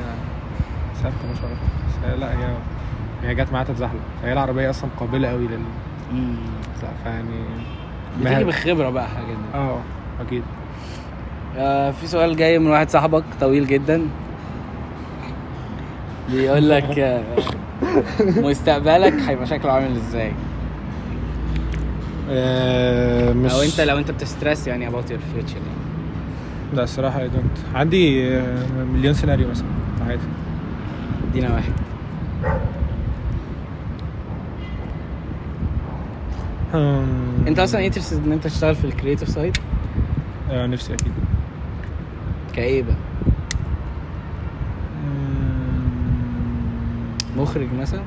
[SPEAKER 3] ثابته مش عارف بس هي لا هي هي جت معاها تتزحلق فهي العربيه اصلا قابله قوي لل يعني
[SPEAKER 2] مم.
[SPEAKER 3] فيعني
[SPEAKER 2] بتيجي بالخبره بقى حاجه دي
[SPEAKER 3] اه اكيد
[SPEAKER 2] آه في سؤال جاي من واحد صاحبك طويل جدا بيقول لك آه، مستقبلك هيبقى شكله عامل ازاي
[SPEAKER 3] آه مش
[SPEAKER 2] او انت لو انت بتستريس يعني about your future يعني.
[SPEAKER 3] لا الصراحه اي دونت عندي آه، مليون سيناريو مثلا في حياتي
[SPEAKER 2] ادينا واحد
[SPEAKER 3] هم.
[SPEAKER 2] انت اصلا انترستد ان انت تشتغل في الكريتيف سايد
[SPEAKER 3] آه نفسي اكيد
[SPEAKER 2] كايه بقى
[SPEAKER 3] مم.
[SPEAKER 2] مخرج مثلا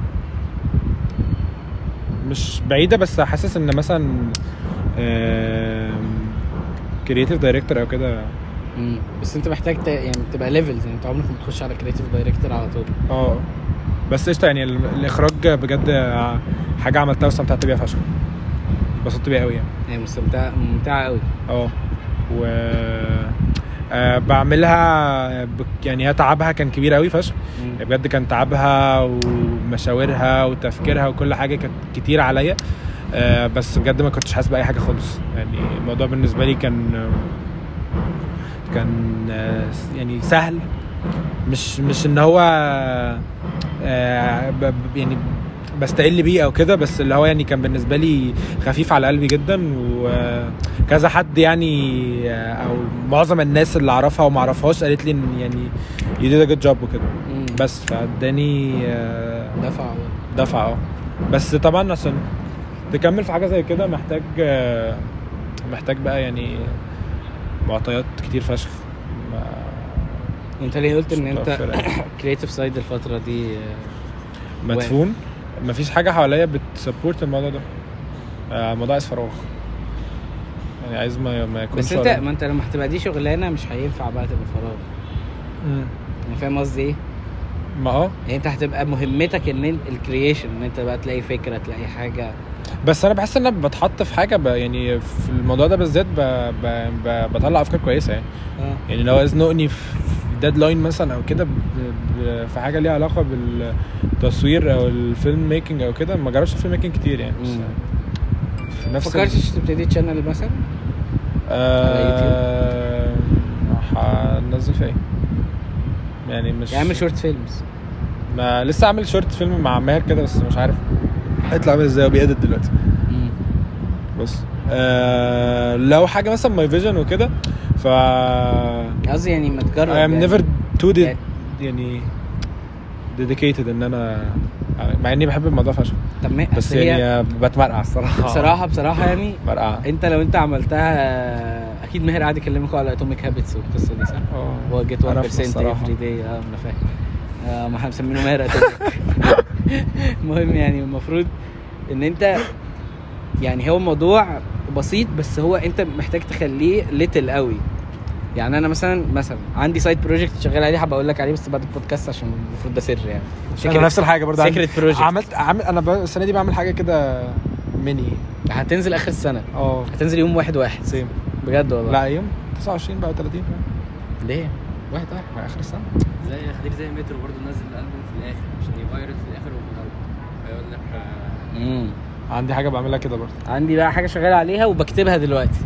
[SPEAKER 3] مش بعيده بس حاسس ان مثلا كرييتيف دايركتور او كده
[SPEAKER 2] مم. بس انت محتاج ت... يعني تبقى ليفلز يعني انت عمرك ما تخش على كريتيف دايركتور على طول
[SPEAKER 3] اه بس قشطه يعني ال- الاخراج بجد حاجه عملتها واستمتعت بيها فشخ اتبسطت بيها قوي يعني
[SPEAKER 2] هي مستمتعه ممتعه قوي
[SPEAKER 3] اه و آه، بعملها بك- يعني هي تعبها كان كبير قوي فشخ يعني بجد كان تعبها ومشاورها وتفكيرها وكل حاجه كانت كتير عليا آه، بس بجد ما كنتش حاسس باي حاجه خالص يعني الموضوع بالنسبه لي كان كان آه، يعني سهل مش مش ان هو آه، ب- ب- يعني بستقل بيه او كده بس اللي هو يعني كان بالنسبه لي خفيف على قلبي جدا وكذا حد يعني آه، او معظم الناس اللي اعرفها وما اعرفهاش قالت لي ان يعني you did a good job وكده
[SPEAKER 2] مم.
[SPEAKER 3] بس فاداني آه،
[SPEAKER 2] دفع
[SPEAKER 3] دفعه اه بس طبعا عشان تكمل في حاجه زي كده محتاج آه، محتاج بقى يعني معطيات كتير فشخ ما-
[SPEAKER 2] انت ليه قلت ان
[SPEAKER 3] مش
[SPEAKER 2] انت
[SPEAKER 3] متوفرة يعني.
[SPEAKER 2] كريتيف سايد الفتره دي آه،
[SPEAKER 3] مدفون مفيش حاجه حواليا بتسبورت الموضوع ده آه، الموضوع عايز فراغ يعني عايز ما ما يكونش
[SPEAKER 2] بس انت
[SPEAKER 3] ورايا.
[SPEAKER 2] ما انت لما هتبقى دي شغلانه مش هينفع بقى تبقى فراغ
[SPEAKER 3] مم.
[SPEAKER 2] يعني فاهم قصدي ايه؟
[SPEAKER 3] ما اه
[SPEAKER 2] يعني انت هتبقى مهمتك ان انت الكرييشن ان انت بقى تلاقي فكره تلاقي حاجه
[SPEAKER 3] بس انا بحس ان انا بتحط في حاجه ب... يعني في الموضوع ده بالذات ب... ب... ب... بطلع افكار كويسه يعني
[SPEAKER 2] آه.
[SPEAKER 3] يعني لو ازنقني في ديدلاين مثلا او كده ب- ب- في حاجه ليها علاقه بالتصوير او الفيلم ميكنج او كده ما جربش الفيلم ميكنج كتير يعني بس
[SPEAKER 2] مم.
[SPEAKER 3] في
[SPEAKER 2] ما
[SPEAKER 3] نفس ال-
[SPEAKER 2] فكرتش تبتدي تشانل مثلا؟
[SPEAKER 3] آه هنزل في ايه يعني مش
[SPEAKER 2] يعني اعمل شورت فيلمز
[SPEAKER 3] ما لسه عامل شورت فيلم مع ماهر كده بس مش عارف هيطلع عامل ازاي وبيأدت دلوقتي بس آه لو حاجه مثلا ماي فيجن وكده ف
[SPEAKER 2] قصدي يعني ما تجرب
[SPEAKER 3] I am
[SPEAKER 2] يعني.
[SPEAKER 3] never too did
[SPEAKER 2] يعني-
[SPEAKER 3] يعني dedicated ان انا مع اني بحب الموضوع فشخ
[SPEAKER 2] طب ما
[SPEAKER 3] بس
[SPEAKER 2] بس هي
[SPEAKER 3] يعني بتمرقع الصراحه
[SPEAKER 2] بصراحه بصراحه يعني
[SPEAKER 3] مرقعه
[SPEAKER 2] انت لو انت عملتها اكيد ماهر قاعد يكلمكم على اتوميك هابتس والقصه دي صح؟ هو جيت 1%
[SPEAKER 3] اه. عرفنا الصراحة.
[SPEAKER 2] افري داي اه انا فاهم آه، ما احنا مسمينه ماهر
[SPEAKER 3] [laughs]
[SPEAKER 2] اتوميك المهم يعني المفروض ان انت يعني هو موضوع بسيط بس هو انت محتاج تخليه ليتل قوي يعني انا مثلا مثلا عندي سايد بروجكت شغال عليه هبقى اقول لك عليه بس بعد البودكاست عشان المفروض ده سر يعني
[SPEAKER 3] انا نفس الحاجه برضه عندي.
[SPEAKER 2] سيكريت بروجكت
[SPEAKER 3] عملت عمل انا ب- السنه دي بعمل حاجه كده ميني
[SPEAKER 2] هتنزل اخر السنه
[SPEAKER 3] اه
[SPEAKER 2] هتنزل يوم واحد واحد
[SPEAKER 3] سيم
[SPEAKER 2] بجد والله
[SPEAKER 3] لا يوم 29 بقى 30
[SPEAKER 2] ليه؟ واحد واحد
[SPEAKER 3] بقى اخر السنه
[SPEAKER 6] زي خدير زي مترو برضه نزل الالبوم في الاخر عشان يفايرل في الاخر وفي الاول فيقول لك آه،
[SPEAKER 2] امم
[SPEAKER 3] عندي حاجه بعملها كده برضه
[SPEAKER 2] عندي بقى حاجه شغال عليها وبكتبها دلوقتي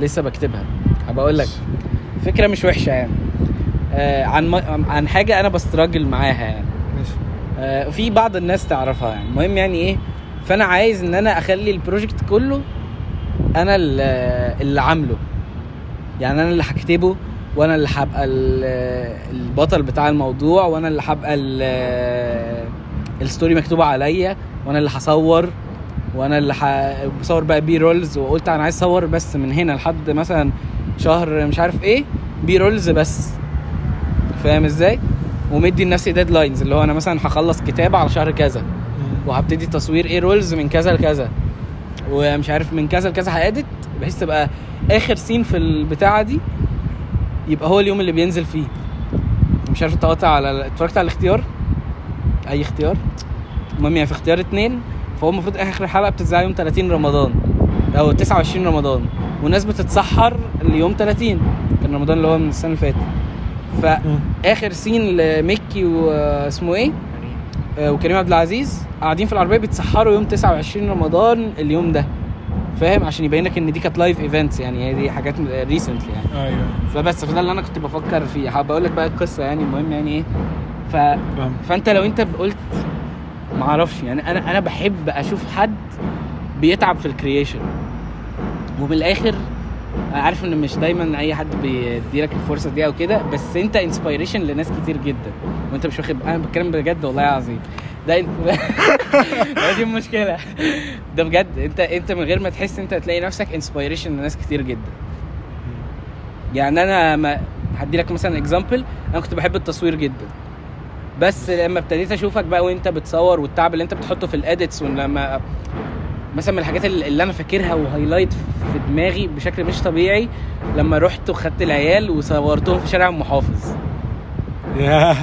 [SPEAKER 2] لسه بكتبها هبقى اقول لك فكره مش وحشه يعني آه عن م... عن حاجه انا بستراجل معاها يعني
[SPEAKER 3] ماشي
[SPEAKER 2] آه في بعض الناس تعرفها يعني المهم يعني ايه فانا عايز ان انا اخلي البروجكت كله انا ال- آه، اللي عامله يعني انا اللي هكتبه وانا اللي هبقى ال- آه، البطل بتاع الموضوع وانا اللي هبقى ال- الستوري مكتوبه عليا وانا اللي هصور وانا اللي ح- بصور بقى بي رولز وقلت انا عايز اصور بس من هنا لحد مثلا شهر مش عارف ايه بي رولز بس فاهم ازاي ومدي لنفسي ديدلاينز اللي هو انا مثلا هخلص كتاب على شهر كذا وهبتدي تصوير ايه رولز من كذا لكذا ومش عارف من كذا لكذا هادت بحيث تبقى اخر سين في البتاعه دي يبقى هو اليوم اللي بينزل فيه مش عارف اتقاطع على اتفرجت على الاختيار اي اختيار المهم يعني في اختيار اتنين فهو المفروض اخر حلقه بتتذاع يوم 30 رمضان او 29 رمضان والناس بتتسحر ليوم 30 كان رمضان اللي هو من السنه اللي فاتت فاخر سين لميكي واسمه ايه آه، وكريم عبد العزيز قاعدين في العربيه بيتسحروا يوم 29 رمضان اليوم ده فاهم عشان يبين لك ان دي كانت لايف ايفنتس يعني هي دي حاجات ريسنتلي يعني
[SPEAKER 3] ايوه
[SPEAKER 2] فبس فده اللي انا كنت بفكر فيه حابب اقول لك بقى القصه يعني المهم يعني ايه ف
[SPEAKER 3] فاهم
[SPEAKER 2] فانت لو انت قلت ما اعرفش يعني انا انا بحب اشوف حد بيتعب في الكرييشن ومن الاخر انا عارف ان مش دايما اي حد بيديلك الفرصه دي او كده بس انت انسبيريشن لناس كتير جدا وانت مش واخد انا بتكلم بجد والله العظيم ده انت [laughs] دي المشكله ده بجد انت انت من غير ما تحس انت هتلاقي نفسك انسبيريشن لناس كتير جدا يعني انا ما هدي لك مثلا اكزامبل انا كنت بحب التصوير جدا بس لما ابتديت اشوفك بقى وانت بتصور والتعب اللي انت بتحطه في الاديتس ولما مثلا من الحاجات اللي اللي انا فاكرها وهايلايت في دماغي بشكل مش طبيعي لما رحت وخدت العيال وصورتهم في شارع المحافظ
[SPEAKER 3] ياه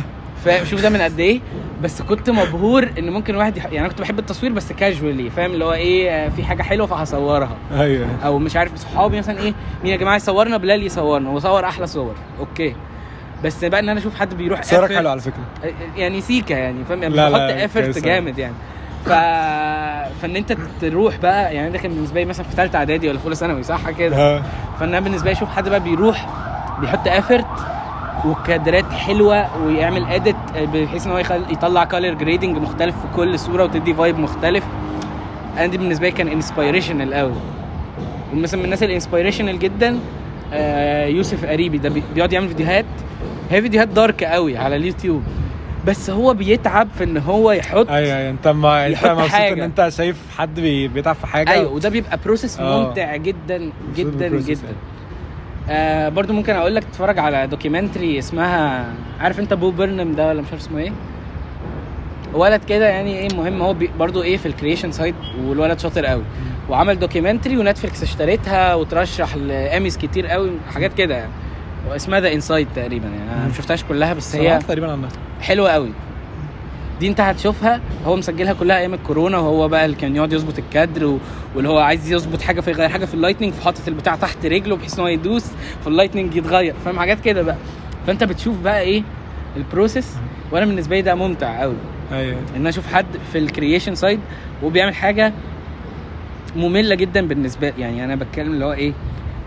[SPEAKER 2] فاهم شوف ده من قد ايه بس كنت مبهور ان ممكن واحد يح... يعني انا كنت بحب التصوير بس كاجوالي فاهم اللي هو ايه آه، في حاجه حلوه فهصورها
[SPEAKER 3] ايوه
[SPEAKER 2] او مش عارف صحابي مثلا ايه مين يا جماعه يصورنا بلال يصورنا وصور احلى صور اوكي بس بقى ان انا اشوف حد بيروح
[SPEAKER 3] صورك
[SPEAKER 2] effort-
[SPEAKER 3] حلو على فكره
[SPEAKER 2] يعني سيكا يعني فاهم يعني
[SPEAKER 3] لا، لا،
[SPEAKER 2] بحط
[SPEAKER 3] كويس
[SPEAKER 2] ايفرت
[SPEAKER 3] أوي.
[SPEAKER 2] جامد يعني ف... فان انت تروح بقى يعني ده كان بالنسبه لي مثلا في ثالثه اعدادي ولا في اولى ثانوي صح كده
[SPEAKER 3] آه.
[SPEAKER 2] فان انا بالنسبه لي اشوف حد بقى بيروح بيحط ايفرت وكادرات حلوه ويعمل اديت بحيث ان هو يخل... يطلع كالر جريدنج مختلف في كل صوره وتدي فايب مختلف انا دي بالنسبه لي كان انسبيريشنال قوي ومثلا من الناس الانسبيريشنال جدا آه، يوسف قريبي ده بي- بيقعد يعمل فيديوهات هي فيديوهات دارك قوي على اليوتيوب بس هو بيتعب في ان هو يحط
[SPEAKER 3] ايوه أيوة، انت ما انت
[SPEAKER 2] يحط
[SPEAKER 3] مبسوط ان
[SPEAKER 2] حاجة.
[SPEAKER 3] انت شايف حد بي- بيتعب في حاجه
[SPEAKER 2] ايوه وده بيبقى بروسيس
[SPEAKER 3] آه.
[SPEAKER 2] ممتع جدا جدا
[SPEAKER 3] process
[SPEAKER 2] جدا
[SPEAKER 3] يعني.
[SPEAKER 2] آه برضو ممكن اقول لك تتفرج على دوكيومنتري اسمها عارف انت بو برنم ده ولا مش عارف اسمه ايه ولد كده يعني ايه مهم هو بي- برضو ايه في الكريشن سايد والولد شاطر قوي وعمل دوكيومنتري ونتفليكس اشترتها وترشح لاميز كتير قوي حاجات كده يعني واسمها ذا انسايد تقريبا يعني انا ما شفتهاش كلها بس هي
[SPEAKER 3] سمعت تقريبا عنها
[SPEAKER 2] حلوه قوي دي انت هتشوفها هو مسجلها كلها ايام الكورونا وهو بقى اللي كان يقعد يظبط الكادر و... واللي هو عايز يظبط حاجه في غير حاجه في اللايتنج فحاطط البتاع تحت رجله بحيث ان هو يدوس فاللايتنج يتغير فاهم حاجات كده بقى فانت بتشوف بقى ايه البروسيس وانا بالنسبه لي ده ممتع قوي
[SPEAKER 3] ايوه
[SPEAKER 2] ان انا اشوف حد في الكرييشن سايد وبيعمل حاجه ممله جدا بالنسبه لي يعني انا بتكلم اللي هو ايه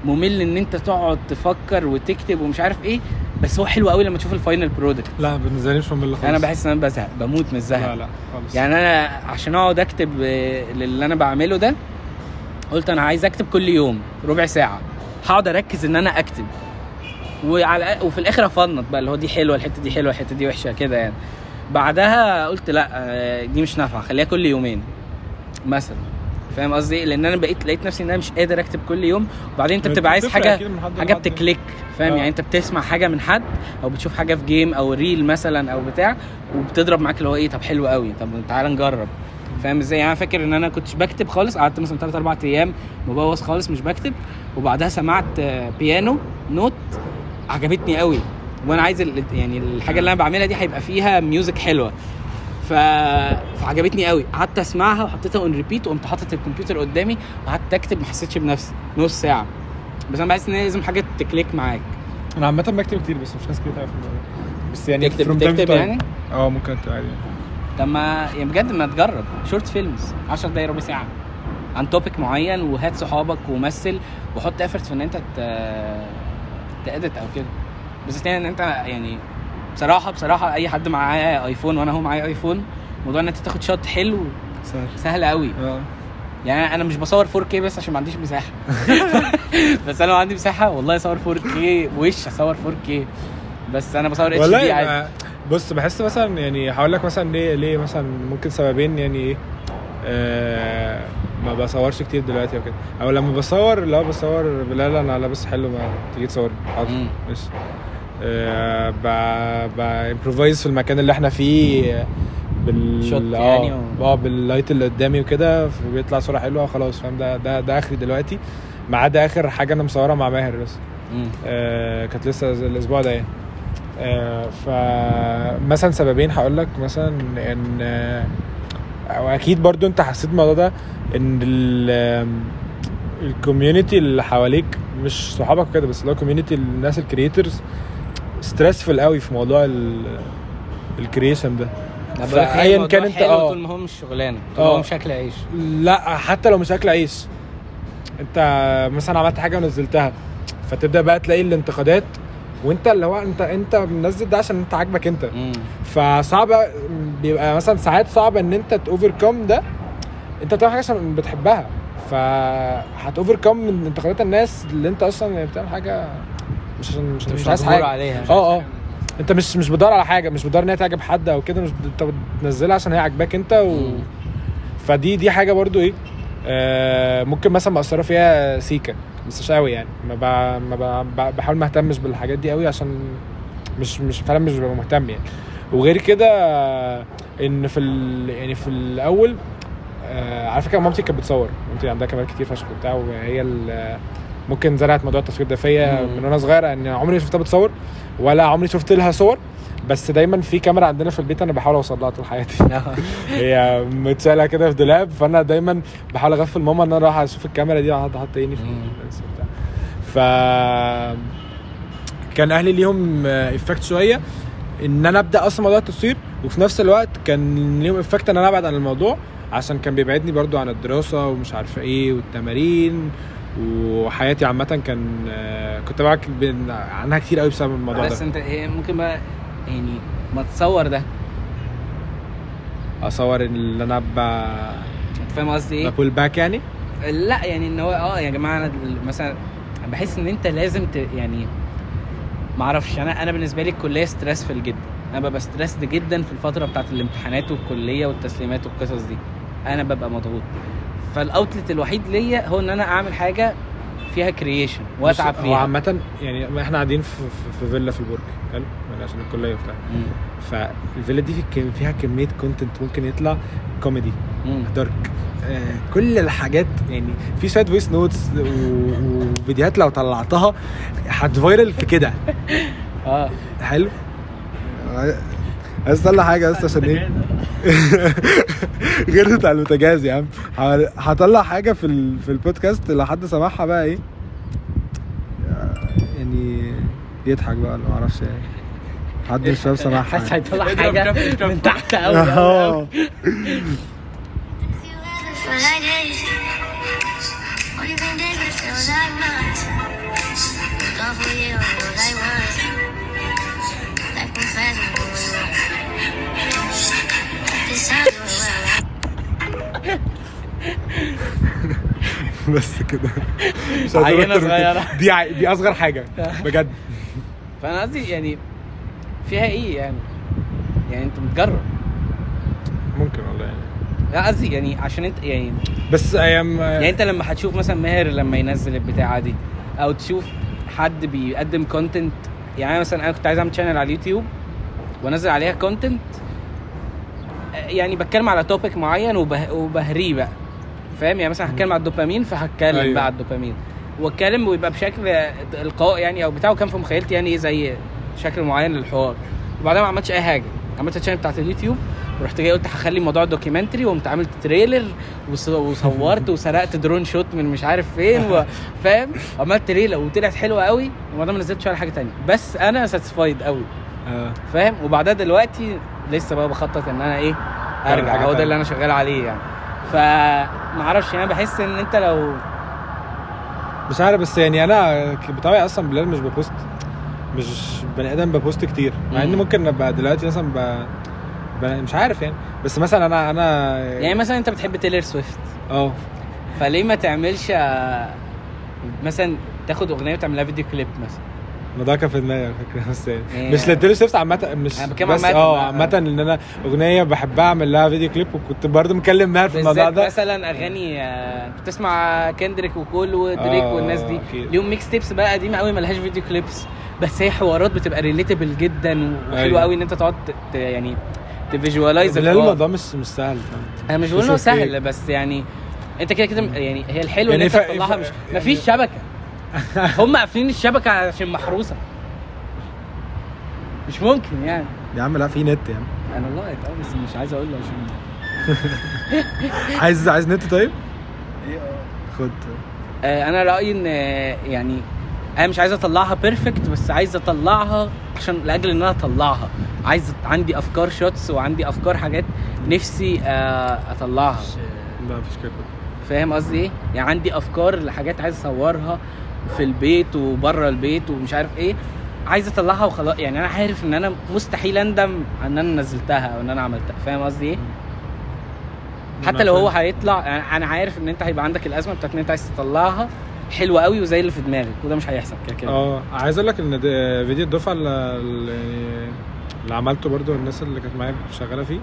[SPEAKER 2] ممل ان انت تقعد تفكر وتكتب ومش عارف ايه بس هو حلو قوي لما تشوف الفاينل برودكت
[SPEAKER 3] لا بالنسبه لي مش ممل خالص
[SPEAKER 2] انا بحس ان انا بزهق بموت من
[SPEAKER 3] لا
[SPEAKER 2] الزهق
[SPEAKER 3] لا خالص
[SPEAKER 2] يعني انا عشان اقعد اكتب آه، للي انا بعمله ده قلت انا عايز اكتب كل يوم ربع ساعه هقعد اركز ان انا اكتب وعلى وفي الاخر افنط بقى اللي هو دي حلوه الحته دي حلوه الحته دي وحشه كده يعني بعدها قلت لا آه، دي مش نافعه خليها كل يومين مثلا فاهم قصدي إيه؟ لان انا بقيت لقيت نفسي ان انا مش قادر اكتب كل يوم وبعدين انت بتبقى عايز
[SPEAKER 3] بتفرق
[SPEAKER 2] حاجه
[SPEAKER 3] أكيد من حد
[SPEAKER 2] حاجه
[SPEAKER 3] لحد.
[SPEAKER 2] بتكليك فاهم
[SPEAKER 3] آه.
[SPEAKER 2] يعني انت بتسمع حاجه من حد او بتشوف حاجه في جيم او ريل مثلا او بتاع وبتضرب معاك اللي هو ايه طب حلو قوي طب تعالى نجرب فاهم ازاي يعني انا فاكر ان انا كنتش بكتب خالص قعدت مثلا 3 4 ايام مبوظ خالص مش بكتب وبعدها سمعت آه، بيانو نوت عجبتني قوي وانا عايز ال- يعني الحاجه اللي انا بعملها دي هيبقى فيها ميوزك حلوه ف... فعجبتني قوي قعدت اسمعها وحطيتها اون ريبيت وقمت حاطط الكمبيوتر قدامي وقعدت اكتب ما حسيتش بنفسي نص ساعه بس انا بحس ان هي لازم حاجه تكليك معاك
[SPEAKER 3] انا عامه بكتب كتير بس مش ناس كتير تعرف الموضوع ده. بس يعني
[SPEAKER 2] تكتب-
[SPEAKER 3] from time to
[SPEAKER 2] تكتب
[SPEAKER 3] time.
[SPEAKER 2] يعني؟
[SPEAKER 3] اه ممكن اكتب عادي
[SPEAKER 2] طب ما يعني بجد ما تجرب شورت فيلمز 10 دقايق ربع ساعه عن توبيك معين وهات صحابك ومثل وحط افرت في ان انت ت... تأدت او كده بس تاني ان انت يعني بصراحه بصراحه اي حد معاه ايفون وانا هو معايا ايفون موضوع ان انت تاخد شوت حلو
[SPEAKER 3] سهل
[SPEAKER 2] سهل قوي
[SPEAKER 3] اه
[SPEAKER 2] يعني انا مش بصور 4K بس عشان ما عنديش مساحه [laughs] بس انا لو عندي مساحه والله اصور 4K وش اصور 4K بس انا بصور اتش
[SPEAKER 3] والله
[SPEAKER 2] دي عادي
[SPEAKER 3] آه، بص بحس مثلا يعني هقول لك مثلا ليه ليه مثلا ممكن سببين يعني ايه آه، ما بصورش كتير دلوقتي او كده او لما بصور لا بصور لا لا انا لابس حلو ما تيجي تصور حاضر
[SPEAKER 2] مم.
[SPEAKER 3] ماشي آه، ب- بامبروفايز في المكان اللي احنا فيه آه، بال
[SPEAKER 2] شوت
[SPEAKER 3] آه،
[SPEAKER 2] يعني و-
[SPEAKER 3] اه باللايت اللي قدامي وكده بيطلع صوره حلوه خلاص فاهم ده ده ده اخري دلوقتي ما عدا اخر حاجه انا مصورها مع ماهر بس
[SPEAKER 2] مم.
[SPEAKER 3] آه، كانت لسه الاسبوع ده يعني آه، فمثلا سببين هقول لك مثلا ان آه، او اكيد برضو انت حسيت الموضوع ده ان الكوميونتي اللي حواليك مش صحابك كده بس اللي هو كوميونتي الناس الكرييترز ستريسفل قوي في موضوع الكرييشن ده
[SPEAKER 2] أنا بقولك هي
[SPEAKER 3] فأياً
[SPEAKER 2] الموضوع
[SPEAKER 3] كان أنت-
[SPEAKER 2] حلو
[SPEAKER 3] آه.
[SPEAKER 2] طول ما هو مش شغلانه طول ما هو
[SPEAKER 3] آه.
[SPEAKER 2] مش اكل عيش
[SPEAKER 3] لا حتى لو مش اكل عيش انت مثلا عملت حاجه ونزلتها فتبدا بقى تلاقي الانتقادات وانت اللي هو انت انت منزل ده عشان انت عاجبك انت
[SPEAKER 2] مم.
[SPEAKER 3] فصعب بيبقى مثلا ساعات صعب ان انت تاوفركم ده انت بتعمل حاجه عشان بتحبها فهتوفركم من انتقادات الناس اللي انت اصلا بتعمل حاجه مش عشان مش, مش عايز
[SPEAKER 2] مجبور
[SPEAKER 3] حاجه
[SPEAKER 2] عليها
[SPEAKER 3] اه اه انت مش مش بتدور على حاجه مش بتدور ان هي تعجب حد او كده مش بت- انت بتنزلها عشان هي عاجباك انت و...
[SPEAKER 2] مم.
[SPEAKER 3] فدي دي حاجه برضو ايه آه ممكن مثلا مأثره فيها سيكا بس مش قوي يعني ما, ب... ما ب... ب- بحاول ما اهتمش بالحاجات دي قوي عشان مش مش فعلا مش ببقى مهتم يعني وغير كده ان في ال... يعني في الاول آه، على فكره مامتي كانت بتصور مامتي عندها كاميرات كتير فشخ وبتاع وهي ال- ممكن زرعت موضوع التصوير ده فيا
[SPEAKER 2] مم.
[SPEAKER 3] من وانا صغير ان عمري ما شفتها بتصور ولا عمري شفت لها صور بس دايما في كاميرا عندنا في البيت انا بحاول اوصل لها طول حياتي هي متشاله كده في دولاب فانا دايما بحاول اغفل ماما ان انا راح اشوف الكاميرا دي اقعد احط عيني في
[SPEAKER 2] مم.
[SPEAKER 3] الناس وبتاع. ف كان اهلي ليهم افكت شويه ان انا ابدا اصلا موضوع التصوير وفي نفس الوقت كان ليهم افكت ان انا ابعد عن الموضوع عشان كان بيبعدني برضو عن الدراسه ومش عارفه ايه والتمارين وحياتي عامه كان آه، كنت ببعد بين- عنها كتير قوي بسبب الموضوع
[SPEAKER 2] بس
[SPEAKER 3] ده
[SPEAKER 2] انت ايه ممكن بقى يعني ما تصور ده
[SPEAKER 3] اصور ان انا
[SPEAKER 2] انت فاهم قصدي ايه؟
[SPEAKER 3] بقول باك يعني
[SPEAKER 2] لا يعني ان هو اه يا جماعه انا دل- مثلا بحس ان انت لازم ت... يعني ما اعرفش انا انا بالنسبه لي الكليه ستريسفل جدا انا ببقى ستريسد جدا في الفتره بتاعه الامتحانات والكليه والتسليمات والقصص دي انا ببقى مضغوط فالاوتلت الوحيد ليا هو ان انا اعمل حاجه فيها كرييشن واتعب
[SPEAKER 3] بص، هو
[SPEAKER 2] فيها
[SPEAKER 3] عامة يعني احنا قاعدين في, في, في فيلا في البرج حلو يعني عشان الكلية وبتاع
[SPEAKER 2] مم.
[SPEAKER 3] فالفيلا دي في كم- فيها كمية كونتنت ممكن يطلع كوميدي
[SPEAKER 2] مم.
[SPEAKER 3] دارك آه كل الحاجات يعني في شوية فويس نوتس وفيديوهات لو طلعتها هتفايرل في كده
[SPEAKER 2] اه
[SPEAKER 3] حلو
[SPEAKER 5] عايز اطلع حاجه بس عشان ايه [laughs] غير بتاع البوتاجاز يا عم ه- هطلع حاجه في ال... في البودكاست لو حد سمعها بقى ايه يعني يضحك بقى ولا معرفش ايه حد من الشباب
[SPEAKER 3] آه.
[SPEAKER 5] سمعها
[SPEAKER 2] حاسس
[SPEAKER 5] يعني.
[SPEAKER 2] هيطلع حاجه من
[SPEAKER 5] [laughs]
[SPEAKER 2] تحت قوي
[SPEAKER 5] اه
[SPEAKER 7] Fridays. Only been days that feel like months. Gone for you, you're like once. Life goes fast when you're with me. This time you're well.
[SPEAKER 3] بس كده مش هقدر
[SPEAKER 2] عينة
[SPEAKER 3] أكتر من كده.
[SPEAKER 2] صغيرة.
[SPEAKER 3] دي ع- دي اصغر حاجة
[SPEAKER 2] [laughs]
[SPEAKER 3] بجد
[SPEAKER 2] فانا قصدي يعني فيها ايه يعني يعني انت متجرب
[SPEAKER 3] ممكن والله يعني
[SPEAKER 2] لا قصدي يعني عشان انت يعني
[SPEAKER 3] بس ايام
[SPEAKER 2] يعني انت لما هتشوف مثلا ماهر لما ينزل البتاعه دي او تشوف حد بيقدم كونتنت يعني أنا مثلا انا كنت عايز اعمل شانل على اليوتيوب وانزل عليها كونتنت يعني بتكلم على توبيك معين وبه... وبهريه بقى فاهم يعني مثلا هتكلم على الدوبامين فهتكلم
[SPEAKER 3] أيوة.
[SPEAKER 2] أيوة. بقى على الدوبامين واتكلم ويبقى بشكل القاء يعني او بتاعه كان في مخيلتي يعني ايه زي شكل معين للحوار وبعدها ما عملتش اي حاجه عملت الشانل بتاعت اليوتيوب ورحت جاي قلت هخلي الموضوع دوكيومنتري وقمت عملت تريلر وص- وصورت وسرقت درون شوت من مش عارف فين و- فاهم عملت تريلر وطلعت حلوه قوي وبعدها ما نزلتش ولا حاجه تانية بس انا ساتسفايد قوي
[SPEAKER 3] آه.
[SPEAKER 2] فاهم وبعدها دلوقتي لسه بقى بخطط ان انا ايه ارجع
[SPEAKER 3] حاجة
[SPEAKER 2] هو ده
[SPEAKER 3] تانية.
[SPEAKER 2] اللي انا شغال عليه يعني فمعرفش انا يعني بحس ان انت لو
[SPEAKER 3] إيه؟ مش عارف بس يعني انا ك- بطبعي اصلا بلال مش ببوست مش بني ادم ببوست كتير مع ان
[SPEAKER 2] مم.
[SPEAKER 3] ممكن ابقى دلوقتي مثلا ب... ب... مش عارف يعني بس مثلا انا انا
[SPEAKER 2] يعني مثلا انت بتحب تيلر سويفت
[SPEAKER 3] اه
[SPEAKER 2] فليه ما تعملش آه، مثلا تاخد اغنيه وتعملها فيديو كليب مثلا
[SPEAKER 3] ما ده كان في دماغي على فكره بس يعني
[SPEAKER 2] إيه.
[SPEAKER 3] مش لتيلر سويفت عامه مش
[SPEAKER 2] أنا بتكلم
[SPEAKER 3] بس
[SPEAKER 2] عامة
[SPEAKER 3] اه
[SPEAKER 2] بقى.
[SPEAKER 3] عامه ان انا اغنيه بحبها اعمل لها فيديو كليب وكنت برضو مكلم ماهر في الموضوع
[SPEAKER 2] بالذات
[SPEAKER 3] ده
[SPEAKER 2] مثلا اغاني آه، بتسمع كندريك وكول ودريك
[SPEAKER 3] آه،
[SPEAKER 2] والناس دي
[SPEAKER 3] أكيد.
[SPEAKER 2] ليهم ميكس تيبس بقى قديمه قوي ملهاش فيديو كليبس بس هي حوارات بتبقى ريليتبل جدا
[SPEAKER 3] أيوة.
[SPEAKER 2] وحلوه قوي ان انت تقعد ت- ت- يعني تفيجواليز
[SPEAKER 3] بلال الموضوع مش مش سهل فاهم؟
[SPEAKER 2] انا مش بقول انه
[SPEAKER 3] تشوف
[SPEAKER 2] سهل
[SPEAKER 3] إيه.
[SPEAKER 2] بس يعني انت كده كده يعني هي الحلو
[SPEAKER 3] يعني
[SPEAKER 2] ان انت
[SPEAKER 3] ف-
[SPEAKER 2] تطلعها
[SPEAKER 3] ف-
[SPEAKER 2] مش
[SPEAKER 3] يعني-
[SPEAKER 2] مفيش شبكه [laughs] هم قافلين الشبكه عشان محروسه مش ممكن يعني
[SPEAKER 5] يا عم لا في نت يا عم
[SPEAKER 2] انا والله اه بس مش عايز اقول له عشان
[SPEAKER 5] عايز عايز نت طيب خد
[SPEAKER 2] آه، انا رايي ان آه، يعني انا مش عايز اطلعها بيرفكت بس عايز اطلعها عشان لاجل ان انا اطلعها عايز عندي افكار شوتس وعندي افكار حاجات نفسي آه، اطلعها
[SPEAKER 3] لا مفيش كده
[SPEAKER 2] فاهم قصدي ايه يعني عندي افكار لحاجات عايز اصورها في البيت وبره البيت ومش عارف ايه عايز اطلعها وخلاص يعني انا عارف ان انا مستحيل اندم عن ان انا نزلتها او ان انا عملتها فاهم قصدي ايه حتى لو هو هيطلع يعني انا عارف ان انت هيبقى عندك الازمه بتاعت ان انت عايز تطلعها حلوه قوي وزي اللي في دماغك وده مش هيحصل كده كده
[SPEAKER 3] اه عايز اقول لك ان ده- فيديو الدفعه اللي اللي- اللي عملته برضو الناس اللي كانت معايا شغاله فيه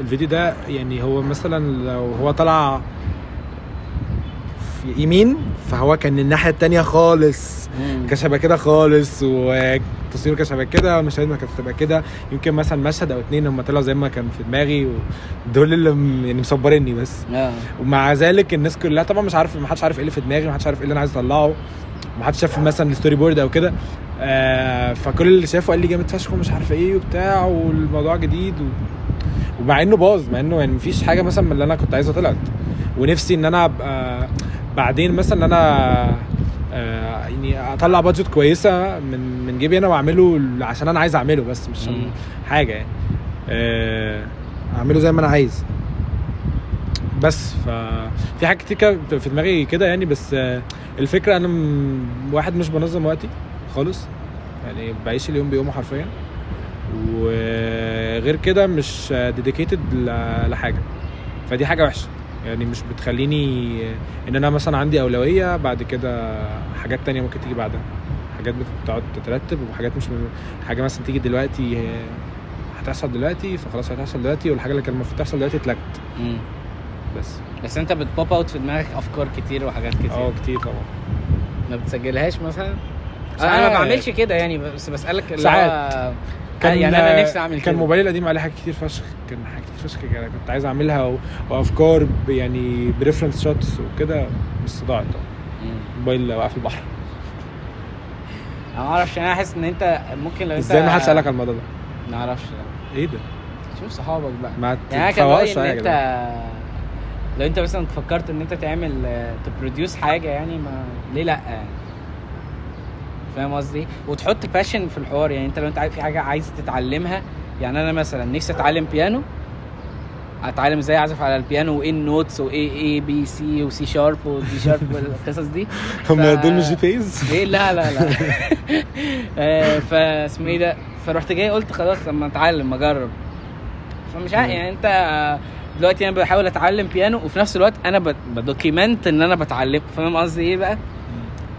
[SPEAKER 3] الفيديو ده يعني هو مثلا لو هو طلع في يمين فهو كان الناحيه التانية خالص كانت هتبقى كده خالص والتصوير كانت هتبقى كده والمشاهد ما كانت هتبقى كده يمكن مثلا مشهد او اتنين هم طلعوا زي ما كان في دماغي دول اللي م- يعني مصبريني بس
[SPEAKER 2] آه.
[SPEAKER 3] ومع ذلك الناس كلها طبعا مش عارف ما حدش عارف ايه اللي في دماغي ما حدش عارف ايه اللي انا عايز اطلعه ما حدش شاف مثلا الستوري بورد او كده آه فكل اللي شافه قال لي جامد فشخ ومش عارف ايه وبتاع والموضوع جديد و... ومع انه باظ مع انه يعني مفيش حاجه مثلا من اللي انا كنت عايزها طلعت ونفسي ان انا ابقى بعدين مثلا ان انا آه يعني اطلع بادجت كويسه من من جيبي انا واعمله عشان انا عايز اعمله بس مش عشان
[SPEAKER 2] مم.
[SPEAKER 3] حاجه يعني آه، اعمله زي ما انا عايز بس ف في حاجات كتير كده بتبقى في دماغي كده يعني بس آه، الفكره انا م... واحد مش بنظم وقتي خالص يعني بعيش اليوم بيومه حرفيا وغير كده مش ديديكيتد لحاجه فدي حاجه وحشه يعني مش بتخليني ان انا مثلا عندي اولويه بعد كده حاجات تانية ممكن تيجي بعدها حاجات بتقعد تترتب وحاجات مش حاجه مثلا تيجي دلوقتي آه، هتحصل دلوقتي فخلاص هتحصل دلوقتي والحاجه اللي كان المفروض تحصل دلوقتي اتلغت
[SPEAKER 2] مم.
[SPEAKER 3] بس
[SPEAKER 2] بس انت بتبوب اوت في دماغك افكار كتير وحاجات كتير
[SPEAKER 3] اه كتير طبعا
[SPEAKER 2] ما بتسجلهاش مثلا انا
[SPEAKER 3] ساعات.
[SPEAKER 2] ما بعملش كده يعني بس بسالك اللي
[SPEAKER 3] آه. ساعات. آه،
[SPEAKER 2] هو يعني انا نفسي اعمل
[SPEAKER 3] كان
[SPEAKER 2] كده.
[SPEAKER 3] موبايلي القديم عليه حاجات كتير فشخ كان حاجات كتير فشخ كده كنت عايز اعملها و... وافكار ب- يعني بريفرنس شوتس وكده بس ضاعت طبعا
[SPEAKER 2] مم.
[SPEAKER 3] موبايل وقع في البحر
[SPEAKER 2] انا ما اعرفش انا حاسس ان انت ممكن لو انت
[SPEAKER 3] ازاي ما حدش قالك على الموضوع ده
[SPEAKER 2] ما اعرفش لا.
[SPEAKER 3] ايه ده
[SPEAKER 2] شوف صحابك بقى
[SPEAKER 3] ما
[SPEAKER 2] يعني انا كان رايي
[SPEAKER 3] تتفوقش
[SPEAKER 2] ان
[SPEAKER 3] عليا يا
[SPEAKER 2] انت
[SPEAKER 3] جدعان.
[SPEAKER 2] لو انت مثلا فكرت ان انت تعمل آه، تبروديوس حاجه يعني ما ليه لا يعني؟ فاهم قصدي وتحط باشن في الحوار يعني انت لو انت عايز- في حاجه عايز تتعلمها يعني انا مثلا نفسي اتعلم بيانو اتعلم ازاي اعزف على البيانو وايه النوتس وايه اي بي سي وسي شارب ودي [laughs] شارب والقصص دي
[SPEAKER 3] هم
[SPEAKER 2] ف-
[SPEAKER 3] دول مش جي بيز
[SPEAKER 2] [laughs] ايه لا لا لا آه، فاسمه ايه ده فرحت جاي قلت خلاص لما اتعلم اجرب فمش عارف يعني انت آه، دلوقتي انا بحاول اتعلم بيانو وفي نفس الوقت انا ب- بدوكيمنت ان انا بتعلم فاهم قصدي ايه بقى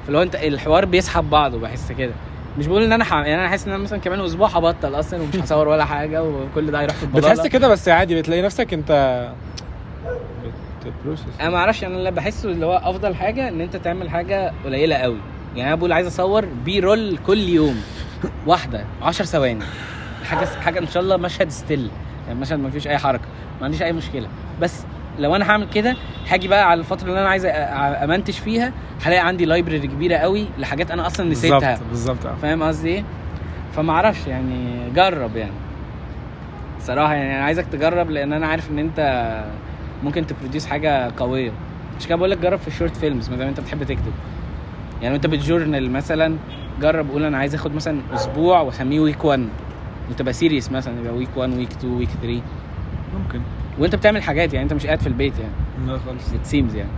[SPEAKER 2] فاللي هو انت الحوار بيسحب بعضه بحس كده مش بقول ان انا ح... يعني انا حاسس ان انا مثلا كمان اسبوع هبطل اصلا ومش هصور ولا حاجه وكل ده هيروح في البضاله
[SPEAKER 3] بتحس كده بس عادي بتلاقي نفسك انت بتبروسس
[SPEAKER 2] انا ما اعرفش انا اللي بحسه اللي هو افضل حاجه ان انت تعمل حاجه قليله قوي يعني انا بقول عايز اصور بي رول كل يوم واحده 10 ثواني حاجه حاجه ان شاء الله مشهد ستيل يعني مشهد ما فيش اي حركه ما عنديش اي مشكله بس لو انا هعمل كده هاجي بقى على الفتره اللي انا عايز أ- أ- امنتج فيها هلاقي عندي لايبرري كبيره قوي لحاجات انا اصلا نسيتها
[SPEAKER 3] بالظبط بالظبط اه.
[SPEAKER 2] فاهم قصدي ايه فما اعرفش يعني جرب يعني صراحه يعني انا عايزك تجرب لان انا عارف ان انت ممكن تبروديوس حاجه قويه عشان كده بقول لك جرب في الشورت فيلمز ما دام انت بتحب تكتب يعني انت بتجورنال مثلا جرب قول انا عايز اخد مثلا اسبوع واسميه ويك 1 وتبقى سيريس مثلا يبقى ويك 1 ويك 2 ويك 3
[SPEAKER 3] ممكن
[SPEAKER 2] وانت بتعمل حاجات يعني انت مش قاعد في البيت يعني
[SPEAKER 3] لا خالص
[SPEAKER 2] ات سيمز يعني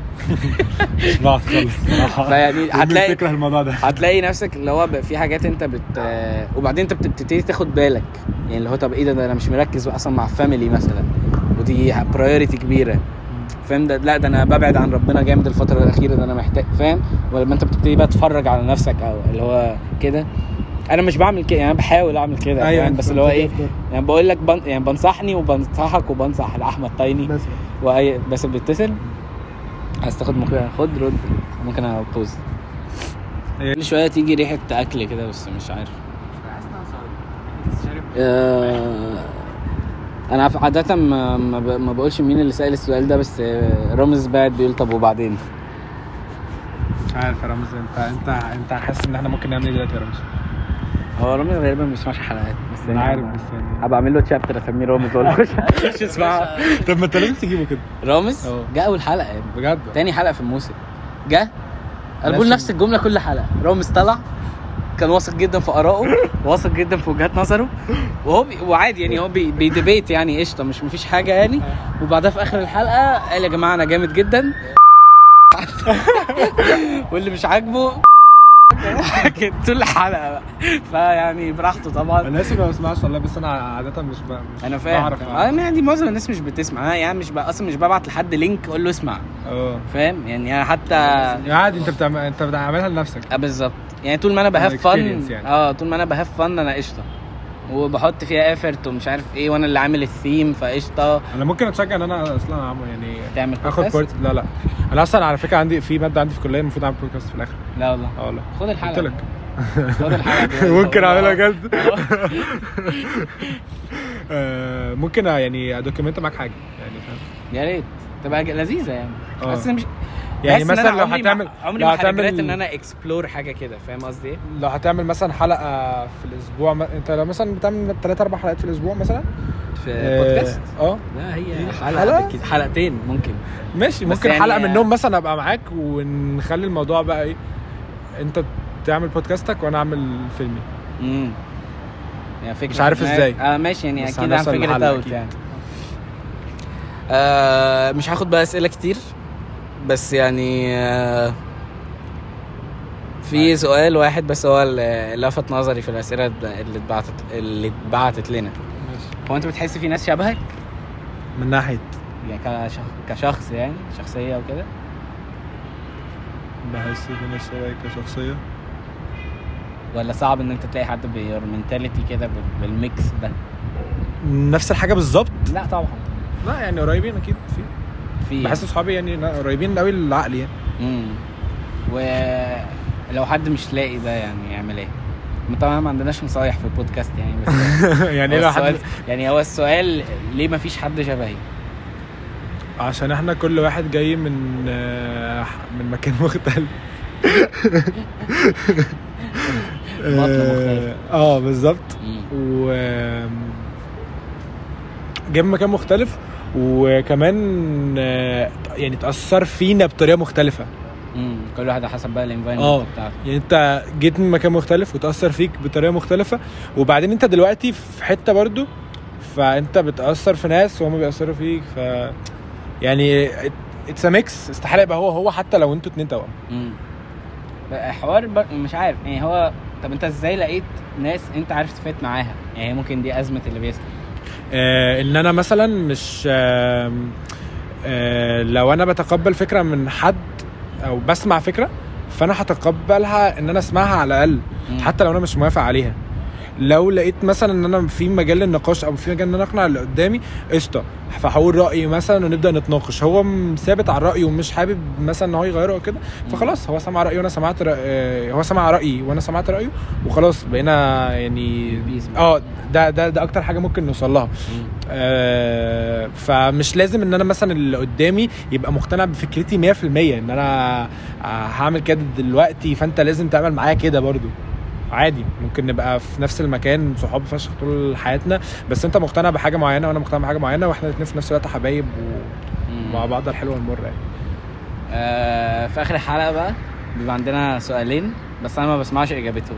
[SPEAKER 3] مش بعض
[SPEAKER 2] [laughs]
[SPEAKER 3] خالص صراحه [laughs]
[SPEAKER 2] فيعني هتلاقي
[SPEAKER 3] بتكره الموضوع ده
[SPEAKER 2] هتلاقي نفسك اللي هو بقى في حاجات انت بت آه، وبعدين انت بت- بتبتدي تاخد بالك يعني اللي هو طب ايه ده, ده انا مش مركز بقى اصلا مع الفاميلي مثلا ودي برايورتي كبيره فاهم ده لا ده انا ببعد عن ربنا جامد الفتره الاخيره ده انا محتاج فاهم ولما انت بتبتدي بقى تتفرج على نفسك او اللي هو كده انا مش بعمل كده يعني انا بحاول اعمل كده
[SPEAKER 3] ايوه،
[SPEAKER 2] يعني
[SPEAKER 3] انت
[SPEAKER 2] بس اللي هو ايه
[SPEAKER 3] بتبتدي
[SPEAKER 2] يعني بقول لك بن يعني بنصحني وبنصحك وبنصح احمد تايني
[SPEAKER 3] بس
[SPEAKER 2] واي بس بيتصل عايز تاخد ممكن خد رد ممكن ابوز
[SPEAKER 3] إيه؟
[SPEAKER 2] كل شويه تيجي ريحه اكل كده بس مش عارف
[SPEAKER 8] حاسس ان انا صايم بس شارب
[SPEAKER 2] آه، انا عف- عاده ما ما ب- ما بقولش مين اللي سال السؤال ده بس آه، رامز بعد بيقول طب وبعدين
[SPEAKER 3] مش عارف يا رامز انت انت انت حاسس ان احنا ممكن نعمل ايه دلوقتي يا رامز؟
[SPEAKER 2] هو رامز غالبا ما بيسمعش حلقات بس
[SPEAKER 3] انا
[SPEAKER 2] يعني
[SPEAKER 3] عارف
[SPEAKER 2] هبقى-
[SPEAKER 3] بس يعني
[SPEAKER 2] هبقى اعمل له تشابتر اسميه رامز [laughs] ولا مش اسمعها
[SPEAKER 3] طب ما انت لازم تجيبه كده
[SPEAKER 2] رامز
[SPEAKER 3] اه.
[SPEAKER 2] جه اول حلقه يا ابني.
[SPEAKER 3] بجد
[SPEAKER 2] تاني حلقه في الموسم جه انا بقول
[SPEAKER 3] لازم.
[SPEAKER 2] نفس الجمله كل حلقه رامز طلع كان واثق جدا في ارائه [laughs] واثق جدا في وجهات نظره وهو بي... وعادي يعني هو بي... بيدبيت يعني قشطه مش مفيش حاجه يعني وبعدها في اخر الحلقه قال يا جماعه انا جامد جدا [laughs] واللي مش عاجبه [laughs] كانت طول الحلقه بقى فيعني براحته طبعا
[SPEAKER 3] انا اسف ما بسمعش والله بس انا عاده مش ب... مش
[SPEAKER 2] انا فاهم
[SPEAKER 3] بعرف
[SPEAKER 2] انا يعني معظم الناس مش بتسمع انا يعني مش ب... اصلا مش ببعت لحد لينك اقول له اسمع
[SPEAKER 3] اه
[SPEAKER 2] فاهم يعني انا حتى
[SPEAKER 3] عادي انت بتعمل انت بتعملها لنفسك
[SPEAKER 2] اه بالظبط آه، يعني طول ما انا بهاف
[SPEAKER 3] experience
[SPEAKER 2] فن
[SPEAKER 3] يعني.
[SPEAKER 2] اه طول ما انا بهاف فن انا قشطه وبحط فيها ايفرت ومش عارف ايه وانا اللي عامل الثيم فقشطه
[SPEAKER 3] انا ممكن اتشجع ان انا اصلا اعمل يعني
[SPEAKER 2] تعمل
[SPEAKER 3] اخد
[SPEAKER 2] بودكاست
[SPEAKER 3] بورت لا لا انا اصلا على فكره عندي في ماده عندي في الكليه المفروض اعمل بودكاست في الاخر
[SPEAKER 2] لا والله
[SPEAKER 3] اه والله
[SPEAKER 2] خد
[SPEAKER 3] قلت
[SPEAKER 2] الحلقه
[SPEAKER 3] لك
[SPEAKER 2] خد الحلقه دي.
[SPEAKER 3] [laughs] ممكن اعملها
[SPEAKER 2] والله.
[SPEAKER 3] جد آه، ممكن يعني ادوكيمنت معاك حاجه يعني فاهم
[SPEAKER 2] [laughs] يا ريت تبقى ج- لذيذه يعني
[SPEAKER 3] آه.
[SPEAKER 2] بس مش
[SPEAKER 3] يعني
[SPEAKER 2] بحس إن
[SPEAKER 3] مثلا
[SPEAKER 2] أنا
[SPEAKER 3] لو
[SPEAKER 2] عمري ما-
[SPEAKER 3] هتعمل
[SPEAKER 2] عمري
[SPEAKER 3] لو
[SPEAKER 2] ما هتعمل
[SPEAKER 3] هتعمل
[SPEAKER 2] ان انا اكسبلور حاجه كده فاهم قصدي ايه؟
[SPEAKER 3] لو هتعمل مثلا حلقه في الاسبوع ما... انت لو مثلا بتعمل ثلاث اربع حلقات في الاسبوع مثلا
[SPEAKER 2] في
[SPEAKER 3] آه،
[SPEAKER 2] بودكاست
[SPEAKER 3] اه
[SPEAKER 2] لا هي
[SPEAKER 3] إيه؟
[SPEAKER 2] حلقه
[SPEAKER 3] حلقة؟
[SPEAKER 2] بالكتير- حلقتين ممكن
[SPEAKER 3] ماشي
[SPEAKER 2] بس
[SPEAKER 3] ممكن
[SPEAKER 2] يعني-
[SPEAKER 3] حلقه منهم مثلا ابقى معاك ونخلي الموضوع بقى ايه انت تعمل بودكاستك وانا اعمل فيلمي
[SPEAKER 2] امم يعني فكره
[SPEAKER 3] مش عارف
[SPEAKER 2] في دماغي-
[SPEAKER 3] ازاي.
[SPEAKER 2] اه ماشي يعني
[SPEAKER 3] بس
[SPEAKER 2] اكيد عن
[SPEAKER 3] هنوصل
[SPEAKER 2] فكره
[SPEAKER 3] للحل
[SPEAKER 2] اوت
[SPEAKER 3] أكيد.
[SPEAKER 2] يعني آه مش هاخد بقى اسئله كتير بس يعني آه
[SPEAKER 3] طيب.
[SPEAKER 2] في سؤال واحد بس هو اللي لفت نظري في الاسئله اللي اتبعتت اللي اتبعتت لنا هو انت بتحس في ناس شبهك
[SPEAKER 3] من ناحيه
[SPEAKER 2] يعني كشخ- كشخص يعني شخصيه وكده
[SPEAKER 3] بحس ان الشباب كشخصيه
[SPEAKER 2] ولا صعب ان انت تلاقي حد بيورمنتاليتي كده بال- بالميكس ده
[SPEAKER 3] نفس الحاجه بالظبط
[SPEAKER 2] لا طبعا
[SPEAKER 3] لا يعني قريبين اكيد في
[SPEAKER 2] في
[SPEAKER 3] بحس اصحابي يعني لا، قريبين قوي للعقل يعني
[SPEAKER 2] امم ولو حد مش لاقي ده يعني يعمل ايه؟ طبعا ما عندناش نصايح في البودكاست يعني بس
[SPEAKER 3] [laughs] [laughs] يعني
[SPEAKER 2] هو
[SPEAKER 3] لو
[SPEAKER 2] السؤال
[SPEAKER 3] حد
[SPEAKER 2] يعني هو السؤال ليه ما فيش حد شبهي؟
[SPEAKER 3] عشان احنا كل واحد جاي من آه، من مكان [laughs] مختلف
[SPEAKER 2] مختلف.
[SPEAKER 3] اه بالظبط
[SPEAKER 2] مم.
[SPEAKER 3] و جاي من مكان مختلف وكمان آه، يعني اتأثر فينا بطريقة مختلفة
[SPEAKER 2] امم كل واحد على حسب بقى الانفايرمنت
[SPEAKER 3] آه.
[SPEAKER 2] بتاعته
[SPEAKER 3] يعني انت جيت من مكان مختلف وتأثر فيك بطريقة مختلفة وبعدين انت دلوقتي في حتة برضو فانت بتأثر في ناس وهم بيأثروا فيك ف يعني اتس ميكس استحالة يبقى هو هو حتى لو انتوا اتنين توأم
[SPEAKER 2] امم حوار بر... مش عارف يعني هو طب انت ازاي لقيت ناس انت عارف تفيت معاها؟ يعني هي ممكن دي ازمه اللي بيسال
[SPEAKER 3] آه، ان انا مثلا مش آه، آه، لو انا بتقبل فكره من حد او بسمع فكره فانا هتقبلها ان انا اسمعها على الاقل
[SPEAKER 2] مم.
[SPEAKER 3] حتى لو انا مش موافق عليها لو لقيت مثلا ان انا في مجال للنقاش او في مجال ان انا اقنع اللي قدامي قشطه فهقول رايي مثلا ونبدا نتناقش هو م- ثابت على رايه ومش حابب مثلا ان هو يغيره او كده فخلاص هو سمع رايي وانا سمعت رأي آه، هو سمع رايي وانا سمعت رايه وخلاص بقينا يعني
[SPEAKER 2] Peace بقى.
[SPEAKER 3] اه ده ده ده اكتر حاجه ممكن نوصل لها آه، فمش لازم ان انا مثلا اللي قدامي يبقى مقتنع بفكرتي 100% ان انا آه، هعمل كده دلوقتي فانت لازم تعمل معايا كده برضو عادي ممكن نبقى في نفس المكان صحاب فشخ طول حياتنا بس انت مقتنع بحاجه معينه وانا مقتنع بحاجه معينه واحنا الاثنين في نفس الوقت حبايب
[SPEAKER 2] مم.
[SPEAKER 3] ومع بعض الحلوه المره يعني
[SPEAKER 2] آه، في اخر الحلقه بقى بيبقى عندنا سؤالين بس انا ما بسمعش اجابتهم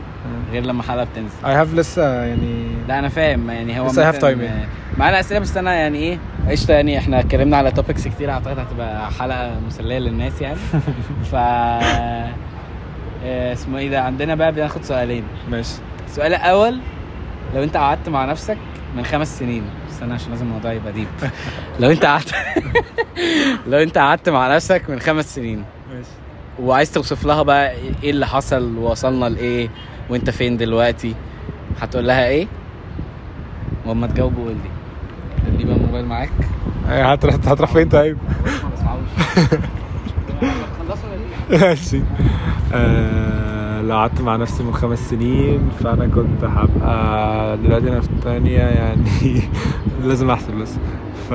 [SPEAKER 2] غير لما الحلقه بتنزل
[SPEAKER 3] اي هاف لسه يعني
[SPEAKER 2] لا انا فاهم يعني هو
[SPEAKER 3] بس I have
[SPEAKER 2] مثلاً-
[SPEAKER 3] time يعني.
[SPEAKER 2] معانا اسئله بس انا يعني ايه قشطه يعني احنا اتكلمنا على توبكس كتير اعتقد هتبقى حلقه مسليه للناس
[SPEAKER 3] [laughs]
[SPEAKER 2] يعني ف آه، اسمه ايه ده عندنا بقى بناخد سؤالين
[SPEAKER 3] ماشي
[SPEAKER 2] السؤال الاول لو انت قعدت مع نفسك من خمس سنين استنى عشان لازم الموضوع يبقى ديب
[SPEAKER 3] [laughs]
[SPEAKER 2] لو انت قعدت [laughs] لو انت قعدت مع نفسك من خمس سنين
[SPEAKER 3] ماشي
[SPEAKER 2] وعايز توصف لها بقى ايه اللي حصل ووصلنا لايه وانت فين دلوقتي هتقول لها ايه واما تجاوب قول لي خلي بقى الموبايل معاك
[SPEAKER 3] إيه، هتروح هتروح فين طيب
[SPEAKER 2] ما بسمعوش خلصوا ولا ايه؟
[SPEAKER 3] ماشي آه، لو قعدت مع نفسي من خمس سنين فانا كنت هبقى دلوقتي انا في الثانيه يعني [laughs] لازم احسب بس ف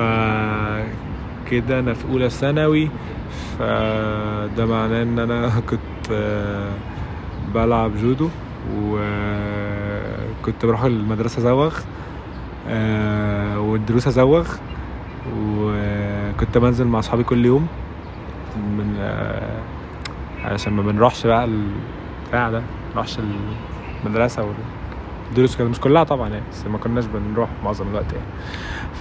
[SPEAKER 3] كده انا في اولى ثانوي فده معناه ان انا [laughs] كنت آه، بلعب جودو وكنت بروح المدرسه ازوغ آه، والدروس ازوغ وكنت بنزل مع اصحابي كل يوم من آه، علشان ما بنروحش بقى البتاع ده ما بنروحش المدرسه والدروس كده مش كلها طبعا يعني بس ما كناش بنروح معظم الوقت يعني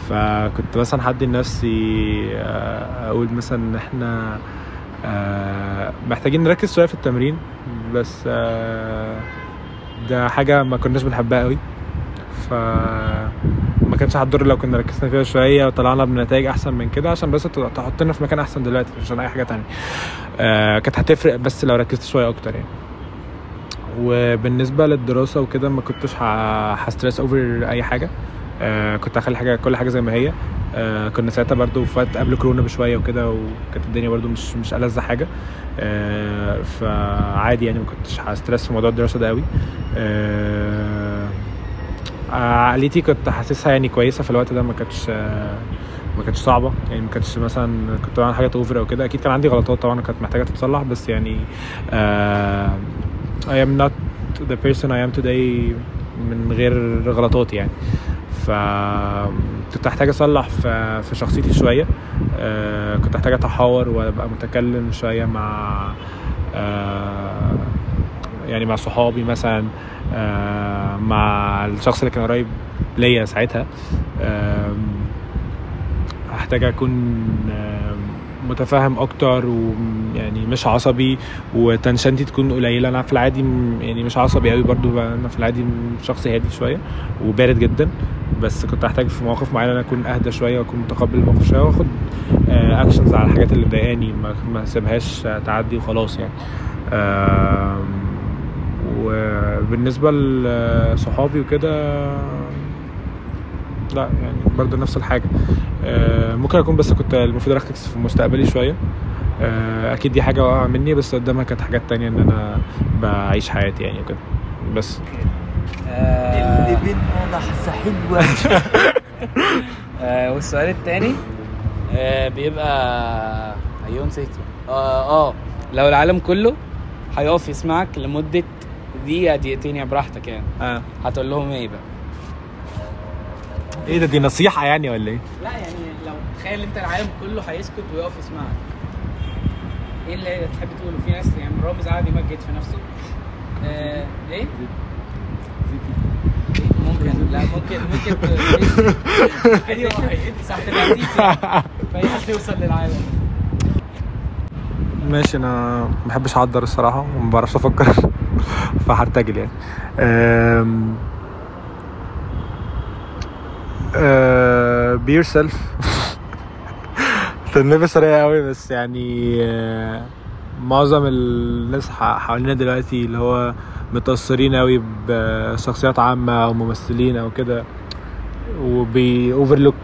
[SPEAKER 3] فكنت مثلا حدي لنفسي آه، اقول مثلا ان احنا آه، محتاجين نركز شويه في التمرين بس آه، ده حاجه ما كناش بنحبها قوي ف ما كانش هتضر لو كنا ركزنا فيها شويه وطلعنا بنتائج احسن من كده عشان بس تط- تحطنا في مكان احسن دلوقتي مش عشان اي حاجه تانية آه، كانت هتفرق بس لو ركزت شويه اكتر يعني وبالنسبه للدراسه وكده ما كنتش ه- هستريس اوفر اي حاجه آه كنت هخلي حاجه كل حاجه زي ما هي آه كنا ساعتها برضو في وقت قبل كورونا بشويه وكده وكانت الدنيا برضو مش مش ألذ حاجه آه فعادي يعني ما كنتش هستريس في موضوع الدراسه ده قوي آه عقليتي كنت حاسسها يعني كويسه في الوقت ده ما كانتش آه، ما كانتش صعبه يعني ما كانتش مثلا كنت بعمل حاجه اوفر او كده اكيد كان عندي غلطات طبعا كانت محتاجه تتصلح بس يعني آه I am not the person I am today من غير غلطات يعني ف كنت احتاج اصلح في في شخصيتي شويه آه كنت احتاج اتحاور وابقى متكلم شويه مع آه يعني مع صحابي مثلا آه مع الشخص اللي كان قريب ليا ساعتها آم، هحتاج اكون آم، متفهم اكتر ويعني يعني مش عصبي وتنشنتي تكون قليله انا في العادي م- يعني مش عصبي قوي برضو بقى- انا في العادي م- شخص هادي شويه وبارد جدا بس كنت هحتاج في مواقف معينه انا اكون اهدى شويه واكون متقبل الموقف شويه واخد اكشنز على الحاجات اللي مضايقاني ما ما اسيبهاش تعدي وخلاص يعني آم، وبالنسبه لصحابي آه، وكده لا يعني برضو نفس الحاجه آه، ممكن اكون بس كنت المفروض اركز في مستقبلي شويه آه، اكيد دي حاجه واقعه مني بس قدامها كانت حاجات تانية ان انا بعيش حياتي يعني وكده بس
[SPEAKER 4] اللي بينا لحظه حلوه آه، والسؤال التاني آه، بيبقى
[SPEAKER 2] ايون سيتو اه اه لو العالم كله هيقف يسمعك لمده دقيقه دقيقتين يا براحتك يعني
[SPEAKER 3] آه.
[SPEAKER 2] هتقول لهم ايه بقى
[SPEAKER 3] ايه ده دي نصيحه يعني ولا ايه
[SPEAKER 2] لا يعني لو تخيل انت العالم كله هيسكت ويقف يسمعك ايه اللي تحب تقوله في ناس يعني رامز قاعد يمجد في نفسه آه ايه ممكن لا ممكن ممكن ت- ايوه هيدي ساعه النتيجه فاي حد يوصل للعالم
[SPEAKER 3] ماشي انا ما بحبش اعدر الصراحه وما بعرفش افكر [laughs] فهرتجل يعني أم... أه... بي يور [laughs] سيلف تنلبس سريع قوي بس يعني آه، معظم الناس ح- حوالينا دلوقتي اللي هو متأثرين قوي بشخصيات عامة أو ممثلين أو كده وبي اوفرلوك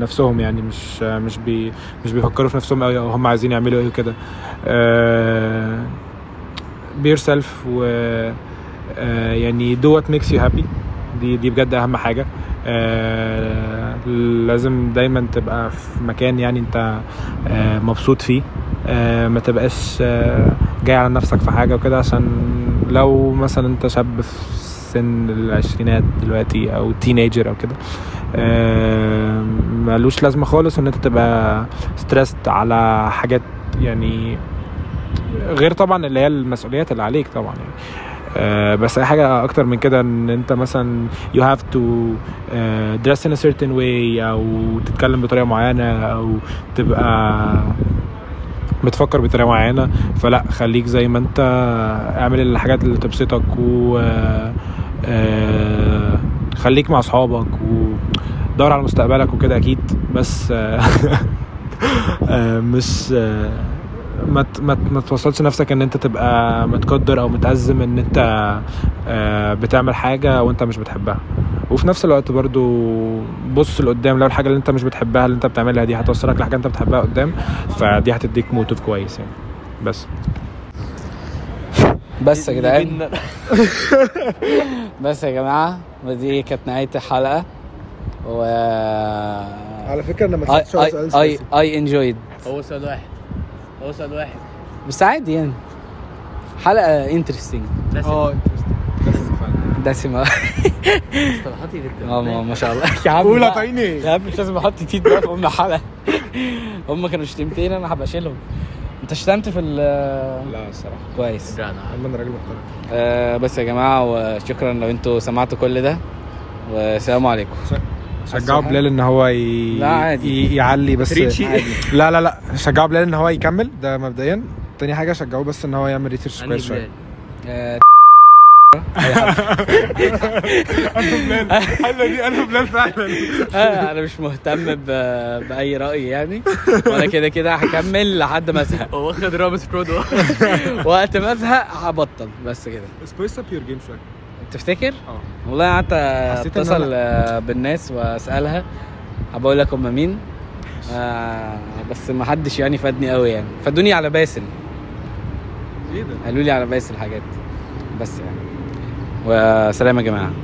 [SPEAKER 3] نفسهم يعني مش آه، مش بي مش بيفكروا في نفسهم قوي او هم عايزين يعملوا آه، ايه وكده بيور سيلف و آه، يعني دو وات ميكس يو هابي دي دي بجد اهم حاجه آه، لازم دايما تبقى في مكان يعني انت آه، مبسوط فيه آه، ما تبقاش آه، جاي على نفسك في حاجه وكده عشان لو مثلا انت شاب في سن العشرينات دلوقتي او تينيجر او كده آه، ملوش لازمه خالص ان انت تبقى ستريسد على حاجات يعني غير طبعا اللي هي المسؤوليات اللي عليك طبعا يعني آه، بس اي حاجه اكتر من كده ان انت مثلا you have to آه، dress in a certain way او تتكلم بطريقه معينه او تبقى بتفكر بطريقه معينه فلا خليك زي ما انت اعمل الحاجات اللي تبسطك و آه، خليك مع اصحابك ودور على مستقبلك وكده اكيد بس آه، [laughs] آه، مش آه، ما ت- ما ت- ما توصلش نفسك ان انت تبقى متقدر او متأزم ان انت آه، بتعمل حاجه وانت مش بتحبها وفي نفس الوقت برضو بص لقدام لو الحاجه اللي انت مش بتحبها اللي انت بتعملها دي هتوصلك لحاجه انت بتحبها قدام فدي هتديك موتيف كويس يعني بس
[SPEAKER 2] بس يا جدعان بس يا جماعه ودي كانت نهايه الحلقه و
[SPEAKER 5] على فكره انا ما
[SPEAKER 2] اي
[SPEAKER 5] سالتش ولا سؤال
[SPEAKER 2] اي
[SPEAKER 5] سياسي.
[SPEAKER 2] اي انجويد
[SPEAKER 4] هو سؤال واحد هو سؤال واحد
[SPEAKER 2] بس عادي يعني حلقه انترستنج
[SPEAKER 4] بس
[SPEAKER 2] اه. دسمه
[SPEAKER 4] مصطلحاتي جدا
[SPEAKER 2] اه ما ما شاء الله يا عم
[SPEAKER 5] قول يا
[SPEAKER 2] بقى.
[SPEAKER 5] طيني.
[SPEAKER 2] يا عم مش لازم احط تيت بقى في ام الحلقه هم كانوا شتمتين انا هبقى اشيلهم انت شتمت في ال
[SPEAKER 3] لا الصراحه
[SPEAKER 2] كويس
[SPEAKER 5] عم انا راجل محترم
[SPEAKER 2] آه بس يا جماعه وشكرا لو انتوا سمعتوا كل ده والسلام عليكم
[SPEAKER 3] شجعوا بلال ان هو ي...
[SPEAKER 2] لا عادي.
[SPEAKER 3] ي... يعلي بس
[SPEAKER 2] ريتشي. عادي.
[SPEAKER 3] [laughs] لا لا لا شجعوا بلال ان هو يكمل ده مبدئيا تاني حاجه شجعوه بس ان هو يعمل ريسيرش
[SPEAKER 4] عندي
[SPEAKER 3] كويس شويه
[SPEAKER 4] بلاد
[SPEAKER 2] آه
[SPEAKER 3] حلوه دي انا بلال فعلا
[SPEAKER 2] [laughs] آه، انا مش مهتم ب... باي راي يعني وانا كده كده هكمل لحد ما ازهق
[SPEAKER 4] واخد رابط برودو
[SPEAKER 2] وقت ما ازهق هبطل بس كده
[SPEAKER 3] سبيس اب يور جيم شويه
[SPEAKER 2] تفتكر
[SPEAKER 3] اه
[SPEAKER 2] والله قعدت
[SPEAKER 3] حسيت إن
[SPEAKER 2] اتصل آه، بالناس واسالها هبقول لك هم مين آه بس ما حدش يعني فادني قوي يعني فادوني على باسل
[SPEAKER 3] ايه ده
[SPEAKER 2] قالوا لي على باسل حاجات بس يعني وسلام يا جماعه